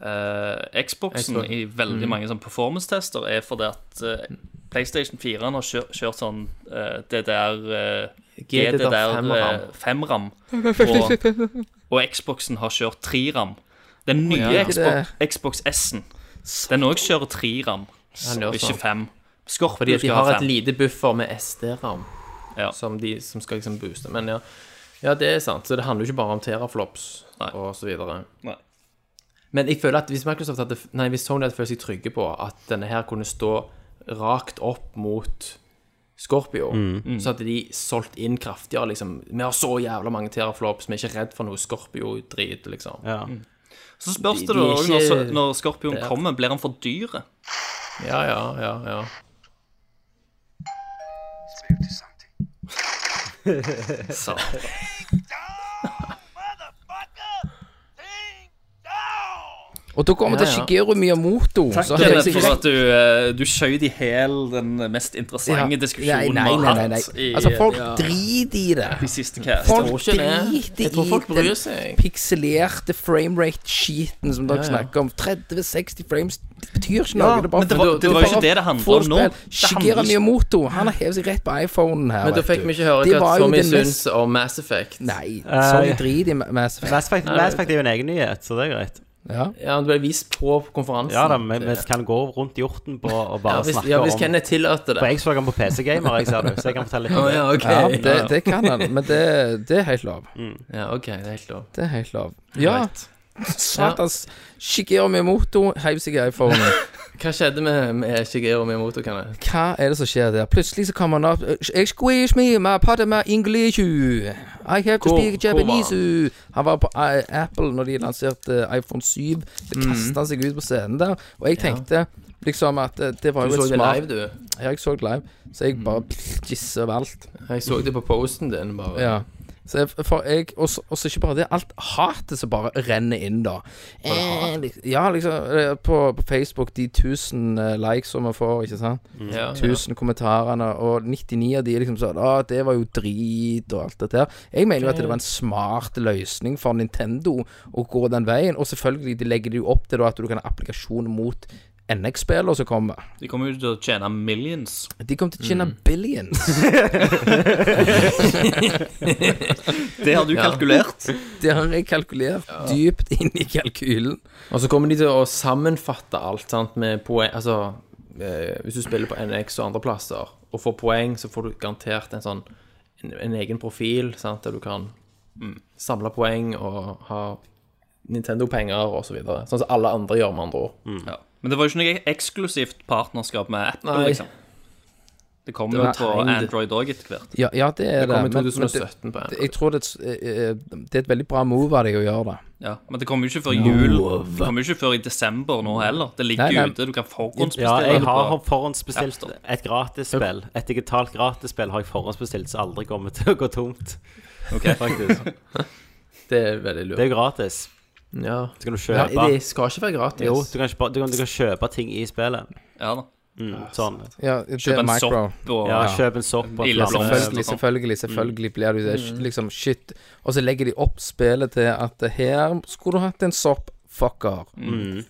S2: eh, Xboxen
S4: Xbox.
S2: i veldig mange sånn performance-tester, er fordi at eh, PlayStation 4 har kjørt, kjørt sånn eh, det der eh,
S4: GDDR5-ram.
S2: GDDR 5-ram. Og, eh, og Xboxen har kjørt 3-ram. Den nye
S4: ja.
S2: Xbox, Xbox S-en, den òg kjører 3-ram,
S4: gjør
S2: og ikke
S4: sånn.
S2: 5. Skorpio
S4: Fordi at de
S2: skal ha
S4: har et
S2: 5.
S4: lite buffer med SD-ram,
S2: Ja.
S4: som, de- som skal liksom booste. Men ja, ja, det er sant. Så det handler jo ikke bare om teraflops
S2: Nei.
S4: og så videre.
S2: Nei.
S4: Men jeg føler at hvis Microsoft hadde Nei, hvis Sony hadde følt seg trygge på at denne her kunne stå rakt opp mot Scorpio,
S2: Mm.
S4: så hadde de solgt inn kraftigere, liksom. Vi har så jævla mange teraflops, vi er ikke redd for noe Scorpio-drit, liksom.
S6: Ja.
S2: Mm. Så spørs
S4: De-
S2: det
S4: de
S2: da
S4: er
S2: også
S4: ikke-
S2: når, når Scorpion
S4: Det er-
S2: kommer, blir han for dyr?
S4: Ja, ja, ja. ja. (laughs)
S2: Så.
S5: Og da kommer vi
S4: Ja,
S5: til
S4: ja.
S5: Shigeru Miyamoto. Takk
S2: Det er for at du, eh, du skjøt i hæl den mest interessante diskusjonen
S5: nei,
S2: vi
S5: nei,
S2: har
S5: nei, nei.
S2: hatt i,
S5: Altså, folk
S2: ja,
S5: driter i det.
S2: i siste cast.
S5: Folk
S4: tror ikke det.
S5: driter
S4: Jeg tror folk
S5: i
S4: bryr
S5: den
S4: seg.
S5: pikselerte framerate-skiten som dere
S4: Ja, ja.
S5: snakker om. 30-60 frames det betyr ikke noe.
S2: Ja,
S5: det er bare
S2: men det var-
S5: for-
S2: det var jo ikke
S5: bare
S2: det det handlet
S5: for
S2: om nå.
S5: spill.
S2: Det
S5: Shigeru
S2: handler ikke-
S5: Miyamoto han har hevet seg rett på iPhonen her.
S4: Men da
S5: vet
S4: fikk
S5: du.
S4: vi ikke høre
S5: Det
S4: hva
S5: var jo
S4: Tommy
S5: den
S4: syns
S5: mest-
S4: om Mass Effect.
S5: Nei,
S6: Eh,
S5: Sony driter i Mass Effect.
S6: Mass Effect Mass Effect er jo en egen nyhet, så det er greit.
S5: Ja.
S4: Ja, det ble vist på konferansen.
S6: Ja da, vi, vi kan gå rundt hjorten på og
S4: Ja,
S6: bare
S4: hvis,
S6: snakke
S4: ja, hvis
S6: om
S4: Kenneth tillater
S6: For
S4: det.
S6: jeg så den på PC Gamer, jeg ser det, så jeg kan fortelle litt om det.
S4: ja, ok.
S5: Ja, det, det kan han, men det, det er helt lov.
S4: Ja, ok, det er helt lov.
S5: Det er helt lov. Ja,
S4: Right.
S5: satans Shigeru Miyamoto heiv seg i iPhonen.
S4: Hva skjedde med, med Shigeru Miyamoto, Kenneth?
S5: Hva er det som skjer der? Plutselig så kommer han opp "Eh, Excuse me, my pardon, my English I have to
S4: Hvor-
S5: speak
S4: hvor var
S5: Japanese Han var på eh, Apple når de lanserte eh, iPhone 7. Så
S4: Mm.
S5: kastet han seg ut på scenen der. Og jeg tenkte liksom at eh, det var
S4: Du
S5: jo
S4: så
S5: et
S4: det live, Mm.
S5: smart
S4: du.
S5: Ja, jeg så det live. Så jeg bare pff, jisse over alt.
S4: Jeg så det på posten din, bare.
S5: Ja.
S3: Så jeg, for jeg, og så og så ikke bare det, alt hatet som bare renner inn, da. Eh, lik- ja, liksom eh, på, på Facebook, de 1000 eh, likes som vi får, ikke sant.
S2: Ja, ja.
S3: 1000 kommentarene, og 99 av de liksom sånn Å, det var jo drit, og alt det der. Jeg mener jo at det var en smart løsning for Nintendo å gå den veien, og selvfølgelig de legger det jo opp til da, at du kan ha applikasjon mot NX-spillene som kommer.
S2: De kommer jo til å tjene millions.
S3: De kommer til å
S2: Mm.
S3: tjene billions.
S2: (laughs) Det har du kalkulert.
S3: Det har jeg kalkulert dypt inn i kalkylen.
S4: Og så kommer de til å sammenfatte alt sant, med poeng Altså, eh, hvis du spiller på NX og andre plasser og får poeng, så får du garantert en sånn en, en egen profil sant, der du kan mm, samle poeng og ha Nintendo-penger og så videre. Sånn som alle andre gjør, med andre ord.
S2: Ja. Men det var jo ikke noe eksklusivt partnerskap med Apple,
S4: Nei.
S2: liksom. Det kom jo på
S4: tegnet.
S2: Android òg etter hvert.
S3: Ja, ja det er
S4: Det
S3: det.
S4: kom i
S3: men- men det-
S4: 2017 på
S3: det-
S4: Apple.
S3: jeg tror det, er et s- eh, eh, det er et veldig bra move av deg å gjøre det.
S2: Ja. Men det kommer jo ikke før jul. Det kommer jo ikke før i desember nå heller. Det
S3: Nei,
S2: ligger
S3: nei.
S2: ute. Du kan
S6: Ja,
S2: forhåndsbestille.
S6: jeg
S2: det
S6: har
S2: på-
S6: forhåndsbestilt
S2: App
S6: et gratisspill. Et digitalt gratisspill har jeg forhåndsbestilt, så aldri kommer til å gå tomt.
S2: Ok.
S6: (laughs) Faktisk.
S4: Det er veldig
S6: Det
S4: lurt.
S6: er jo gratis.
S4: Ja.
S6: Så kan du
S4: Ja,
S6: kjøpe
S4: det skal ikke være gratis.
S6: Jo, du kan, kjøpe, du, kan, du kan kjøpe ting i spillet.
S2: Ja da.
S6: Mm, sånn.
S3: Ja, det
S2: Kjøp
S3: er
S2: en
S3: micro.
S2: sopp og
S6: Ja, kjøp en sopp og
S2: Ille
S6: et
S2: blomster.
S6: glass.
S3: Selvfølgelig, selvfølgelig,
S6: Mm.
S3: selvfølgelig blir du det. Liksom, shit. Og så legger de opp spillet til at her skulle du hatt en soppfucker.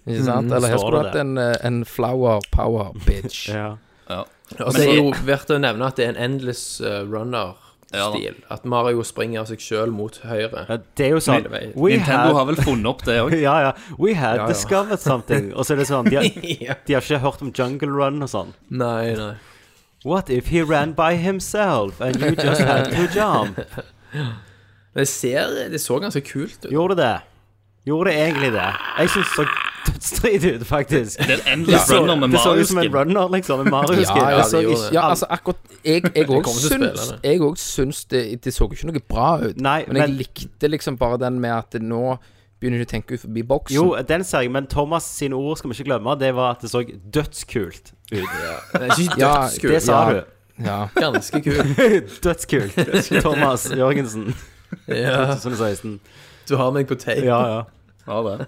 S3: Ikke sant? Eller her
S6: Mm. Står
S3: skulle du
S6: det
S3: hatt en, eh, en flower power bitch.
S6: (laughs) Ja.
S4: Og så er det jo verdt å nevne at det er en endless eh, runner-stil. At Mario springer seg sjøl mot høyre.
S6: Ja, Det er jo sånn
S4: Hele veien.
S6: We
S2: Nintendo
S6: had,
S2: har vel funnet opp det òg.
S6: (laughs) ja, ja, we had
S4: Ja, ja.
S6: discovered something. Og så er det sånn de har, de har ikke hørt om Jungle Run og sånn.
S4: Nei, nei.
S6: What if he ran by himself and you just had to jump?
S4: Men det ser Det så ganske kult ut.
S6: Gjorde det? Gjorde det egentlig det? Jeg syns det så dødsdrit ut, faktisk.
S2: Det er en endless
S6: Så-
S2: runner med
S6: det så ut som en
S2: Mario-skin.
S6: runner, liksom. En Mario-skin.
S3: Ja,
S4: det
S3: altså,
S4: gjorde
S3: ikke,
S4: det.
S3: ja, altså akkurat
S6: (laughs)
S3: Jeg jeg
S4: kommer
S3: òg
S4: til å
S3: syns,
S4: spille det.
S3: jeg også syns det, det så jo ikke noe bra ut.
S6: Nei,
S3: men jeg
S6: men-
S3: likte liksom bare den med at nå begynner du å tenke ut forbi boksen.
S6: Jo, den ser jeg, men Thomas sine ord skal vi ikke glemme. Det var at det så dødskult ut.
S4: Det er ikke
S3: Ja,
S4: dødskult.
S6: Det sa
S3: Ja.
S6: du.
S3: Ja.
S4: Ganske
S6: (laughs)
S4: kult.
S6: Dødskult. Thomas Jørgensen,
S4: Ja,
S6: 2016.
S4: du har meg på tape.
S6: Ja, ja.
S2: Ja, det.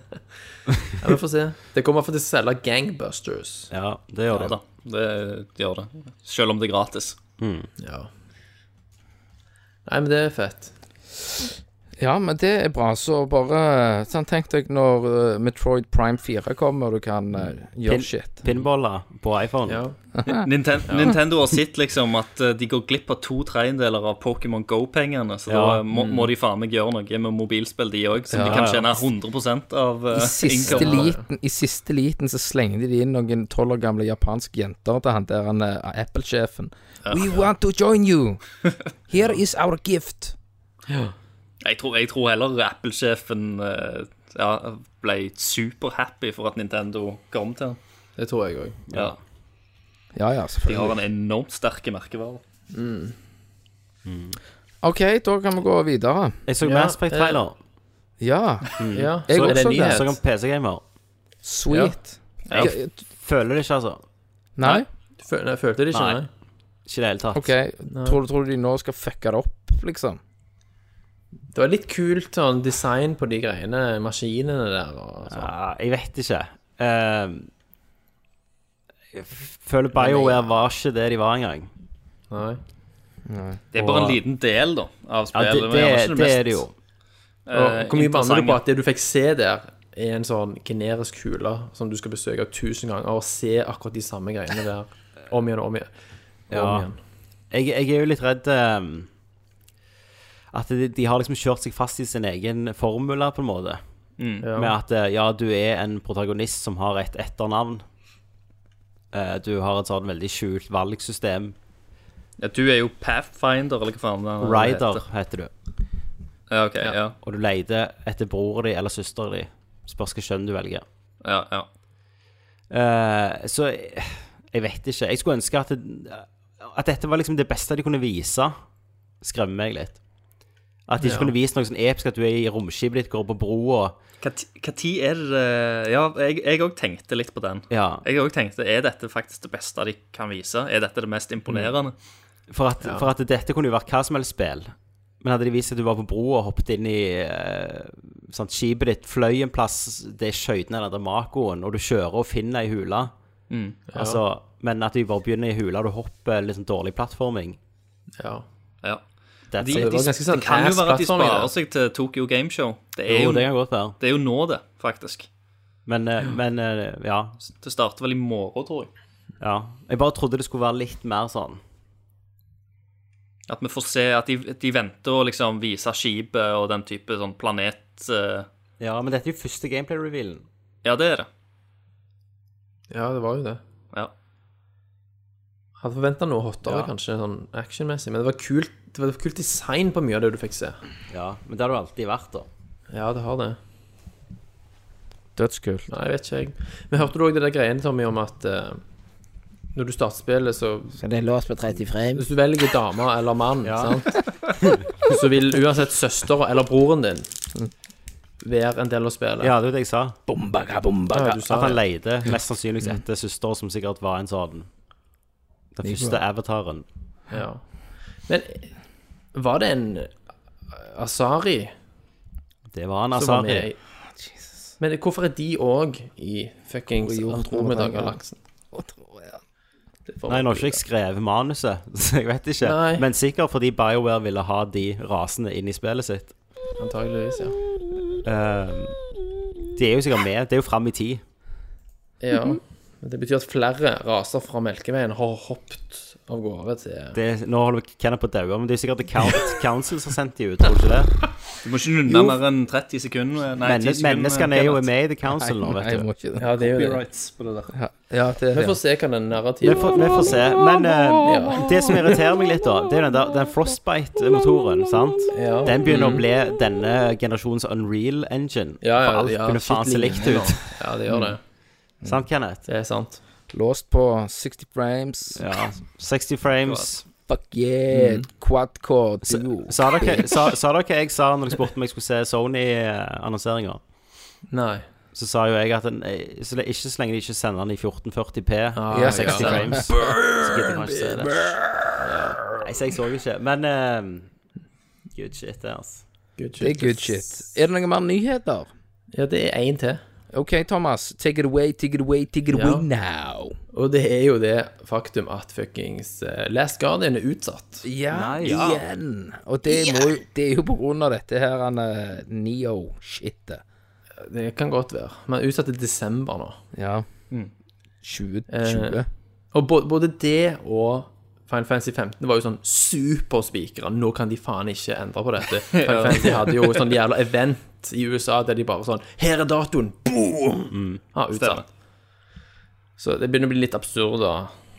S4: Ja, vi får se. Det kommer iallfall til å selge Gangbusters.
S6: Ja, det
S2: Ja
S6: gjør det.
S2: da, det gjør det. Selv om det er gratis.
S4: Ja. Nei, men det er fett.
S3: Ja, men det er bra. Så bare sånn, Tenk deg når eh, Metroid Prime 4 kommer, og du kan eh, gjøre
S6: Pin-
S3: shit.
S6: Pinballer på iPhone.
S4: Ja.
S2: Ninten Nintendo har sett liksom at eh, de går glipp av to tredjedeler av Pokémon Go-pengene, så
S6: Ja. Mm.
S2: da må, må de faen meg gjøre noe med mobilspill, de òg, så de
S6: Ja,
S2: kan
S6: ja.
S2: tjene 100 av
S3: I
S2: uh,
S3: siste, liten, I siste liten så slengte de inn noen tolv år gamle japanske jenter til han der han, eh, Apple-sjefen. We want to join you! Here is our gift.
S2: Jeg tror, jeg tror heller Apple-sjefen eh, ja, ble superhappy for at Nintendo kom til han.
S4: Det tror jeg òg.
S2: Ja.
S3: Ja, ja,
S2: De har
S3: selvfølgelig.
S2: en enormt sterke merkevarer.
S3: OK, da kan vi gå videre.
S6: Jeg så
S4: Ja,
S6: Mass Effect-trailer.
S3: Ja,
S4: Ja.
S3: jeg
S6: Så-
S3: også
S4: er det en
S3: det.
S6: Jeg så
S4: nyhet?
S6: en PC-gamer.
S3: sweet.
S2: Ja.
S3: Ja,
S6: Føler det ikke, altså.
S3: Nei?
S4: Du føl- Nei, følte det ikke?
S6: Nei.
S4: Nei.
S6: Ikke i det hele tatt.
S3: OK. Tror, du- tror du de nå skal fucke det opp, liksom?
S4: Det var litt kult sånn design på de greiene, maskinene der og sånn.
S6: Ja, Ah, jeg vet ikke. Ehm, jeg f- føler BioWare var ikke det de var engang.
S4: Nei.
S2: Det er bare
S6: Og-
S2: en liten del da, av
S6: Ja,
S2: spillet.
S6: det,
S2: men
S6: det,
S2: gjerne ikke
S6: det
S2: mest,
S6: er det jo.
S4: Og
S2: eh,
S4: hvor mye banner du på
S2: interessante.
S4: at det du fikk se der, er en sånn generisk kule som du skal besøke tusen ganger og se akkurat de samme greiene der om igjen og om igjen? Og
S6: Ja.
S4: om igjen.
S6: Jeg, jeg er jo litt redd ehm, at de, de har liksom kjørt seg fast i sin egen formula, på en måte.
S2: Mm.
S4: Ja.
S6: Med at eh, ja, du er en protagonist som har et etternavn. Eh, du har et sånn veldig skjult valgsystem.
S2: Ja, du er jo Pathfinder, eller hva faen det
S6: Rider
S2: heter.
S6: heter du.
S2: Ja, ok, ja.
S6: Og du leter etter broren din eller søsteren din. Spørs hvilket kjønn du velger.
S2: ja, ja.
S6: Eh, så jeg, jeg vet ikke. Jeg skulle ønske at, det, at dette var liksom det beste de kunne vise. Skremmer meg litt. At de ikke kunne vise noe sånn episk at du er i romskipet ditt, går på broa.
S2: Hva ti- hva tid er det Ja, jeg òg tenkte litt på den.
S6: Ja,
S2: Jeg òg tenkte er dette faktisk det beste de kan vise? Er dette det mest imponerende?
S6: for, at, for at dette kunne jo vært hva som helst spill. Men hadde de vist at du var på broa og hoppet inn i eh, sant, skipet ditt, fløy en plass, det er skøytene eller den andre makoen, og du kjører og finner ei hule
S2: Mm.
S6: altså, Men at du bare begynner i hula, du hopper litt sånn dårlig plattforming
S4: Ja.
S2: Ja.
S6: That's
S2: De, de,
S6: it.
S4: det var ganske sånn
S2: det kan jo være at de
S4: ass-plattforming,
S2: sparer
S4: det.
S2: seg til Tokyo Gameshow. Det er
S6: Jo,
S2: jo,
S6: det kan godt være.
S2: det er jo nå, det, faktisk.
S6: Men, eh, men eh, ja,
S2: Det starter vel i morgen, tror jeg.
S6: ja. Jeg bare trodde det skulle være litt mer sånn.
S2: At vi får se at de, at de venter å liksom vise skipet og den type sånn planet eh,
S6: Ja, men dette er jo første gameplay-revealen.
S2: Ja, det er det.
S4: ja, det var jo det.
S2: Ja.
S4: Hadde forventa noe hottere, kanskje, sånn actionmessig. Men det var kult Det var kult design på mye av det du fikk se.
S6: Ja, men det har det jo alltid vært, da.
S4: Ja, det har det.
S5: Dødskult.
S4: Nei, jeg vet ikke, jeg. Men hørte du òg det der greiene, Tommy, om at eh, når du starter spillet, så
S5: Så det er låst på 30 frames.
S4: Hvis du velger dame eller mann, sant? så vil uansett søster eller broren din
S2: Mm.
S4: være en del av spillet.
S6: Ja, det er jo det jeg sa.
S5: Bombaga, bombaga.
S4: Ja, du sa
S6: At
S4: det.
S6: han leide mest sannsynligvis etter søster, som sikkert var en sånn Den første avataren.
S4: Ja. Men var det en Asari
S6: Det var han, altså.
S4: som var med
S6: Asari.
S4: i Men hvorfor er de òg i fuckings Andromeda-galaksen? Det får
S6: Nei,
S4: man
S6: nå har ikke jeg skrevet manuset, (laughs) så jeg vet ikke.
S4: Nei.
S6: Men sikkert fordi BioWare ville ha de rasene inn i spillet sitt.
S4: Antageligvis, (laughs) ja.
S6: Ehm, de er jo sikkert med. Det er jo fram i tid.
S4: ja. Men det betyr at flere raser fra Melkeveien har hoppet av gårde til
S6: Det, er- nå holder Kenneth på å daue, men det er sikkert The (laughs) Count, Council som sendte de ut, tror du ikke det?
S2: Du må ikke nunne mer enn 30 sekunder. eh, Nei, 10
S6: Menne,
S2: sekunder.
S6: menneskene er jo med i The Council nå,
S5: Nei,
S6: vet
S5: jeg
S6: du.
S5: må ikke det.
S4: Ja, det er jo det.
S2: Copyrights på det der.
S5: Ja, det,
S4: Vi
S5: ja.
S4: får se hva den
S6: Vi
S4: narrativen
S6: får, vi får se. Men eh, det som irriterer meg litt, da, det er jo den, der- den Frostbite-motoren, sant?
S4: Ja. Mm.
S6: Den begynner å bli denne generasjons unreal engine.
S4: Ja, ja,
S6: For alt
S4: ja,
S6: kunne faen se
S4: skikkelig
S6: likt
S4: ligner.
S6: ut. (laughs)
S4: Ja, det gjør det.
S6: Sant, Kenneth?
S4: Det er sant.
S5: Låst på 60 frames.
S6: Ja. 60 frames.
S5: Fuck yeah. Quadcore duo.
S6: Sa dere, sa, sa dere hva jeg sa når dere spurte om jeg skulle se Sony-annonseringer?
S4: Nei.
S6: Så sa jo jeg at en, eh, så det, ikke så lenge de ikke sender den i 1440P,
S4: Ah,
S5: Ja,
S6: 60
S4: ja.
S6: frames, så gidder jeg kanskje se det. Nei, så jeg så jo ikke. Men eh, good shit, det, altså.
S4: Good shit.
S5: Det er good shit. Er det noen mer nyheter?
S4: Ja, det er én til.
S5: OK, Thomas. Take it away, take it away, take it
S4: Ja.
S5: away now.
S4: Og det er jo det faktum at fuckings eh, Last Guardian er utsatt.
S5: Ja,
S6: Nei, ja.
S5: igjen. Og det, må, jo- det er jo på grunn av dette her han eh, Neo-shitet.
S4: Det kan godt være. Men er utsatt til desember nå.
S5: Ja. 2020.
S4: Og bå- både det og Final Fantasy 15 var jo sånn superspikere. Nå kan de faen ikke endre på
S2: (laughs)
S4: dette. Final Fantasy hadde jo sånn jævla event i USA der de bare sånn Her er datoen! Boom! Ja,
S2: Mm. Stemmer.
S4: utsatt. Så det begynner å bli litt absurd, da.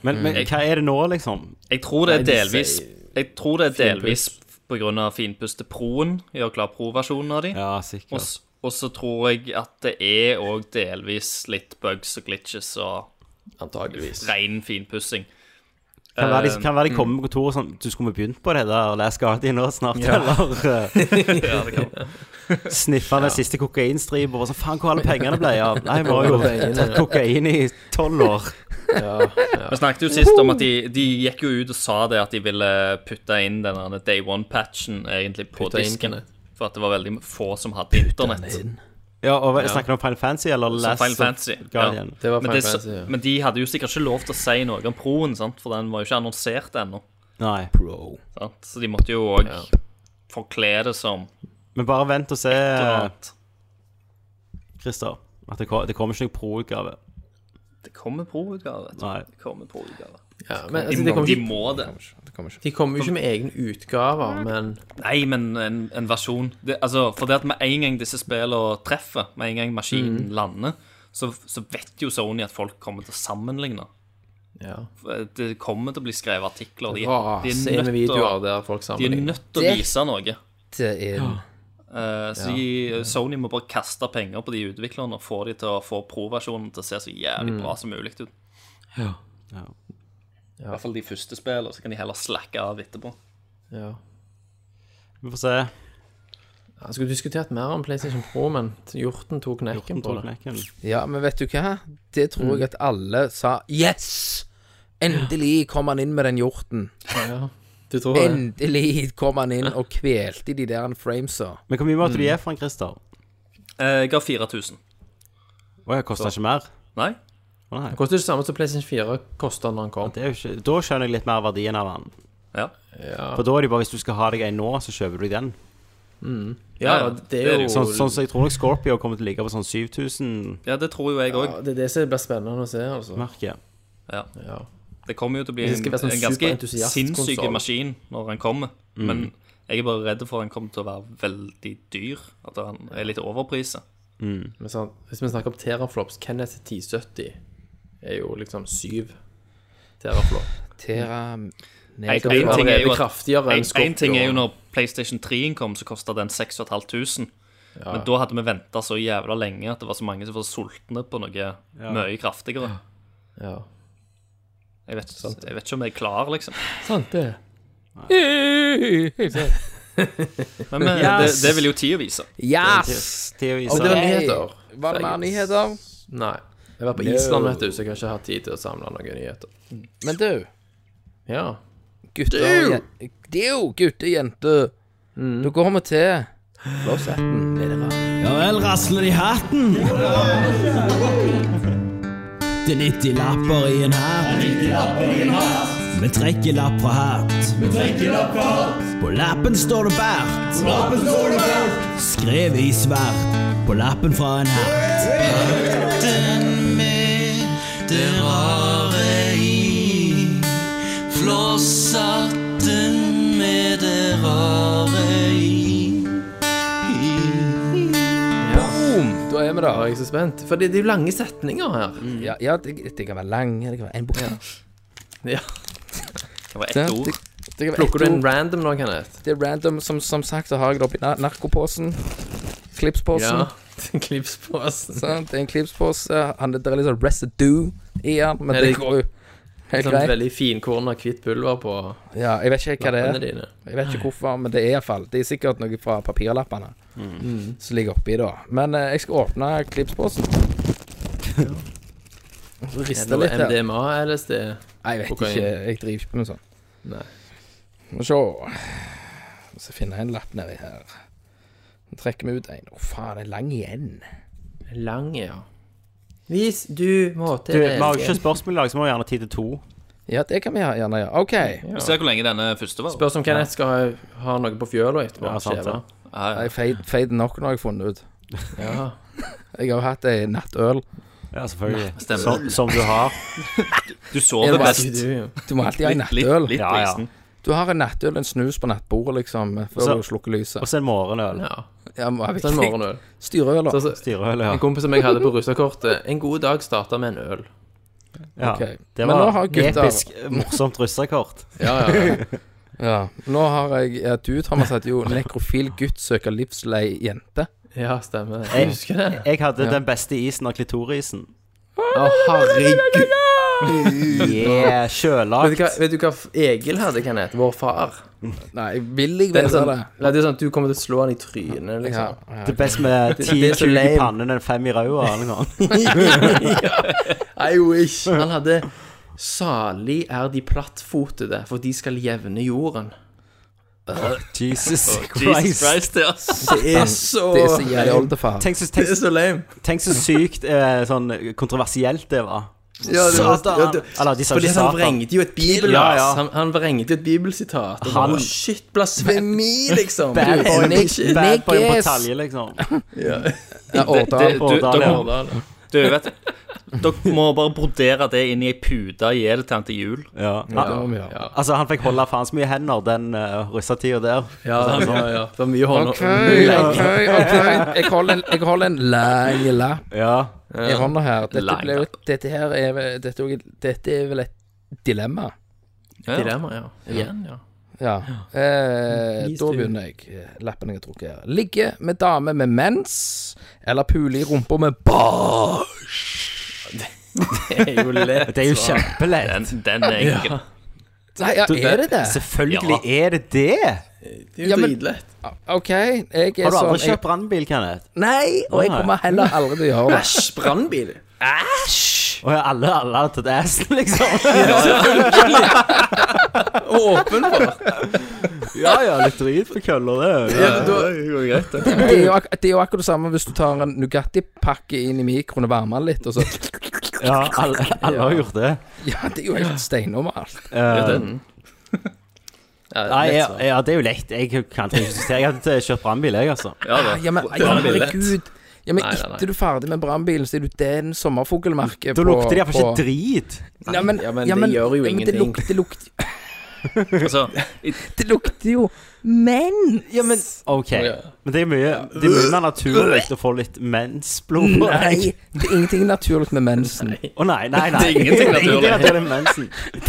S6: Men, men hva er det nå, liksom?
S2: Jeg tror det er
S4: Nei, de
S2: delvis Jeg tror det er delvis på grunn av finpuste proen. Gjør klar pro-versjonen av de.
S6: Ja, sikkert.
S2: Og s- Og så tror jeg at det er òg delvis litt bugs og glitches og
S4: Antageligvis.
S2: ren finpussing.
S6: Kan være,
S2: eh,
S6: de, kan
S2: mm.
S6: være de kommer på kontoret sånn Du skulle vi begynt på det der Last Guardian nå snart, eller?
S2: Ja, det kan.
S6: Sniffa den siste kokainstripa og sånn Faen, hvor alle pengene ble av? Nei, vi har jo tatt kokain i tolv år.
S2: Vi snakket jo sist om at de, de gikk jo ut og sa det at de ville putte inn denne day one-patchen egentlig på
S4: Putte inn
S2: disken.
S4: henne.
S2: For at det var veldig få som hadde internett.
S6: Ja, og hva- Snakker du om Final Fantasy eller
S2: Som
S6: Last
S2: Final Fantasy.
S6: Guardian?
S4: Det var
S2: Men,
S4: Final
S2: det,
S4: Fantasy, ja.
S2: men de hadde jo sikkert ikke lov til å si noe om proen, sant? for den var jo ikke annonsert ennå.
S6: Nei.
S2: Sant? Så de måtte jo òg forkle det som
S6: Men bare vent og se,
S2: noe
S6: Eh.
S2: annet.
S6: Christer. At det, kom, det kommer ikke noen pro-utgave.
S2: Det kommer pro-utgave. vet du.
S6: Nei.
S2: Det kommer pro-utgave.
S4: Ja, men
S2: De,
S4: altså, det
S2: må-
S4: kommer
S2: de
S4: ikke
S2: må det.
S4: De kommer jo ikke med egne utgaver, men
S2: Nei, men en, en versjon det, altså, For det at med en gang disse spillene treffer, med en gang maskinen lander, så, så vet jo Sony at folk kommer til å sammenligne.
S4: ja.
S2: Det kommer til å bli skrevet artikler. De, de,
S4: Rase inn
S2: er,
S4: med
S2: nødt til å,
S4: videoer der folk
S2: de er
S4: sammenligner.
S2: nødt til å vise noe.
S5: Det er
S2: Eh, så de, Sony må bare kaste penger på de utviklerne og få de til å få pro-versjonen til å se så jævlig bra som mulig ut.
S6: Ja.
S2: I hvert fall de første spillene, så kan de heller slakke av etterpå.
S4: Ja.
S6: Vi får se.
S4: Jeg skulle diskutert mer om PlayStation Pro, men hjorten tok knekken på det.
S6: Kontrollknekken.
S5: Ja, men vet du hva? Det tror jeg at alle sa Yes! Endelig kom han inn med den hjorten.
S4: Ja. Du tror det?
S3: Endelig kom han inn og kvelte de der framesa.
S6: Men hvor mye måtte du gi for en, Christer?
S2: Eh, Jeg ga 4000.
S6: Å ja, koster ikke mer?
S2: Nei?
S6: Å nei.
S4: Det koster ikke det samme som PlayStation 4 kosta når den kom.
S6: Det er jo ikke, da skjønner jeg litt mer verdien av den.
S2: Ja.
S6: For da er det jo bare hvis du skal ha deg en nå, så kjøper du deg den.
S4: Ja,
S2: ja,
S4: det er jo
S6: Sånn, sånn som jeg tror nok Scorpio kommer til å ligge på sånn 7000
S2: Ja, det tror jo jeg òg.
S4: ja, Det er det som blir spennende å se, altså.
S6: merke.
S2: Ja.
S4: Ja.
S2: Det kommer jo til å bli
S4: Det
S2: en,
S4: skal være sånn Mm.
S2: en ganske
S4: superentusiast
S2: sinnssyk
S4: konsol.
S2: maskin når han kommer. Men jeg er bare redd for han kommer til å være veldig dyr. At han er litt overpriset.
S4: Men sånn, hvis vi snakker om teraflops, Kenneth 1070 er jo liksom 7 teraflop.
S3: Tera
S2: En
S4: det er
S2: ting er jo
S4: allerede
S2: at-
S4: kraftigere enn
S2: en-
S4: Scorpio.
S2: en ting er jo når PlayStation 3 kom, så kosta den 6500. Men da hadde vi venta så jævla lenge at det var så mange som var sultne på noe mye kraftigere.
S4: Ja.
S2: Jeg vet, jeg vet ikke om jeg er klar, liksom.
S4: Sant, det.
S5: (laughs)
S4: (laughs)
S2: Men, men
S6: Yes!
S2: det, det vil jo tida vise.
S3: Yes!
S6: Theo
S4: Og det
S6: Isa.
S4: var nyheter.
S3: Var det mer nyheter?
S4: Nei. Jeg var på Island, vet du, så jeg har ikke hatt tid til å samle noen nyheter.
S3: Men du,
S4: Ja.
S3: gutter og jen- Du, gutter og jenter.
S4: Mm.
S3: Da går vi til Floss 18 med dere.
S7: Ja vel, rasler de hatten. Det er 90 lapper i en hatt. Vi trekker lapp fra hatt. På lappen står det bært. Skrevet i svart på lappen fra en hatt. Hatten med det rare i. Flosshatten med det rare i.
S4: Da er vi der. Jeg er så spent. For det, det er jo lange setninger her.
S3: Ja, ja det, det kan være lang, det kan være en bokstav.
S4: Ja.
S2: Det var ett ord.
S3: Det, det kan være
S4: Plukker du
S3: ett
S4: en
S3: ord.
S4: random nå, Kenneth?
S3: Det er random. Som, som sagt så har jeg det oppi nar- narkoposen. Klipsposen.
S4: Ja. (laughs) Klipsposen.
S3: Sant? Det er en klipspose. Han, det er litt sånn residue i den, men
S4: Er
S3: det
S4: det-
S3: går jo helt
S4: Sånn
S3: greit.
S4: veldig finkorna hvitt pulver på
S3: Ja, jeg vet ikke hva det
S4: lappene
S3: er.
S4: dine.
S3: Jeg vet ikke hvorfor, men det er iallfall Det er sikkert noe fra papirlappene
S2: Mm.
S3: som ligger oppi da. Men eh, jeg skal åpne klipsposen. Så
S4: Er
S3: Riste
S4: det
S3: litt her.
S4: MDMA, LSD?
S3: Nei, jeg vet
S4: kokain?
S3: ikke. Jeg driver ikke med sånn.
S4: Nei.
S3: Må se. Må se finne en lapp nedi her. Nå trekker vi ut en. Å, faen, det er lang igjen.
S4: Lang, ja. Hvis du må
S6: Du,
S4: til
S6: vi har jo ikke spørsmål i dag, så må vi gjerne ha tid til to.
S3: Ja, det kan vi gjerne gjøre. OK.
S2: Vi ser hvor lenge denne første var.
S4: Spørs om Kenneth skal ha, ha noe på fjøla etterpå.
S6: Ja, sant,
S4: skjeve.
S2: Ja, ja.
S3: Jeg fade, fade nok nå har jeg funnet ut.
S4: ja.
S3: Jeg har jo hatt ei nattøl.
S6: Ja, selvfølgelig.
S2: stemmer.
S6: Som, som du har.
S2: Du
S3: Er
S2: sover
S3: det
S4: Hva
S3: bare-
S2: best.
S4: sier du?
S3: Du må alltid ha ei
S2: Litt, litt,
S3: nattøl.
S2: litt
S6: Ja, ja.
S2: brisen.
S3: Du har en nattøl, en snus på nattbordet, liksom, før
S2: Altså,
S6: Så-
S3: du slukker lyset.
S6: Og så en morgenøl.
S4: Ja.
S3: Ja, må ha
S4: Så en
S3: viktig.
S4: morgenøl.
S3: Styreøl, da.
S4: Så, så,
S6: Styreøl, ja.
S4: en kompis som jeg hadde på russekortet En god dag starta med en øl.
S6: ja.
S3: Ok.
S6: Det
S3: Men nå
S6: var
S3: har gutta-
S4: (laughs)
S6: episk, morsomt russekort.
S4: Ja, ja, ja.
S3: Ja. Nå har jeg ja, Du, Thomas, heter jo 'Nekrofil gutt søker livslei jente'.
S4: ja stemmer. det.
S6: Jeg-
S4: Jeg husker det.
S6: Jeg hadde den beste isen av klitorisen.
S4: Å, herregud.
S6: Yeah,
S4: Vet du, hva,
S6: sjølagt.
S4: vet du hva Egil hadde, Kenneth? Vår far.
S3: Nei, vil jeg
S4: Det er
S3: vite
S4: sånn,
S3: det?
S4: nei, det er sånn at du kommer til å slå han i trynet,
S3: Ja,
S4: liksom.
S3: ja.
S6: Det er best med ti
S4: det er så
S6: kul i
S4: lame.
S6: pannen enn fem i ræva. eller noe
S4: (laughs)
S6: annet.
S4: I wish. Han hadde Salig er de plattfotede, for de skal jevne jorden.
S6: Jesus
S2: Jesus
S6: Christ.
S2: Christ, ja.
S4: Det er så
S3: Det er så jævlig oldefar.
S6: Tenk så, tenk,
S4: Det er så lame.
S6: tenk så sykt eh, sånn kontroversielt det var.
S4: Ja, det var-
S6: Satan!
S4: ja, det-
S6: Eller, de sa
S4: Fordi
S6: ikke
S4: han
S6: Satan.
S4: vrengte jo et bibel
S6: Ja, ja.
S4: Han, han vrengte jo et bibelsitat. Og
S6: Han-
S4: bare, shit, blasfemi, liksom. Du,
S6: Bad boy,
S4: Henrik, shit.
S6: bad boy på
S3: Nick is-
S6: talje,
S4: (laughs)
S6: liksom.
S3: Ja, Årdal.
S2: Det- du-
S6: Årdal,
S2: dere-
S6: ja.
S2: Du, vet Dere må bare brodere det inn i ei pute og gi det til han til jul.
S6: Ja.
S3: det må vi
S6: Ja.
S3: gjøre.
S6: Altså, han fikk holde faen så mye hender den uh, russetida der.
S4: Ja, ja, ja. Det var mye hånd
S3: OK, OK, ok Jeg holder en, jeg holder en lang lapp
S6: Ja.
S3: i hånda her. Dette,
S2: Lang
S3: ble, jo-
S2: lapp.
S3: dette her er vel- dette, er jo- dette er vel et dilemma.
S2: Ja.
S4: Dilemma, ja. Igjen, ja.
S3: Ja. Eh, da begynner jeg. Lappen jeg har trukket her. Ligge med dame med mens, eller pule i rumpa med bar.
S4: Det er jo lett. altså.
S6: Det er jo
S2: Den,
S6: kjempelett.
S2: den er enkel.
S3: Nei, ja, er det det?
S6: Selvfølgelig er det det.
S4: Det er
S3: Ja,
S4: jo
S3: men-
S4: dritlett.
S3: OK, jeg er sånn
S6: Har du aldri
S3: jeg-
S6: kjøpt brannbil, Kenneth?
S3: Nei, og jeg
S6: Nei.
S3: kommer heller aldri til å gjøre det.
S4: Æsj, brannbil.
S3: Æsj!
S6: Og alle, alle har tatt assen, (laughs) liksom.
S4: Åpenbart.
S6: ja ja, litt drit på køller, det.
S4: Ja, da, det går greit, det.
S3: Det er, jo, ak- det er jo akkurat det samme hvis du tar en Nugatti-pakke inn i mikroen og varmer den litt, og så
S6: Ja, alle, alle har gjort det.
S3: Ja, det er jo helt steinormalt.
S6: Eh, (laughs)
S4: Ja,
S6: Nei,
S4: lett
S6: ja,
S4: svar.
S6: ja, det er jo lett. Jeg kan trenger ikke justere. Jeg hadde kjørt brannbil, jeg, altså.
S2: Ja da.
S3: Ja, men ja,
S2: det er lett.
S3: herregud. Ja, men
S4: Nei, nei, nei.
S3: etter du er ferdig med brannbilen, så er du den sommerfuglmerket
S6: Da lukter de iallfall ikke drit.
S3: Ja, men,
S4: Ja, men det gjør jo
S3: ja, men det
S4: ingenting.
S3: lukter, lukter,
S2: Altså,
S3: (laughs) det lukter jo Men!
S6: Ja, men OK.
S4: Ja.
S6: Men det er mye Det er mye mer naturlig å få litt mensblod på deg.
S3: Nei, det er ingenting naturlig med mensen.
S6: Å nei, nei, nei.
S2: Det er ingenting naturlig.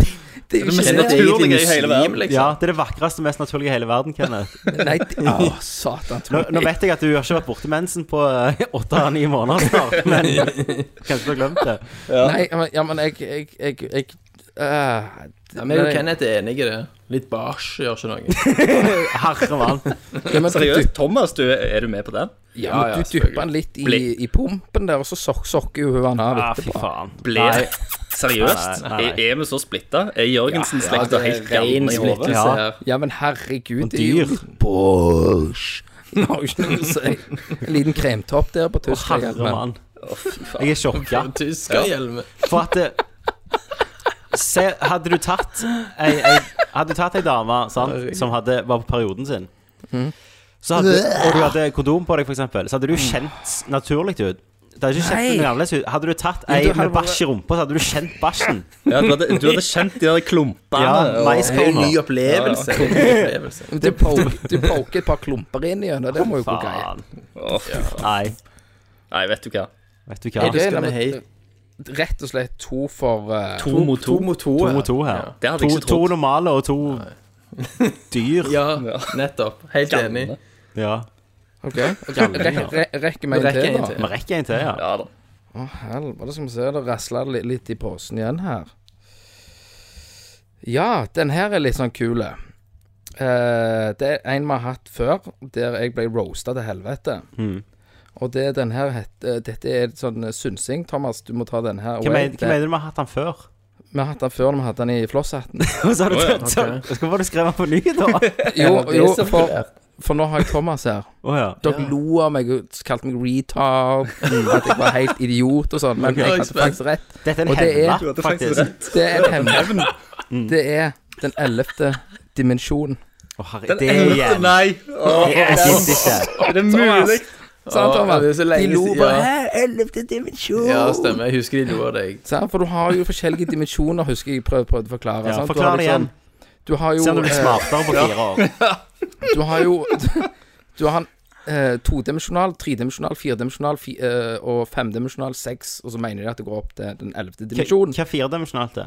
S6: (laughs)
S3: Det er
S6: Det er naturlig med mensen.
S3: jo
S2: mest
S3: ikke det.
S2: naturlige i
S4: egentlig
S2: hele
S4: muslim, liksom.
S2: verden.
S6: Ja, det er det vakreste, mest naturlige i hele verden, Kenneth. (laughs)
S3: Nei, det, å, satan.
S6: Nå, nå vet jeg at du har ikke vært borti mensen på eh, (laughs) åtte-ni måneder snart, (laughs) men kanskje du har glemt det.
S3: Nei, men- ja, men jeg Jeg, jeg, jeg øh,
S4: Ja, men jeg
S3: nei.
S4: og Kenneth er enige i det. Litt bars gjør ikke noe.
S6: Herre mann.
S3: ja, men, du,
S2: seriøst, Thomas, du, er du med på den?
S3: ja, men du dypper den litt i, i pumpen der, og så sok, sokker jo hun han av
S6: Ja, Ah, fy
S3: etterpå.
S6: faen.
S2: Ble
S6: Nei.
S2: Seriøst?
S6: Nei, nei, nei.
S2: Er- Er vi så splitta? Er Jørgensen slekta helt galen
S4: Ren
S2: i hodet?
S4: splittelse
S6: Ja.
S4: her.
S3: Ja, men herregud, det er
S6: dyr.
S3: jo (laughs) litt Bosch. Det har jo ikke noe å si. En liten kremtopp der på
S6: Å,
S3: tysk.
S6: herre mann. Jeg er sjokka.
S4: Tyskerhjelm.
S6: For at det, se, Hadde du tatt ei, ei, Hadde du tatt ei dame sant, som hadde, var på perioden sin, så hadde, og du hadde kondom på deg, f.eks., så hadde du kjent naturlig ut. Det hadde ikke kjent
S3: Nei.
S6: noe annerledes ut. Hadde du tatt ei
S3: du hadde
S6: med
S3: bare-
S6: bæsj i rumpa, så hadde du kjent bæsjen.
S2: Ja, du, hadde, du hadde kjent de der klumpene.
S6: Ja,
S2: og-
S4: Det er jo en ny
S6: maiskorner.
S4: opplevelse. Det er en ny opplevelse.
S3: Du poker, du poker et par klumper inn i den, og det må jo gå greit.
S6: Faen.
S2: Å, fy faen.
S6: Nei,
S2: Nei, vet du hva.
S6: vet du
S3: Er
S6: hva.
S3: det
S4: skal vi hei-
S3: rett og slett to for eh,
S2: To mot
S4: To
S2: to.
S4: mot to.
S6: To
S4: her.
S6: mot to her.
S2: Det hadde
S6: To,
S2: jeg ikke
S6: to
S2: trodd.
S6: normale og to
S4: (laughs)
S6: dyr.
S4: Ja, nettopp. Helt enig.
S2: Gamle.
S6: Ja.
S3: Ok, re, re, Rekker vi en
S4: Rekker
S3: til,
S4: en
S3: da?
S4: til.
S6: Vi rekker en til, ja.
S2: Ja da.
S3: Å, helvete, skal vi se. Det rasler litt, litt i posen igjen her. Ja, den her er litt sånn kul. Eh, det er en vi har hatt før, der jeg ble roasta til helvete.
S6: Hmm.
S3: Og det er den her heter Dette er sånn eh, synsing. Thomas, du må ta den her.
S6: Hva
S3: away.
S6: mener hva
S3: Det-
S6: mener du vi har hatt den før?
S3: Vi har hatt den før når vi hadde den i flosshatten.
S6: Og så har du
S2: Å, ja,
S6: tatt den. Skal bare skrive den på ny, (laughs) da.
S3: Jo,
S4: det er
S3: jo
S4: så
S3: for, for nå har jeg Thomas her.
S6: Å ja. Mm.
S3: Dere lo av meg og kalte meg retard, at jeg var helt idiot og sånn, men jeg hadde faktisk rett.
S6: Dette er
S3: Og
S6: en
S3: det er-
S6: hevn, faktisk. Å,
S3: Det er en hevn.
S6: Mm.
S3: Det er den ellevte dimensjonen.
S6: herregud. Det er igjen.
S2: Nei! Å,
S6: Det er sist ikke.
S2: er det mulig?
S3: Sant, Thomas?
S4: det er så
S3: De
S4: lenge
S3: lo
S4: siden,
S3: bare
S4: ja.
S3: Hæ, ellevte dimensjon?
S4: Ja, stemmer. Jeg husker de lo av deg.
S3: Sant, For du har jo forskjellige dimensjoner, husker jeg prøv- prøvde å forklare.
S6: Ja,
S3: sant? Du
S6: Forklar
S3: har
S6: det
S3: liksom-
S6: igjen.
S3: Du har jo
S6: Se om du blir
S3: eh,
S6: smartere på fire år.
S3: Du har jo (laughs) Du har en eh, todimensjonal, tredimensjonal, firedimensjonal fi, eh, og femdimensjonal, seks, og så mener de at det går opp til den ellevte dimensjonen.
S6: Hva er firedimensjonalt, det?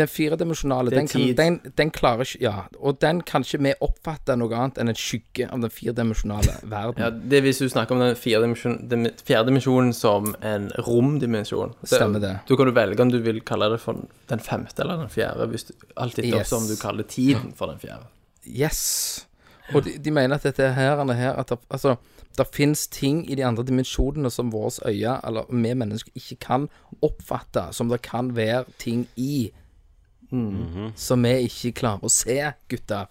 S3: Den firedimensjonale,
S4: Det er
S3: den, kan-
S4: tid.
S3: den, den klarer ikke Ja, og den kan ikke vi oppfatte noe annet enn en skygge av den firedimensjonale verden.
S4: Ja, det er hvis du snakker om den fjerde dimensjon- dim- fjerde dimensjonen som en romdimensjon. Så-
S3: Stemmer det.
S4: Da kan du velge om du vil kalle det for den femte eller den fjerde. Hvis du, alt etter
S3: Yes.
S4: som du kaller tiden for den fjerde.
S3: Yes. Og de, de mener at dette her, denne her at det, altså, det fins ting i de andre dimensjonene som våre øyne, eller vi mennesker, ikke kan oppfatte, som det kan være ting i. Som vi ikke klarer å se, gutter.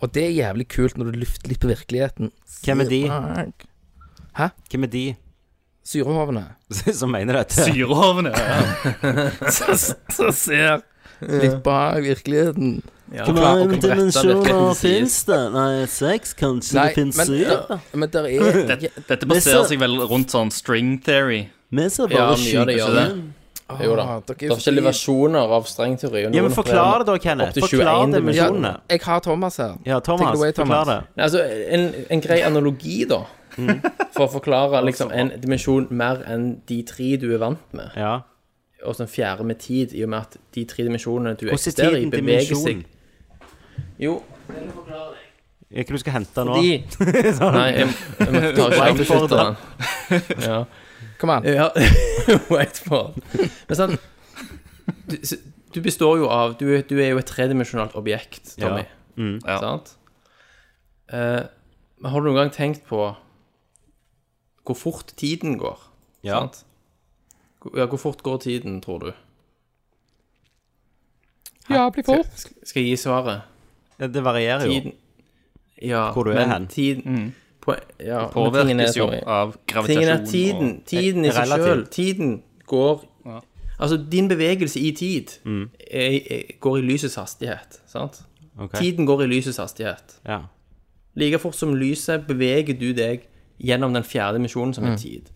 S3: Og det er jævlig kult når du lufter litt på virkeligheten.
S6: Hvem er de?
S3: Hæ?
S6: Hvem er de (laughs)
S3: Syrehovene.
S6: som mener dette?
S2: Dyrehovene.
S3: Så ser litt bak virkeligheten.
S4: Ja.
S3: Hvor mange
S4: dimensjoner finnes
S6: det? Nei, seks, kanskje
S3: Nei, men, ja, men der er
S2: Dette, dette baserer seg vel rundt sånn string theory.
S6: Vi ser
S4: Ja, mye av det gjør det. Jo da.
S3: Ah, dere
S4: Det
S3: er
S4: er
S3: jo så
S4: forskjellige versjoner av strengteori. og
S6: Ja, men
S4: noen
S6: forklar
S4: prøver-
S6: det da, Kenneth.
S4: Opp til
S6: Forklar
S4: 21
S6: dimensjonene.
S3: Jeg har Thomas her.
S6: Ja, Thomas,
S3: Take it away,
S6: forklar
S3: Thomas.
S6: det.
S4: Nei, Altså, en, en grei analogi, da. For å forklare liksom, en dimensjon mer enn de tre du er vant med.
S6: Ja.
S4: Og så en fjerde med tid, i og med at de tre dimensjonene du
S6: Hvordan er
S4: eksisterer i,
S6: tiden
S4: beveger
S6: dimensjonen?
S4: seg Jo,
S6: Er ikke du skal hente nå? (laughs)
S4: de Nei, jeg, jeg må ta
S6: Wait for
S4: skjermbeskytteren. Ja.
S3: Kom an.
S4: ja. (laughs) Wait for it. Men sant du, s- du består jo av Du, er- du er jo et tredimensjonalt objekt, Tommy.
S6: Ja. Mm.
S2: Ja.
S4: Sant? Eh, men har du noen gang tenkt på hvor fort tiden går?
S6: Ja.
S4: Sant? Ja, hvor fort går tiden, tror du?
S5: Ja, bli fort.
S4: Skal jeg gi svaret?
S6: Ja, det varierer jo.
S4: Tiden Ja,
S6: Hvor du er
S4: men
S6: hen.
S4: tiden
S5: Mm.
S4: på, ja, men tingen er,
S2: Påvirkes jo
S4: sorry.
S2: av gravitasjon
S4: Tingen er tiden. Tiden i seg
S6: Relativt.
S4: sjøl. Tiden går Altså, din bevegelse i tid
S6: Mm.
S4: er, er, går i lysets hastighet, sant?
S6: Ok.
S4: Tiden går i lysets hastighet.
S6: Ja.
S4: Like fort som lyset beveger du deg gjennom den fjerde dimensjonen, som er tid.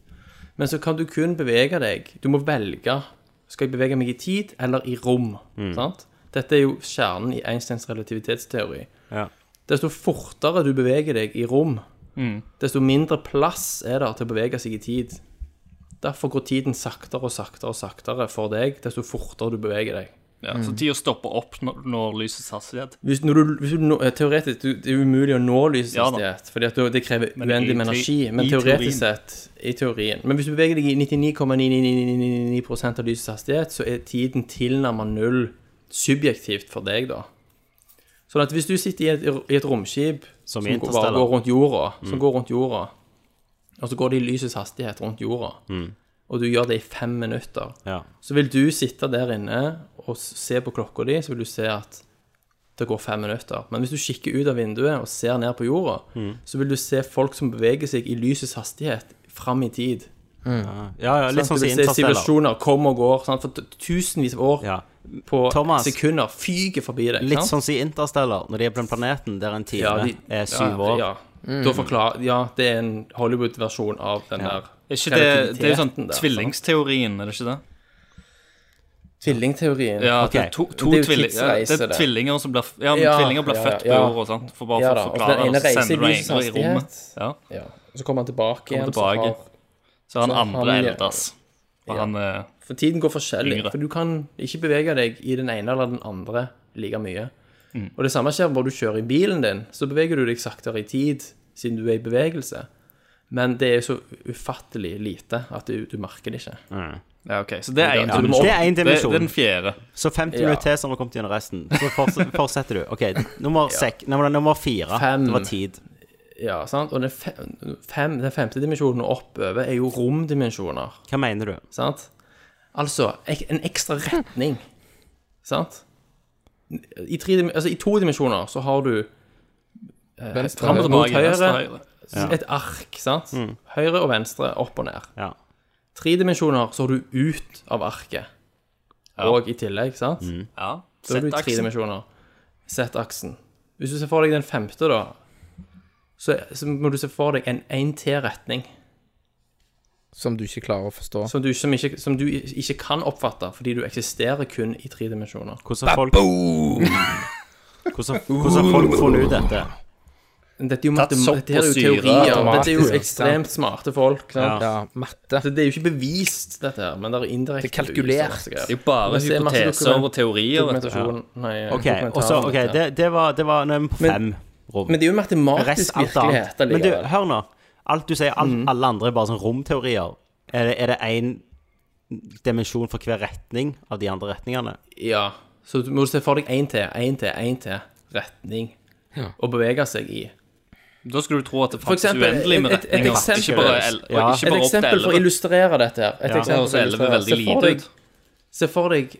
S4: Men så kan du kun bevege deg Du må velge. Skal jeg bevege meg i tid eller i rom? Sant? Dette er jo kjernen i Einsteins relativitetsteori.
S6: Ja.
S4: Desto fortere du beveger deg i rom, desto mindre plass er det til å bevege seg i tid. Derfor går tiden saktere og saktere og saktere for deg, desto fortere du beveger deg.
S2: Ja, så tida stopper opp når, når lysets hastighet.
S4: Hvis, når du, hvis du nå, eh, teoretisk du, Det er umulig å nå lysets
S2: Ja da.
S4: hastighet, fordi at du, det krever
S2: Men
S4: uendelig
S2: i
S4: med
S2: te-
S4: energi. Men
S2: i
S4: teoretisk
S2: teorien.
S4: sett, i teorien Men hvis du beveger deg i 99,99999 av lysets hastighet, så er tiden tilnærmet null subjektivt for deg, da. Sånn at hvis du sitter i et, i et romskip
S6: Som
S4: som,
S6: i
S4: går, bare
S6: Interstellar.
S4: går rundt jorda, som
S2: Mm.
S4: går rundt jorda, og så går det i lysets hastighet rundt jorda,
S2: Mm.
S4: og du gjør det i fem minutter,
S6: ja.
S4: så vil du sitte der inne og s- se på klokka di, så vil du se at det går fem minutter. Men hvis du kikker ut av vinduet og ser ned på jorda,
S6: Mm.
S4: så vil du se folk som beveger seg i lysets hastighet fram i tid. Mm.
S6: ja, ja litt sånn
S4: du
S6: som
S4: vil se
S6: Interstellar.
S4: sivilisasjoner komme og går, sant? for t- tusenvis av år
S6: Ja.
S4: på
S6: Thomas,
S4: sekunder fyker forbi deg.
S6: Litt
S4: sant?
S6: sånn som i Interstellar, når de er på den planeten der en time
S4: Ja, de-
S6: er syv år.
S4: Ja, da forklar, ja, det er en Hollywood-versjon av den der
S2: Er ikke det, det er jo sånn
S4: Relativiteten der, sant?
S2: tvillingsteorien, er det ikke det?
S4: tvillingteorien.
S2: Ja,
S6: Ok.
S2: det er to, to
S4: Det er jo
S2: tvilling, ja,
S4: tidsreise,
S2: det er
S4: det.
S2: tvillinger som blir f- Ja, men
S4: Ja,
S2: tvillinger blir
S4: ja,
S2: født
S4: ja.
S2: på jorda, sant? For bare
S4: Ja
S2: for
S4: da,
S2: å
S4: og
S2: forklare
S4: den ene
S2: og så
S4: reiser i
S2: sender du
S4: lysets
S2: en i rommet.
S4: hastighet.
S2: Ja,
S4: Ja, Så kommer han tilbake igjen. så
S2: tilbake.
S4: har-
S2: så han
S4: Så han
S2: andre
S4: er-
S2: eldes. Og han eh,
S4: For tiden går forskjellig.
S2: Yngre.
S4: For du kan ikke bevege deg i den ene eller den andre like mye.
S2: Mm.
S4: Og det samme skjer når du kjører i bilen din. Så beveger du deg saktere i tid, siden du er i bevegelse. Men det er jo så ufattelig lite at du, du merker det ikke.
S6: Mm.
S2: Ja, OK. Så det er én
S4: Ja,
S2: dimensjon.
S6: det er en dimensjon.
S2: Det er den fjerde.
S6: Så 50
S4: Ja.
S6: minutter til, så har vi kommet gjennom resten. Så forts- (laughs) fortsetter du. OK, nummer, sek, nei, men nummer fire.
S4: Fem.
S6: Det var tid.
S4: Ja, sant? Og den, fem, fem, den femte dimensjonen og oppover er jo romdimensjoner.
S6: Hva mener du?
S4: Sant? Altså ek- en ekstra retning. Sant? I, tre, dim- altså, I to dimensjoner så har du
S3: Venstre,
S4: fram og
S3: høyre. Mm.
S4: tilbake. Mot
S2: Tilbake, neste
S4: høyre.
S2: høyre.
S4: et ark, sant? Høyre og venstre, opp og ned.
S6: Ja.
S4: Tre dimensjoner så har du ut av arket. Og i tillegg, sant?
S3: Mm.
S2: Ja.
S4: Da er du i tre
S2: Z-aksen.
S4: dimensjoner. Sett aksen. Hvis du ser for deg den femte, da, så, så må du se for deg en 1T-retning
S5: Som du ikke klarer å forstå.
S4: som, du- som, ikke- som du ikke kan oppfatte, fordi du eksisterer kun i tre dimensjoner.
S6: Hvordan har folk Hvordan hvordan har folk funnet ut dette?
S4: Dette er jo,
S2: Tatt
S4: matem-
S2: sopp
S4: dette er jo
S2: og syre
S4: teorier. Dette er jo
S5: automatisk,
S4: ekstremt smarte folk. Sant?
S5: Ja, matte.
S4: Så det er jo ikke bevist, dette her, men det er indirekte
S5: Det er kalkulert.
S4: bevist, og masse greier.
S2: Det er jo bare
S4: Men det er masse
S2: hypoteser
S4: dokument-
S2: og teorier. vet du.
S4: Dokumentasjon Nei,
S6: OK,
S4: dokumentar
S6: og så,
S4: om
S6: ok,
S4: dette.
S6: det, det, var, det var Nå er vi på
S4: Men-
S6: fem rom.
S4: Men det er jo matematisk
S6: Rest alt annet.
S4: virkelighet
S6: Men du,
S4: allikevel. Mm.
S6: hør nå. Alt du sier, alt, alle andre er bare sånn romteorier. Er det- er det én dimensjon for hver retning av de andre retningene?
S4: Ja. Så du må du se for deg én til, én til, én til retning å bevege seg i.
S2: Da skulle du tro at det fantes
S4: eksempel,
S2: uendelig med
S4: et- et
S2: retninger.
S4: eksempel-
S2: ikke bare, el,
S6: Ja.
S2: og ikke
S4: Et
S2: bare opp til
S4: eksempel for å
S2: elleve.
S4: illustrere dette her. Et
S6: Ja.
S2: Det
S4: eksempel
S2: høres
S4: for å
S2: elleve
S4: illustrere.
S2: veldig
S4: Se for
S2: lite
S4: deg-
S2: ut.
S4: Se for deg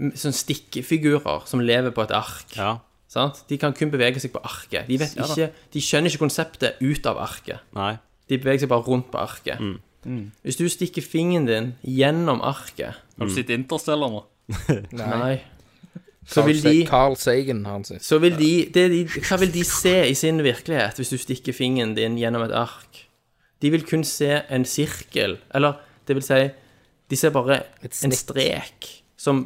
S4: mm, sånne stikkefigurer som lever på et ark.
S6: Ja.
S4: Sant? De kan kun bevege seg på arket. De, vet ikke, de skjønner ikke konseptet ut av arket.
S6: Nei.
S4: De beveger seg bare rundt på arket.
S2: Mm.
S4: Hvis du stikker fingeren din gjennom arket
S2: Har du sett Interstellar nå?
S4: Nei. Så vil de
S5: Carl Sagen, har han sitt.
S4: Så vil de, det de Hva vil de se i sin virkelighet hvis du stikker fingeren din gjennom et ark? De vil kun se en sirkel, eller det vil si De ser bare en
S5: snitt.
S4: strek som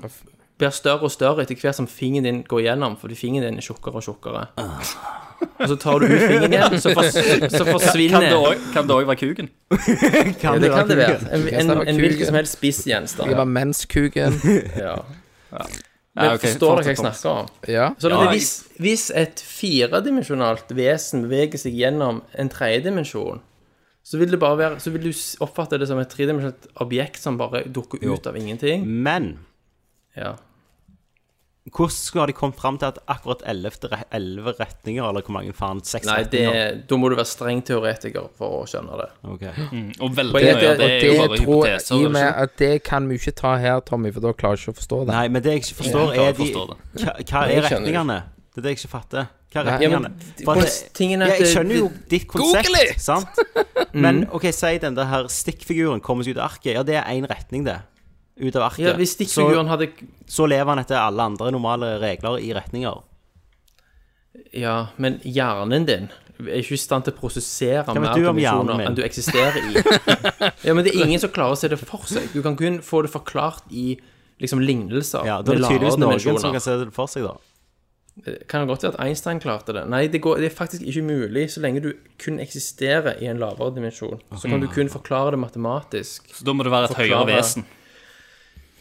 S4: blir større og større etter hvert som fingeren din går gjennom, fordi fingeren din er tjukkere og tjukkere. Og så tar du ut fingeren igjen, (laughs) så, fors, så
S2: Kan
S4: forsvinner
S2: det òg- Kan det òg være kuken?
S4: Ja, det kan det være. En,
S5: det
S4: en,
S5: var
S4: en, hvilken
S5: kuken.
S4: som helst spiss gjenstand.
S5: Det var
S3: (laughs)
S5: menskuken.
S4: Ja.
S2: Ja,
S4: Men
S2: ok,
S4: forstår dere hva
S2: fortsett,
S4: jeg snakker om?
S5: Ja.
S4: Så det
S2: Ja,
S4: er hvis, hvis et firedimensjonalt vesen beveger seg gjennom en tredimensjon, så vil, det bare være, så vil du s- oppfatte det som et tredimensjonalt objekt som bare dukker ut av ingenting.
S6: Men
S4: Ja.
S6: Hvordan skulle- har de kommet fram til at akkurat 11, re- 11 retninger, eller hvor mange faen? Seks
S4: Nei, det,
S6: retninger?
S4: da må du være streng teoretiker for å skjønne det.
S6: Ok.
S2: Mm, Og veldig
S4: Poenget
S2: nøye.
S4: er-
S2: Det,
S4: og
S2: er jo bare
S3: tror jeg,
S2: hypoteser.
S3: I og
S2: er
S3: med
S2: det ikke?
S3: at det kan vi ikke ta her, Tommy, for da klarer jeg ikke å forstå det.
S6: Nei, men det jeg ikke forstår,
S2: Jeg
S6: er
S2: klarer å
S6: de,
S2: forstå det.
S6: hva,
S4: Jeg
S6: hva er
S4: skjønner
S6: retningene? Det er det jeg ikke fatter. Hva er
S3: Nei.
S4: Ja, men
S6: retningene? For at det-
S4: tingen er
S6: ja,
S4: at eh,
S6: jeg
S4: det-
S6: skjønner jo ditt konsept,
S3: Google it!
S6: sant? Men OK, si den der her stikkfiguren kommer seg ut av arket. Ja, det er én retning, det. Ut av arket.
S4: Ja, Hvis stikkfiguren
S6: så,
S4: hadde
S6: så lever han etter alle andre normale regler i retninger.
S4: Ja, men hjernen din er ikke i stand til å prosessere
S6: vet
S4: mer
S6: du om hjernen
S4: dimensjoner
S6: min?
S4: enn du eksisterer i.
S6: (laughs)
S4: ja, men det er ingen som klarer å se det for seg. Du kan kun få det forklart i liksom lignelser.
S6: Ja, Da er det
S4: med
S6: tydeligvis
S4: lavere
S6: noen
S4: dimensjoner.
S6: som kan se det for seg, da.
S4: Kan det godt være at Einstein klarte det? Nei, det, går, det er faktisk ikke mulig så lenge du kun eksisterer i en lavere dimensjon. Så
S6: Ah.
S4: kan du kun forklare det matematisk.
S2: Så da må det være et høyere
S4: Forklare-
S2: vesen.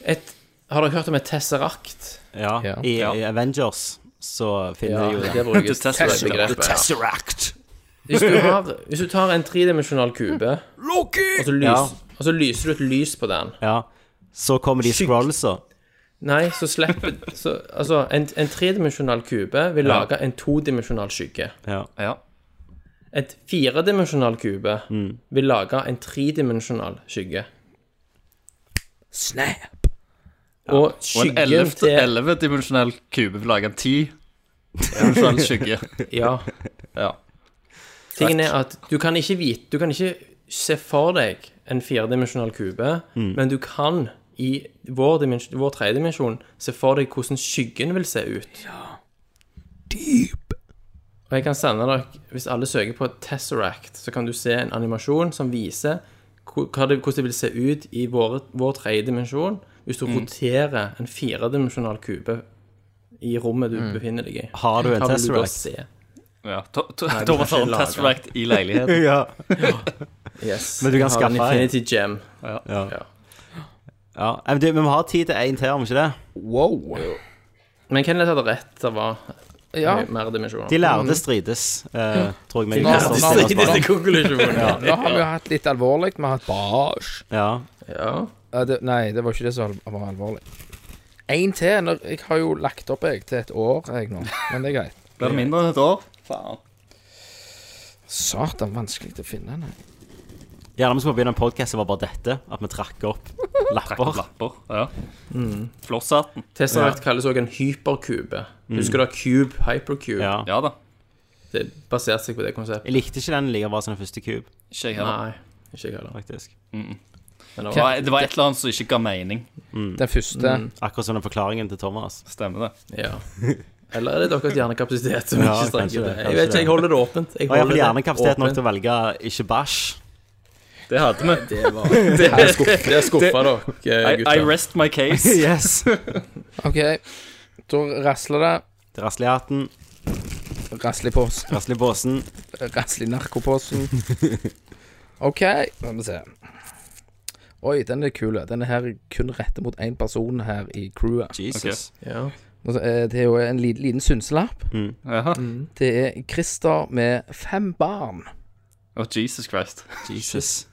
S4: Et, har dere hørt om et tesserakt?
S6: Ja,
S3: Ja.
S6: I, I Avengers så finner de jo det.
S4: det brukes
S2: The Tesseract.
S4: til begrepet, ja.
S6: Tesseract.
S4: Hvis du, har, hvis du tar en tredimensjonal kube, og så, lys,
S6: Ja.
S4: og så lyser du et lys på den
S6: Ja. Så kommer de scrollsa.
S4: Nei, så slipper så, Altså, en, en tredimensjonal kube vil
S6: Ja.
S4: lage en todimensjonal skygge.
S6: Ja.
S2: Ja.
S4: Et firedimensjonal kube vil lage en tredimensjonal skygge.
S3: Snap!
S4: Og
S2: Og en
S4: skyggen til
S2: 11-dimensjonell kube vil lage en
S4: (laughs)
S2: 10-dimensjonell skygge.
S4: Ja.
S2: Ja.
S4: Tingen er at du kan ikke vite Du kan ikke se for deg en firedimensjonal kube,
S6: Mm.
S4: men du kan i vår, dimens- vår tredimensjon se for deg hvordan skyggen vil se ut.
S3: Deep!
S4: Og jeg kan sende dere, hvis alle søker på Tesseract, så kan du se en animasjon som viser hvor- hva det, hvordan det vil se ut i vår, vår tredje dimensjon hvis
S6: Mm.
S4: du roterer en firedimensjonal kube i rommet du befinner deg i.
S6: Mm. Har du en
S4: Hva vil da
S6: Tesseract?
S4: se?
S2: ja. To, to, Thomas har en
S4: lage.
S2: Tesseract i
S4: (laughs)
S2: leiligheten.
S6: (laughs) Ja.
S4: Yes.
S6: Men du kan
S4: Jeg har en
S6: skaffe en.
S4: Infinity Gem.
S6: Ja.
S4: Ja.
S6: Ja, men du, men vi har tid til én til, har vi ikke det?
S3: Wow!
S4: Men hvem hadde rett? Det var
S3: Ja,
S4: mer dimensjoner.
S6: De lærde strides, eh, tror jeg. meg
S3: De
S6: og
S3: lærde
S6: Kristian
S3: strides.
S6: snakker om.
S4: konklusjonen.
S3: nå har vi jo hatt litt alvorlig. Vi har hatt basj.
S6: Ja.
S4: Ja.
S3: Ja, det, nei, det var ikke det som al- var alvorlig. En til. Når, jeg har jo lagt opp jeg til et år, jeg nå. Men det er greit.
S2: Blir det mindre enn et år? Faen.
S3: Satan, vanskelig å finne den. her.
S6: Gjerne vi skulle begynne en podkast som var bare dette. At vi (laughs) trakk opp
S2: Trekker
S6: lapper.
S2: lapper. Ja.
S4: Mm.
S2: Flosshatten.
S4: Tesseract kalles òg en hyperkube. Husker du Cube, Hypercube?
S6: Mm. Ja.
S2: Ja da.
S4: Det baserte seg på det konseptet.
S6: Jeg likte ikke den like bra som den første kube,
S2: Ikke jeg heller.
S4: Nei, ikke jeg heller.
S6: faktisk.
S4: Men det
S2: Det
S4: var
S2: var, det var et eller annet som ikke ga mening.
S3: Den første.
S6: Akkurat som den forklaringen til Thomas.
S2: Stemmer det.
S4: Ja. Eller er det deres hjernekapasitet som
S6: Ja,
S4: ikke
S6: kanskje
S4: strekker
S6: det,
S4: det?
S6: kanskje
S4: Jeg vet ikke, jeg holder det åpent. Jeg
S6: Og jeg har
S4: holder
S6: hjernekapasitet nok til å velge ikke bæsj.
S4: Det hadde
S6: (laughs)
S4: vi. Det var Det er skuff- det er skuffa dere, eh,
S2: I, I
S4: gutter.
S2: rest my
S4: (laughs)
S2: case.
S6: Yes.
S3: OK. Da rasler det.
S6: Rasle i hatten,
S3: Rasler i posten.
S6: rasle i båsen.
S3: Rasler i narkoposen. OK, la vi se. Oi, den er kul. Den er her kun rettet mot én person her i crewet.
S6: Jesus.
S4: Ja.
S3: Altså, eh, Det er jo en liten, liten synselapp.
S2: Jaha.
S6: Mm.
S3: Det er Christer med fem barn.
S2: Oh, Jesus Christ.
S6: Jesus.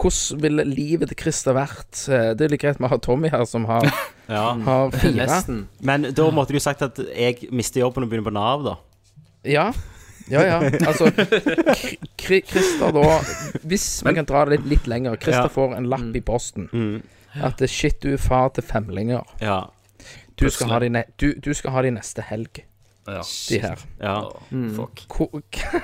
S3: Hvordan ville livet til Christer vært? Eh, Det er litt greit vi har Tommy her, som har,
S6: Ja.
S3: har fire.
S4: Nesten.
S6: Men da måtte du sagt at jeg mister jobben og begynner på Nav, da.
S3: Ja. Ja, ja. Altså, Kri- Kri- Christer da Hvis vi kan dra det litt, litt lenger Christer
S6: Ja.
S3: får en
S6: Mm.
S3: lapp i posten. At det, shit, du er far til femlinger.
S6: Ja.
S3: Du skal, ha de ne du, du skal ha de neste helg,
S2: Ja.
S3: de her.
S6: ja.
S4: Mm.
S2: Fuck.
S3: Hvor, k-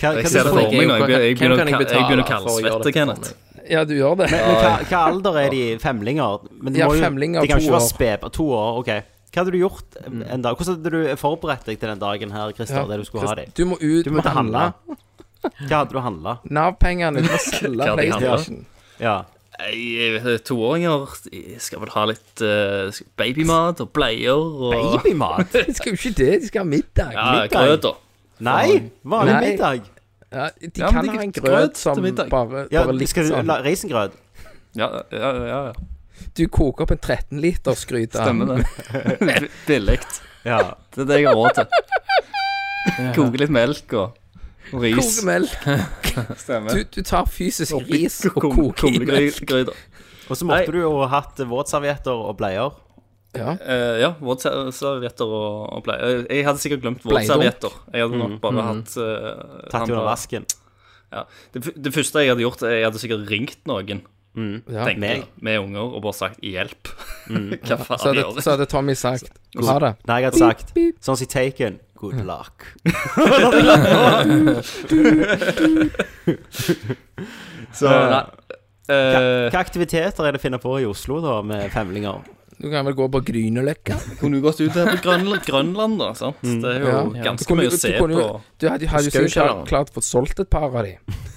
S6: Hva, hva,
S2: Jeg ser det for meg nå. Jeg begynner-
S4: Hvem
S2: Jeg
S4: kan
S2: begynner
S4: jeg
S2: å ka- jeg begynner
S4: betale
S2: å
S4: for å gjøre dette
S2: kaldsvette,
S4: for
S2: Kenneth.
S4: meg?
S3: (laughs) ja, du gjør det.
S6: Men hva, hva alder er de? Femlinger? Men det
S3: Ja,
S6: må jo-
S3: femlinger,
S6: de kan jo
S3: to
S6: ikke være
S3: år. Mm.
S6: spep... To år, ok. Hva hadde du gjort en dag? Hvordan hadde du forberedt deg til den dagen her, Christer,
S3: Ja,
S6: der du skulle ha dem?
S3: Du må ut
S6: Du
S3: og
S6: måtte handle.
S3: handle.
S6: Hva hadde du handla?
S3: Nav-pengene. Du må selge
S2: Hva de handler.
S3: PlayStation.
S6: Ja.
S3: (laughs)
S2: Jeg vet ikke, Toåringer skal vel ha litt eh, babymat og bleier og
S6: Babymat?
S3: (laughs) De skal jo ikke det. De skal ha middag.
S2: Ja,
S6: middag.
S2: grøt og
S6: Nei! Vanlig
S3: Nei.
S6: middag.
S3: Ja, de
S2: Ja, men
S3: kan
S2: de-
S3: ha en
S2: grøt
S3: grøt
S2: til
S3: som bare,
S2: middag.
S3: bare
S6: Ja,
S3: litt
S6: skal du
S3: sånn.
S6: la Risengrøt?
S2: Ja, ja, ja. ja.
S3: Du koker opp en 13 liters gryte.
S2: Stemmer det. (laughs) Billig.
S6: Ja.
S2: Det er det jeg har råd til. Koke litt melk og, og ris.
S3: Kokemelk.
S2: Stemmer.
S3: Du, du tar fysisk ris og
S2: Kom-
S3: koker i melk.
S2: Kumlegryter.
S6: Og så måtte du jo hatt våtservietter og bleier.
S5: Ja.
S2: Eh, ja, våtservietter og, og blei... eh, Jeg hadde sikkert glemt
S5: Bleidunk.
S2: våtservietter. Jeg hadde nok bare hatt eh,
S6: Tatt
S2: han
S6: under
S2: bare-
S6: vasken.
S2: Ja. Det, f- det første jeg hadde gjort, er jeg hadde sikkert ringt noen
S6: Mm.
S5: Ja.
S2: tenkte jeg,
S6: Meg.
S2: med unger og bare sagt 'hjelp'. (laughs) Hva faen
S5: Så hadde,
S2: gjør
S5: så
S2: du?
S5: hadde Tommy sagt Ha det.
S6: Nei, jeg hadde sagt sånn som i Taken Good luck. (laughs)
S2: Så, nei. Eh,
S6: Hva aktiviteter er det å finne på i Oslo, da, med femlinger?
S5: Du kan vel gå på Grünerløkka?
S2: kunne jo gått ut her på Grønland, Grønland da. sant? Mm. Det er jo
S5: Ja. Du
S2: ganske
S5: kunne-
S2: mye å
S5: du
S2: se
S5: kunne
S2: på.
S5: jo- Du hadde, hadde jo
S4: Skaukjelleren.
S5: sikkert klart- klart fått solgt et par av de.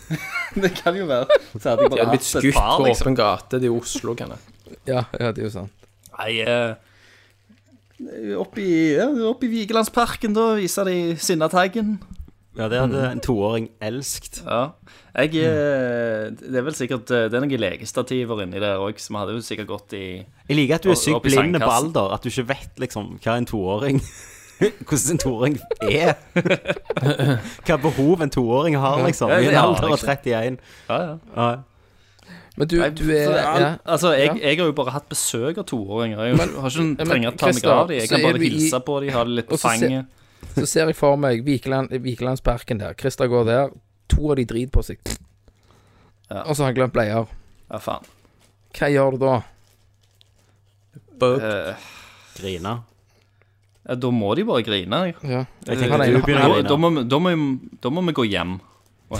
S2: (laughs) Det kan jo være. Så hadde
S4: De
S2: jeg bare
S4: hadde blitt
S2: hatt et
S4: skutt
S2: par,
S4: på
S2: liksom.
S4: åpen gate. Det er jo Oslo, kan jeg.
S5: Ja, ja, det er jo sant.
S2: Nei, eh, opp i, ja, opp i Vigelandsparken, da, viser de Sinnataggen.
S6: Ja, det hadde en toåring elsket.
S2: Ja. Jeg, eh, det er vel sikkert eh, Det er noen legestativer inni der òg, som hadde jo sikkert gått i
S6: Jeg liker at du er
S2: Og-
S6: sykt
S2: opp i
S6: blind på
S2: sandkassen.
S6: alder. At du ikke vet liksom hva en toåring (laughs) Hvordan en toåring er. hva behov en toåring har, liksom.
S2: Ja,
S6: I en
S2: ja,
S6: alder av
S2: liksom.
S6: 31.
S2: Ja, ja.
S6: Ja.
S5: Men du,
S2: Jeg,
S5: du er ja.
S2: Altså, jeg, jeg har jo bare hatt besøk av toåringer. Jeg har jo- har ikke
S5: men,
S2: trenger å ta meg
S5: Christer,
S2: av dem.
S5: så
S2: Jeg kan
S5: er
S2: bare
S5: vi i-
S2: hilse på dem, ha dem litt på
S5: Og så se-
S2: fanget.
S5: Så ser jeg for meg Vikeland, Vikelandsparken der. Christer går der. To av de driter på seg.
S2: Ja.
S5: Og så har han glemt bleier.
S2: Ja, faen.
S5: Hva gjør du da?
S2: Eh,
S6: Grine.
S2: ja, da må de bare grine.
S5: Ja.
S6: Jeg
S2: Eh,
S6: tenker
S5: han er-
S6: at du
S5: han-
S2: Da,
S6: begynner å
S2: da,
S6: grine.
S2: må, vi- da, må, vi- da må vi gå hjem og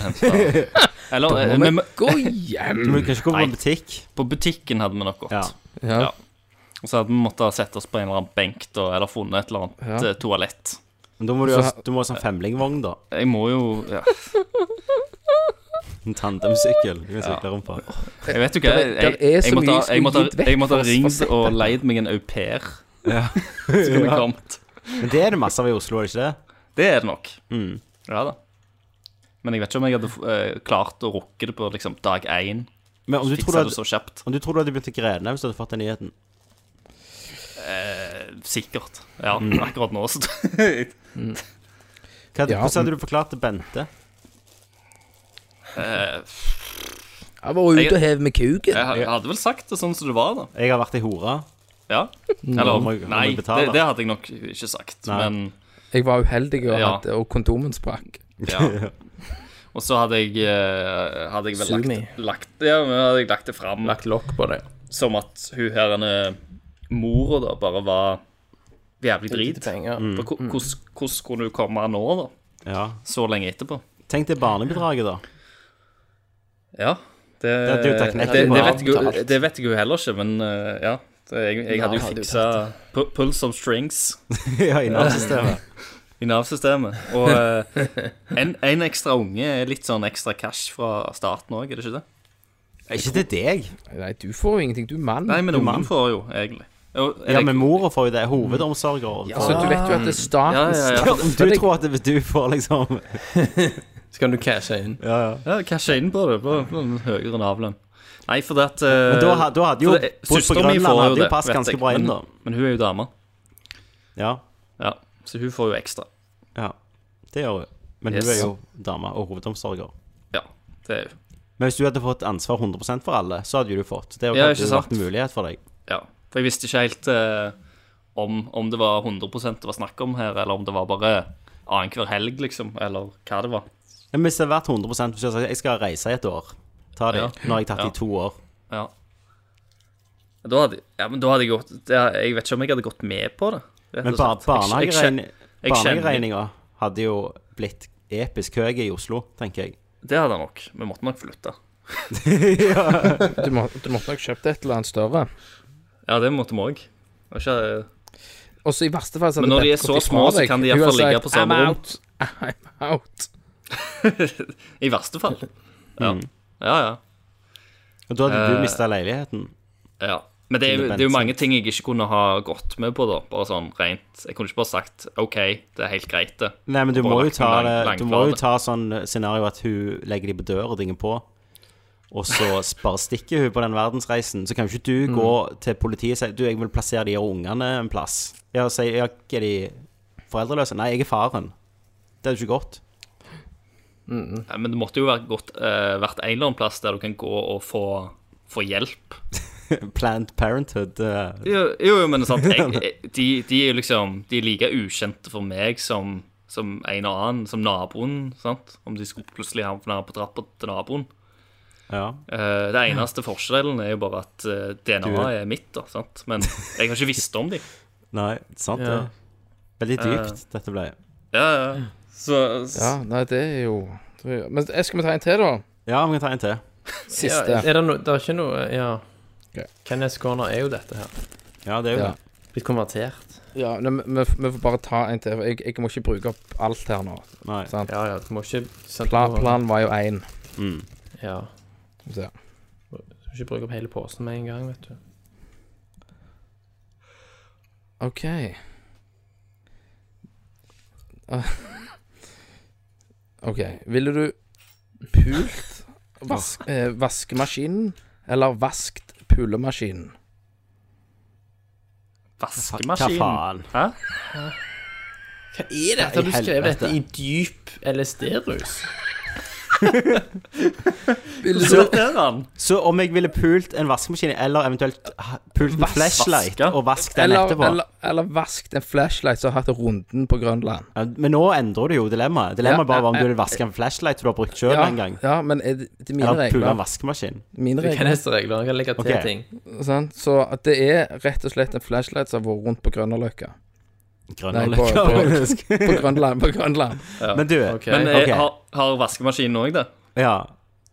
S5: (laughs)
S2: hente dem. Eller eh, vi må-
S5: Gå
S6: Du må
S5: hjem!
S6: kanskje gå på en butikk.
S2: på butikken hadde vi nok gått.
S6: Ja.
S5: Ja.
S2: Og så hadde vi måttet sette oss på en eller annen benk da, eller funnet et eller annet
S5: Ja.
S2: eh, toalett.
S6: Men da må du,
S5: Så-
S6: ha- du må ha sånn femlingvogn, da.
S2: Jeg må jo ja.
S6: En tandemsykkel. Du kan sykle rundt på.
S2: Jeg vet jo hva jeg, jeg,
S5: Det er så
S2: jeg, måtte,
S5: mye
S2: ha- jeg, måtte,
S5: skulle gitt vekk
S2: jeg måtte ha
S5: for- for
S2: ringt
S5: sett
S2: og
S5: dette.
S2: leid meg en au pair. (laughs) Så kunne jeg kommet.
S6: Men det er det masse av i Oslo, er det ikke det?
S2: Det er det nok.
S6: Mm.
S2: Ja da. Men jeg vet ikke om jeg hadde eh, klart å rukke det på liksom, dag én.
S6: Men om du tror du
S2: Fiksa det
S6: hadde,
S2: så kjapt.
S6: om du tror du hadde begynt å grene hvis du hadde fått den nyheten
S2: Eh, Sikkert. Ja,
S6: Mm.
S2: akkurat
S6: (laughs)
S2: nå, så
S6: Hva,
S5: Ja.
S6: Hvordan hadde du forklart til Bente?
S2: eh,
S5: Jeg var ute og hev med kuken.
S2: Jeg ha- hadde vel sagt det sånn som det var, da.
S6: Jeg har vært ei hore.
S2: Ja.
S6: Nå
S2: Eller
S6: må jeg- nå må
S2: nei,
S6: jeg
S2: det,
S6: betale.
S2: det hadde jeg nok ikke sagt.
S6: Nei.
S2: Men
S5: Jeg var uheldig og,
S2: Ja.
S5: hadde, og kondomen sprakk.
S2: Ja. Og så hadde jeg, eh, hadde jeg
S4: Sug
S2: vel
S4: me.
S2: lagt, lagt, ja, men hadde jeg lagt det fram
S4: Lagt lokk på deg.
S2: som at hun her denne mora da bare var jævlig drit.
S4: Penger.
S2: For
S6: Mm.
S2: ko- Hvordan hvordan kunne hun komme nå, da?
S6: Ja.
S2: Så lenge etterpå?
S6: Tenk det barnebidraget, da.
S2: Ja. Det,
S6: hadde jo
S2: det,
S6: teknikken
S2: det,
S6: bare
S2: vet jeg, jo-
S6: avbetalt.
S2: det vet jeg jo heller ikke, men eh, ja. Det- Jeg, jeg hadde jo
S4: hadde jo
S2: fiksa pu- pull some strings
S6: ja, i Nav-systemet.
S2: i Nav-systemet. Og eh,
S6: (laughs)
S2: en, en ekstra unge er litt sånn ekstra cash fra staten òg, er det ikke det?
S6: Er (laughs) ikke det deg?
S5: Nei, du får jo ingenting. Du er mann.
S2: Nei, men ungen
S6: mann.
S2: får jo egentlig. Og,
S6: Ja,
S2: jeg-
S6: men mora får jo det. Hovedomsorger.
S5: Så du vet jo at det er staten
S2: Ja, ja, ja.
S6: Ja, om du tror at hvis du får liksom
S4: Så kan du cashe inn.
S6: Ja, ja.
S2: Ja, cashe inn på det. På, på en høyere navlønn. Nei, for det at eh,
S6: Men da, ha- da hadde jo
S2: for det-
S6: bodd på
S2: søsteren min
S6: Grønland
S2: får
S6: hadde jo passet
S2: vet
S6: ganske
S2: jeg,
S6: bra inn, da.
S2: men, men hun er jo dame.
S6: Ja,
S2: Ja, så hun får jo ekstra.
S6: ja. Det gjør hun. Men
S2: Yes.
S6: hun er jo dame og hovedomsorger.
S2: Ja, det er hun.
S6: Men hvis du hadde fått ansvar 100 for alle, så hadde jo du fått. Det hadde
S2: Ja,
S6: jo
S2: ikke sant.
S6: vært en mulighet for deg.
S2: Ja. For jeg visste ikke helt eh, om, om det var 100 det var snakk om her, eller om det var bare annenhver helg, liksom, eller hva det var.
S6: Men hvis det hadde vært 100 hvis jeg hadde sagt jeg skal reise i et år, ta det.
S2: Ja.
S6: Nå har jeg tatt det
S2: Ja.
S6: i to år.
S2: Ja. Da hadde, ja, men da hadde jeg gått det, Jeg vet ikke om jeg hadde gått med på det. rett
S6: Men
S2: og slett. Jeg- jeg
S6: barnehageregning-
S2: kjen- jeg kjenner-
S6: barnehageregninga hadde jo blitt episk høy i Oslo, tenker jeg.
S2: Det hadde jeg nok. Vi måtte nok flytte.
S5: Du, må, du måtte nok kjøpt et eller annet større.
S2: Ja, det måtte vi òg. Det var ikke eh,
S5: Og så i verste fall så hadde
S2: Men når de
S5: Bente
S2: er så
S5: gått ifra
S2: små, så
S5: deg.
S2: kan de
S5: Hun
S2: iallfall
S5: hadde
S2: ligge
S5: sagt,
S2: på samme
S5: I'm
S2: rom."
S5: out. (laughs) I'm out.
S2: I verste fall. Ja, ja. ja.
S6: Og da hadde
S2: Eh,
S6: du mista leiligheten.
S2: ja. Men det er, jo-
S6: Independent.
S2: det er jo mange ting jeg ikke kunne ha gått med på, da. Bare sånn rent. Jeg kunne ikke bare sagt OK, det er helt greit, det.
S6: Nei, men du
S2: og
S6: må
S2: bare
S6: jo
S2: lagt
S6: ta
S2: en
S6: det
S2: lang-
S6: Du
S2: lang
S6: må jo
S2: plate.
S6: ta sånn scenario at hun legger de på døra og dinger på, og
S2: (laughs)
S6: så s- bare stikker hun på den verdensreisen. Så kan jo ikke du
S2: Mm.
S6: gå til politiet og si Du, jeg vil plassere de her ungene en plass. Ja, og si ja, Er de foreldreløse? Nei, jeg er faren. Det er jo ikke godt.
S2: Nei, Men det måtte jo vært, gått, eh, vært en eller annen plass der du kan gå og få, få hjelp.
S6: (laughs) Planned Parenthood. eh,
S2: Jo, jo, jo, men sant, (laughs) jeg, jeg- de, de er jo liksom De er like ukjente for meg som, som en og annen, som naboen. sant? Om de skulle plutselig havne på trappa til naboen.
S6: ja.
S2: Eh, det eneste forskjellen er jo bare at eh, DNA
S6: Du-
S2: er mitt, da, sant? men jeg har ikke visst om dem.
S6: Nei, sant det.
S4: Ja.
S6: Veldig
S2: Eh.
S6: dypt, dette ble.
S2: Ja, ja. Så,
S3: Ja, nei, det er jo det er jo- Men eh, skal vi ta en til, da?
S6: Ja, vi kan ta en til.
S3: Siste.
S4: Ja, er det, no, det er ikke noe Ja.
S3: Ok.
S4: Kenneth Corner er jo dette her.
S6: Ja, det er jo
S3: Ja.
S6: det.
S4: Blitt konvertert.
S3: Ja, nei, men vi, vi får bare ta en til. for Jeg, jeg må ikke bruke opp alt her nå.
S6: Nei.
S3: Sant?
S4: Ja, ja, du må ikke sende
S3: Pla,
S4: på-
S3: planen var jo én.
S6: Mm.
S4: Ja.
S3: Skal vi se.
S4: Du må ikke bruke opp hele posen med en gang, vet du.
S3: OK. Ah. (laughs) OK. Ville du pult vas eh, vaskemaskinen eller vaskt pulemaskinen?
S6: Hva
S2: Vaskemaskin.
S6: faen?
S2: Hæ?
S4: Hva er dette? Har du skrevet dette i dyp (laughs) LSD-rus?
S3: Ville
S2: Så
S3: du
S2: der er han.
S6: Så om jeg ville pult en vaskemaskin, eller eventuelt ha- pult en flashlight
S2: Vaske?
S6: og vask den
S3: eller,
S6: etterpå
S3: eller, eller vaskt en flashlight som har hatt runden på Grønland?
S6: ja, Men nå endrer du jo dilemmaet. Dilemmaet
S3: Ja,
S6: bare var om
S3: ja,
S6: du vil vaske en flashlight du har brukt sjøl
S3: Ja,
S6: en gang.
S3: ja, men er det, det er mine
S6: Eller pule en
S3: regler.
S6: vaskemaskin.
S3: Mine
S4: Du kan
S3: regler
S4: neste regler. Jeg kan legge til
S6: Ok.
S4: ting.
S3: sant? Så at det er rett og slett en flashlight som har vært rundt på Grønnerløkka. Nei,
S6: Grønne
S3: på, på, (laughs) på Grønland. På Grønland.
S6: (laughs) Men du,
S4: Ok.
S2: Men
S6: Ok.
S2: eh, har, har vaskemaskinen òg det?
S6: ja.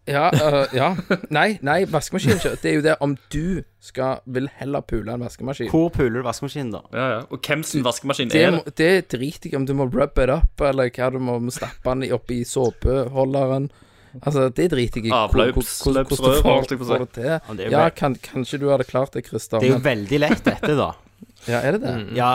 S3: Ja, øh, ja. Nei, nei, vaskemaskin ikke. Det er jo det om du skal, vil heller pule en vaskemaskin.
S6: Hvor puler du vaskemaskinen, da?
S2: Ja, ja. Og hvem sin vaskemaskin
S3: Det,
S2: er det?
S3: må- det driter jeg i om du må rub it up, eller hva du må må stappe den i oppi såpeholderen. Altså, det driter jeg i. Hvor- hvor- hvor-
S2: Avløpsløpsrør,
S3: hvordan du får-
S2: holdt jeg på å si.
S3: får det til.
S6: det er jo
S3: Ja,
S6: vel-
S3: kan, kanskje du hadde klart det, Christer.
S6: Det er jo Mm.
S3: Men,
S6: veldig lett, dette,
S3: (laughs)
S6: da.
S3: ja, er det det?
S6: Ja,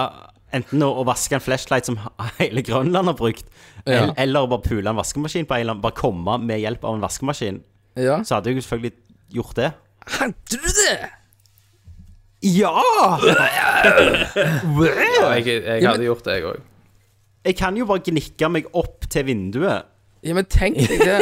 S6: enten å, å vaske en flashlight som (laughs) hele Grønland har brukt,
S3: Ja.
S6: el- eller å bare pule en vaskemaskin på en eller annen Bare komme med hjelp av en vaskemaskin.
S3: Ja.
S6: Så hadde jeg jo selvfølgelig gjort det.
S3: Hadde du det?
S6: Ja!
S4: Ja, jeg, jeg hadde gjort det, jeg òg.
S6: Jeg kan jo bare gnikke meg opp til vinduet.
S3: Ja, men tenk deg
S6: (laughs)
S3: det.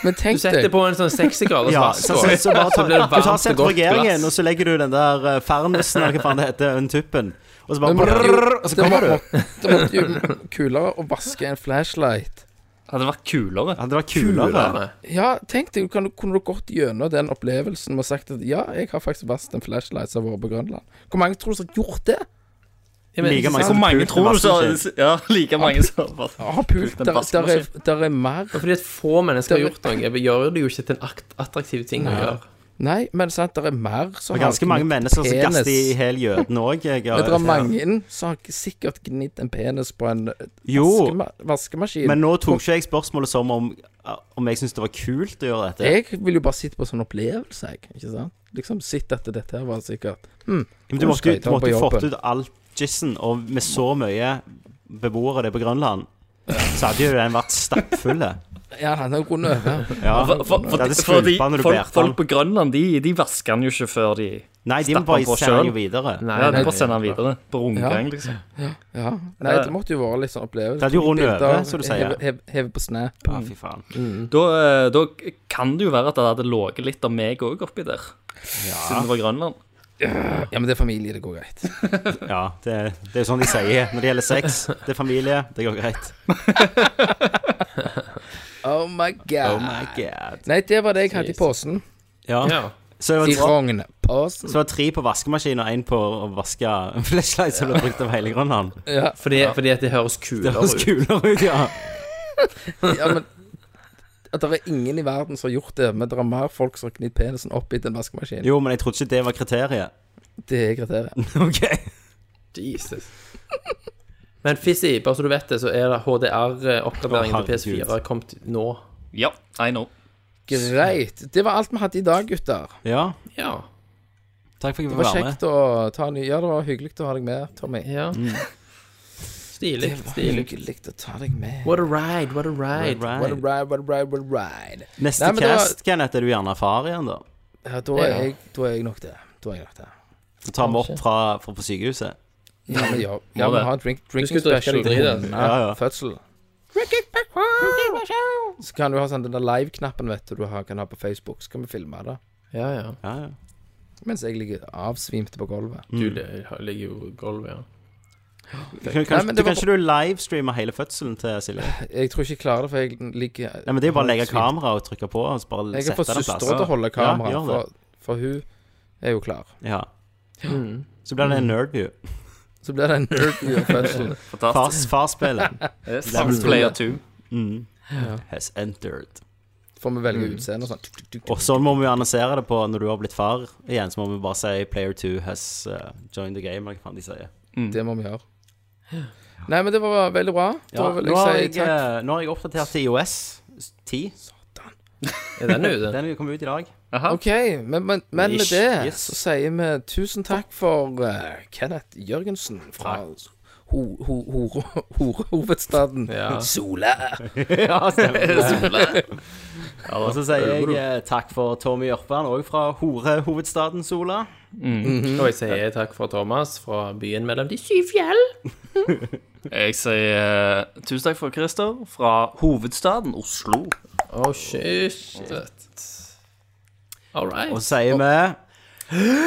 S3: men tenk
S4: Du setter
S3: deg
S4: på en sånn 60 graders
S6: Ja, så, så,
S4: vaskål,
S6: så
S4: (laughs)
S6: bare ta,
S4: blir det
S6: du tar
S4: varmt og godt
S6: sentrifugeringen, og
S4: glass.
S6: så legger du den der eh, fernusen, eller hva faen det heter, den tuppen, og så bare
S3: Men-
S6: brrrr, og så
S3: Det må-
S6: kommer du.
S3: måtte- Det måtte jo kulere å vaske en flashlight.
S2: Hadde vært kulere.
S6: Hadde det vært kulere?
S3: Ja, tenk deg, kan, kunne du gått gjennom den opplevelsen med å sagt at ja, jeg har faktisk vasket en flashlight som har vært på Grønland. Hvor mange tror du som har gjort det?
S4: Ja, men-
S6: Like mange
S2: Hvor
S6: som
S2: mange
S6: pulte
S2: tror du så
S6: vaskemaskin.
S2: Ja, like mange som
S3: Har pult
S2: Pult en
S3: der, der, er,
S2: vaskemaskin.
S3: der er mer
S4: Fordi at få mennesker har
S3: Det-
S4: gjort noe. Jeg gjør det jo ikke til en akt attraktiv ting å gjøre.
S3: Nei, men sant, der er mer som
S6: Det er ganske mange mennesker som
S3: penis.
S6: gaster i hel jøden òg.
S3: Men det er mange som har sikkert gnidd en penis på en
S6: Jo,
S3: vaskema vaskemaskin.
S6: men nå tok ikke jeg spørsmålet som om, om jeg syntes det var kult å gjøre dette.
S3: Jeg vil jo bare sitte på sånn opplevelse, jeg. Ikke sant? Liksom sitte etter dette her var sikkert hm,
S6: Men du
S3: hvor
S6: måtte
S3: skal
S6: jo
S3: jeg
S6: du
S3: ta
S6: måtte
S3: på
S6: jo fått
S3: jobben?
S6: ut all gissen, og med så mye beboere det er på Grønland, så hadde jo den vært stappfulle.
S3: Ja, han har kunnet øve.
S6: Ja.
S2: For, for, for,
S6: Det er
S2: fordi
S6: skvulpene når du
S2: folk,
S6: bærte
S2: folk
S6: den.
S2: på Grønland, de, de vasker den jo ikke før de
S6: Nei,
S2: Stappe
S6: de må
S2: den
S6: bare
S2: på
S6: sende den
S2: sjøen.
S6: jo videre.
S4: Nei,
S2: Ja, de
S4: nei,
S2: bare sender den videre. På rundgang, liksom.
S3: Ja. Nei, det måtte jo være litt sånn opplevelse.
S6: Det hadde jo rundt
S3: Bilder,
S6: øve, som du sier.
S3: heve- heve- Heve på snap.
S6: Ja, fy faen.
S2: Da, eh, da kan det jo være at det hadde ligget litt av meg òg oppi der. Siden det var Grønland.
S3: Ja, men det er familie, det går greit.
S6: Ja, det, det er jo sånn de sier når det gjelder sex. Det er familie, det går greit.
S3: Oh my god.
S6: Oh my god.
S3: Nei, det var det jeg hadde i posen.
S6: Ja.
S4: Ja.
S6: Så det
S3: I
S6: var,
S3: rognposen.
S6: så det var tre på vaskemaskin og én på å vaske flashlight som ble brukt av hele Grønland.
S3: (laughs) Ja,
S4: Fordi, fordi at det høres
S6: Det
S4: kulere
S6: høres
S4: ut.
S6: kulere ut, ja.
S3: ja, men at det er ingen i verden som har gjort det, men det er mer folk som har gnidd penisen opp i den vaskemaskinen.
S6: Jo, men jeg trodde ikke det var kriteriet.
S3: Det er kriteriet.
S6: Ok.
S4: Jesus. Men Fizzy, bare så du vet det, så er det HDR-oppgraderingen
S6: Å,
S4: til PS4
S6: herregud.
S4: kommet nå.
S2: Ja, I know.
S3: Greit. Det var alt vi hadde i dag, gutter.
S6: Ja,
S4: Ja.
S6: takk for at jeg
S3: Det
S6: fikk
S3: var
S6: være med.
S3: kjekt å ta en ny Ja, det var hyggelig å ha deg med, Tommy.
S4: ja. Stilig.
S3: Det var
S4: Stilig.
S3: hyggelig å ta deg med.
S4: What a ride, what a ride.
S3: What a
S6: Alright.
S3: ride, what a ride, what a ride.
S6: Neste
S3: Nei, men det var-
S6: cast, Kenneth, er du gjerne far igjen, da?
S3: Ja, da er jeg, da er jeg nok det. Da er jeg nok det.
S6: Så tar vi opp fra, fra på sykehuset.
S3: Ja, men ja, ja
S2: Må det.
S3: vi har en drink, drinking
S4: Du skulle drikke
S3: special eh,
S4: deg drit,
S3: under
S6: Ja, ja.
S3: fødsel. Så kan du ha sånn den der live-knappen vet du, du har, kan ha på Facebook, så kan vi filme det.
S4: Ja, ja.
S6: Ja, ja.
S3: Mens jeg ligger avsvimte på gulvet.
S4: Du li- ligger jo i gulvet, ja.
S6: Kan,
S3: Nei,
S6: kanskje,
S3: men
S6: du,
S3: det var Eh,
S6: kanskje du livestreamer hele fødselen til Silje?
S3: Jeg tror ikke jeg klarer det, for jeg ligger
S6: Nei, men Det er jo bare å legge
S3: Svimt.
S6: kamera og trykke på. Og så bare
S3: Jeg har
S6: sette
S3: fått
S6: den en plass.
S3: søstera til å holde kamera,
S6: Ja, gjør det.
S3: for, for hun er jo klar.
S6: Ja.
S4: Mm.
S6: Så blir det en nerdview.
S3: Så blir det en nerdview
S6: (laughs)
S3: av fødselen.
S2: Fantastisk.
S6: Fars, farspillet.
S2: Level player 2.
S6: (laughs) Mm. Has entered.
S3: Får vi
S6: Mm.
S3: velge utseende og sånn. Tuk, tuk, tuk.
S6: Og så må vi jo annonsere det på når du har blitt far igjen. Så må vi bare si 'Player 2 has uh, joined the game', eller hva faen de sier.
S3: Det må vi gjøre. Nei, men det var veldig bra. Da
S6: Ja,
S3: vil
S6: nå, har
S3: jeg
S6: jeg,
S3: si takk.
S6: eh, nå har jeg oppdatert til IOS 10.
S4: Er den
S6: (laughs)
S4: ute?
S6: Den kom ut i dag.
S3: OK, men, men, men med
S6: Ish,
S3: det
S6: yes.
S3: så sier vi tusen takk for eh, Kenneth Jørgensen fra ho- ho- hore- (laughs) horehovedstaden
S4: Ja.
S3: Sola.
S6: ja, stemmer. Og så sier jeg eh, takk for Tommy Jørpeland, òg fra horehovedstaden Sola.
S4: Og jeg sier takk fra Thomas fra byen mellom de syv fjell.
S2: Jeg sier eh, tusen takk for Christer fra hovedstaden Oslo.
S4: Å, shit. All right.
S6: Og så sier vi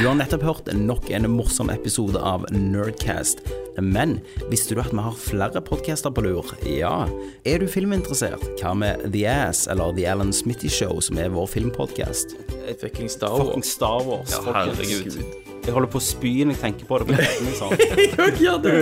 S6: Du har nettopp hørt nok en morsom episode av Nerdcast. Men visste du at vi har flere podcaster på lur? Ja. Er du filminteressert? Hva med The Ass eller The Alan Smitty Show, som er vår filmpodcast?
S4: Fucking Star
S6: Fucking Star Wars. folkens.
S2: herregud.
S6: Jeg holder på å spy når jeg tenker på det. på kvelden, sånn.
S4: Jeg (laughs) gjør det.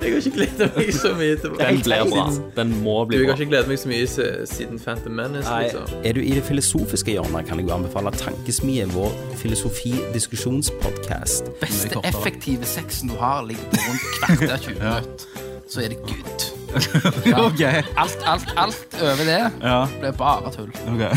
S4: Jeg har ikke gledet meg så mye til
S2: Den blir bra. Den må
S4: Du,
S2: bli
S4: jeg har
S2: bra.
S4: ikke gledet meg så mye se- siden Phantom Menace, liksom.
S6: Er du i det filosofiske hjørnet, kan jeg jo anbefale Tankesmie, vår filosofi-diskusjonspodkast.
S8: beste effektive sexen du har, ligger på rundt kvarter 20 minutter. Så er det good. Ja. Alt, alt, alt over det blir bare tull.
S6: (laughs)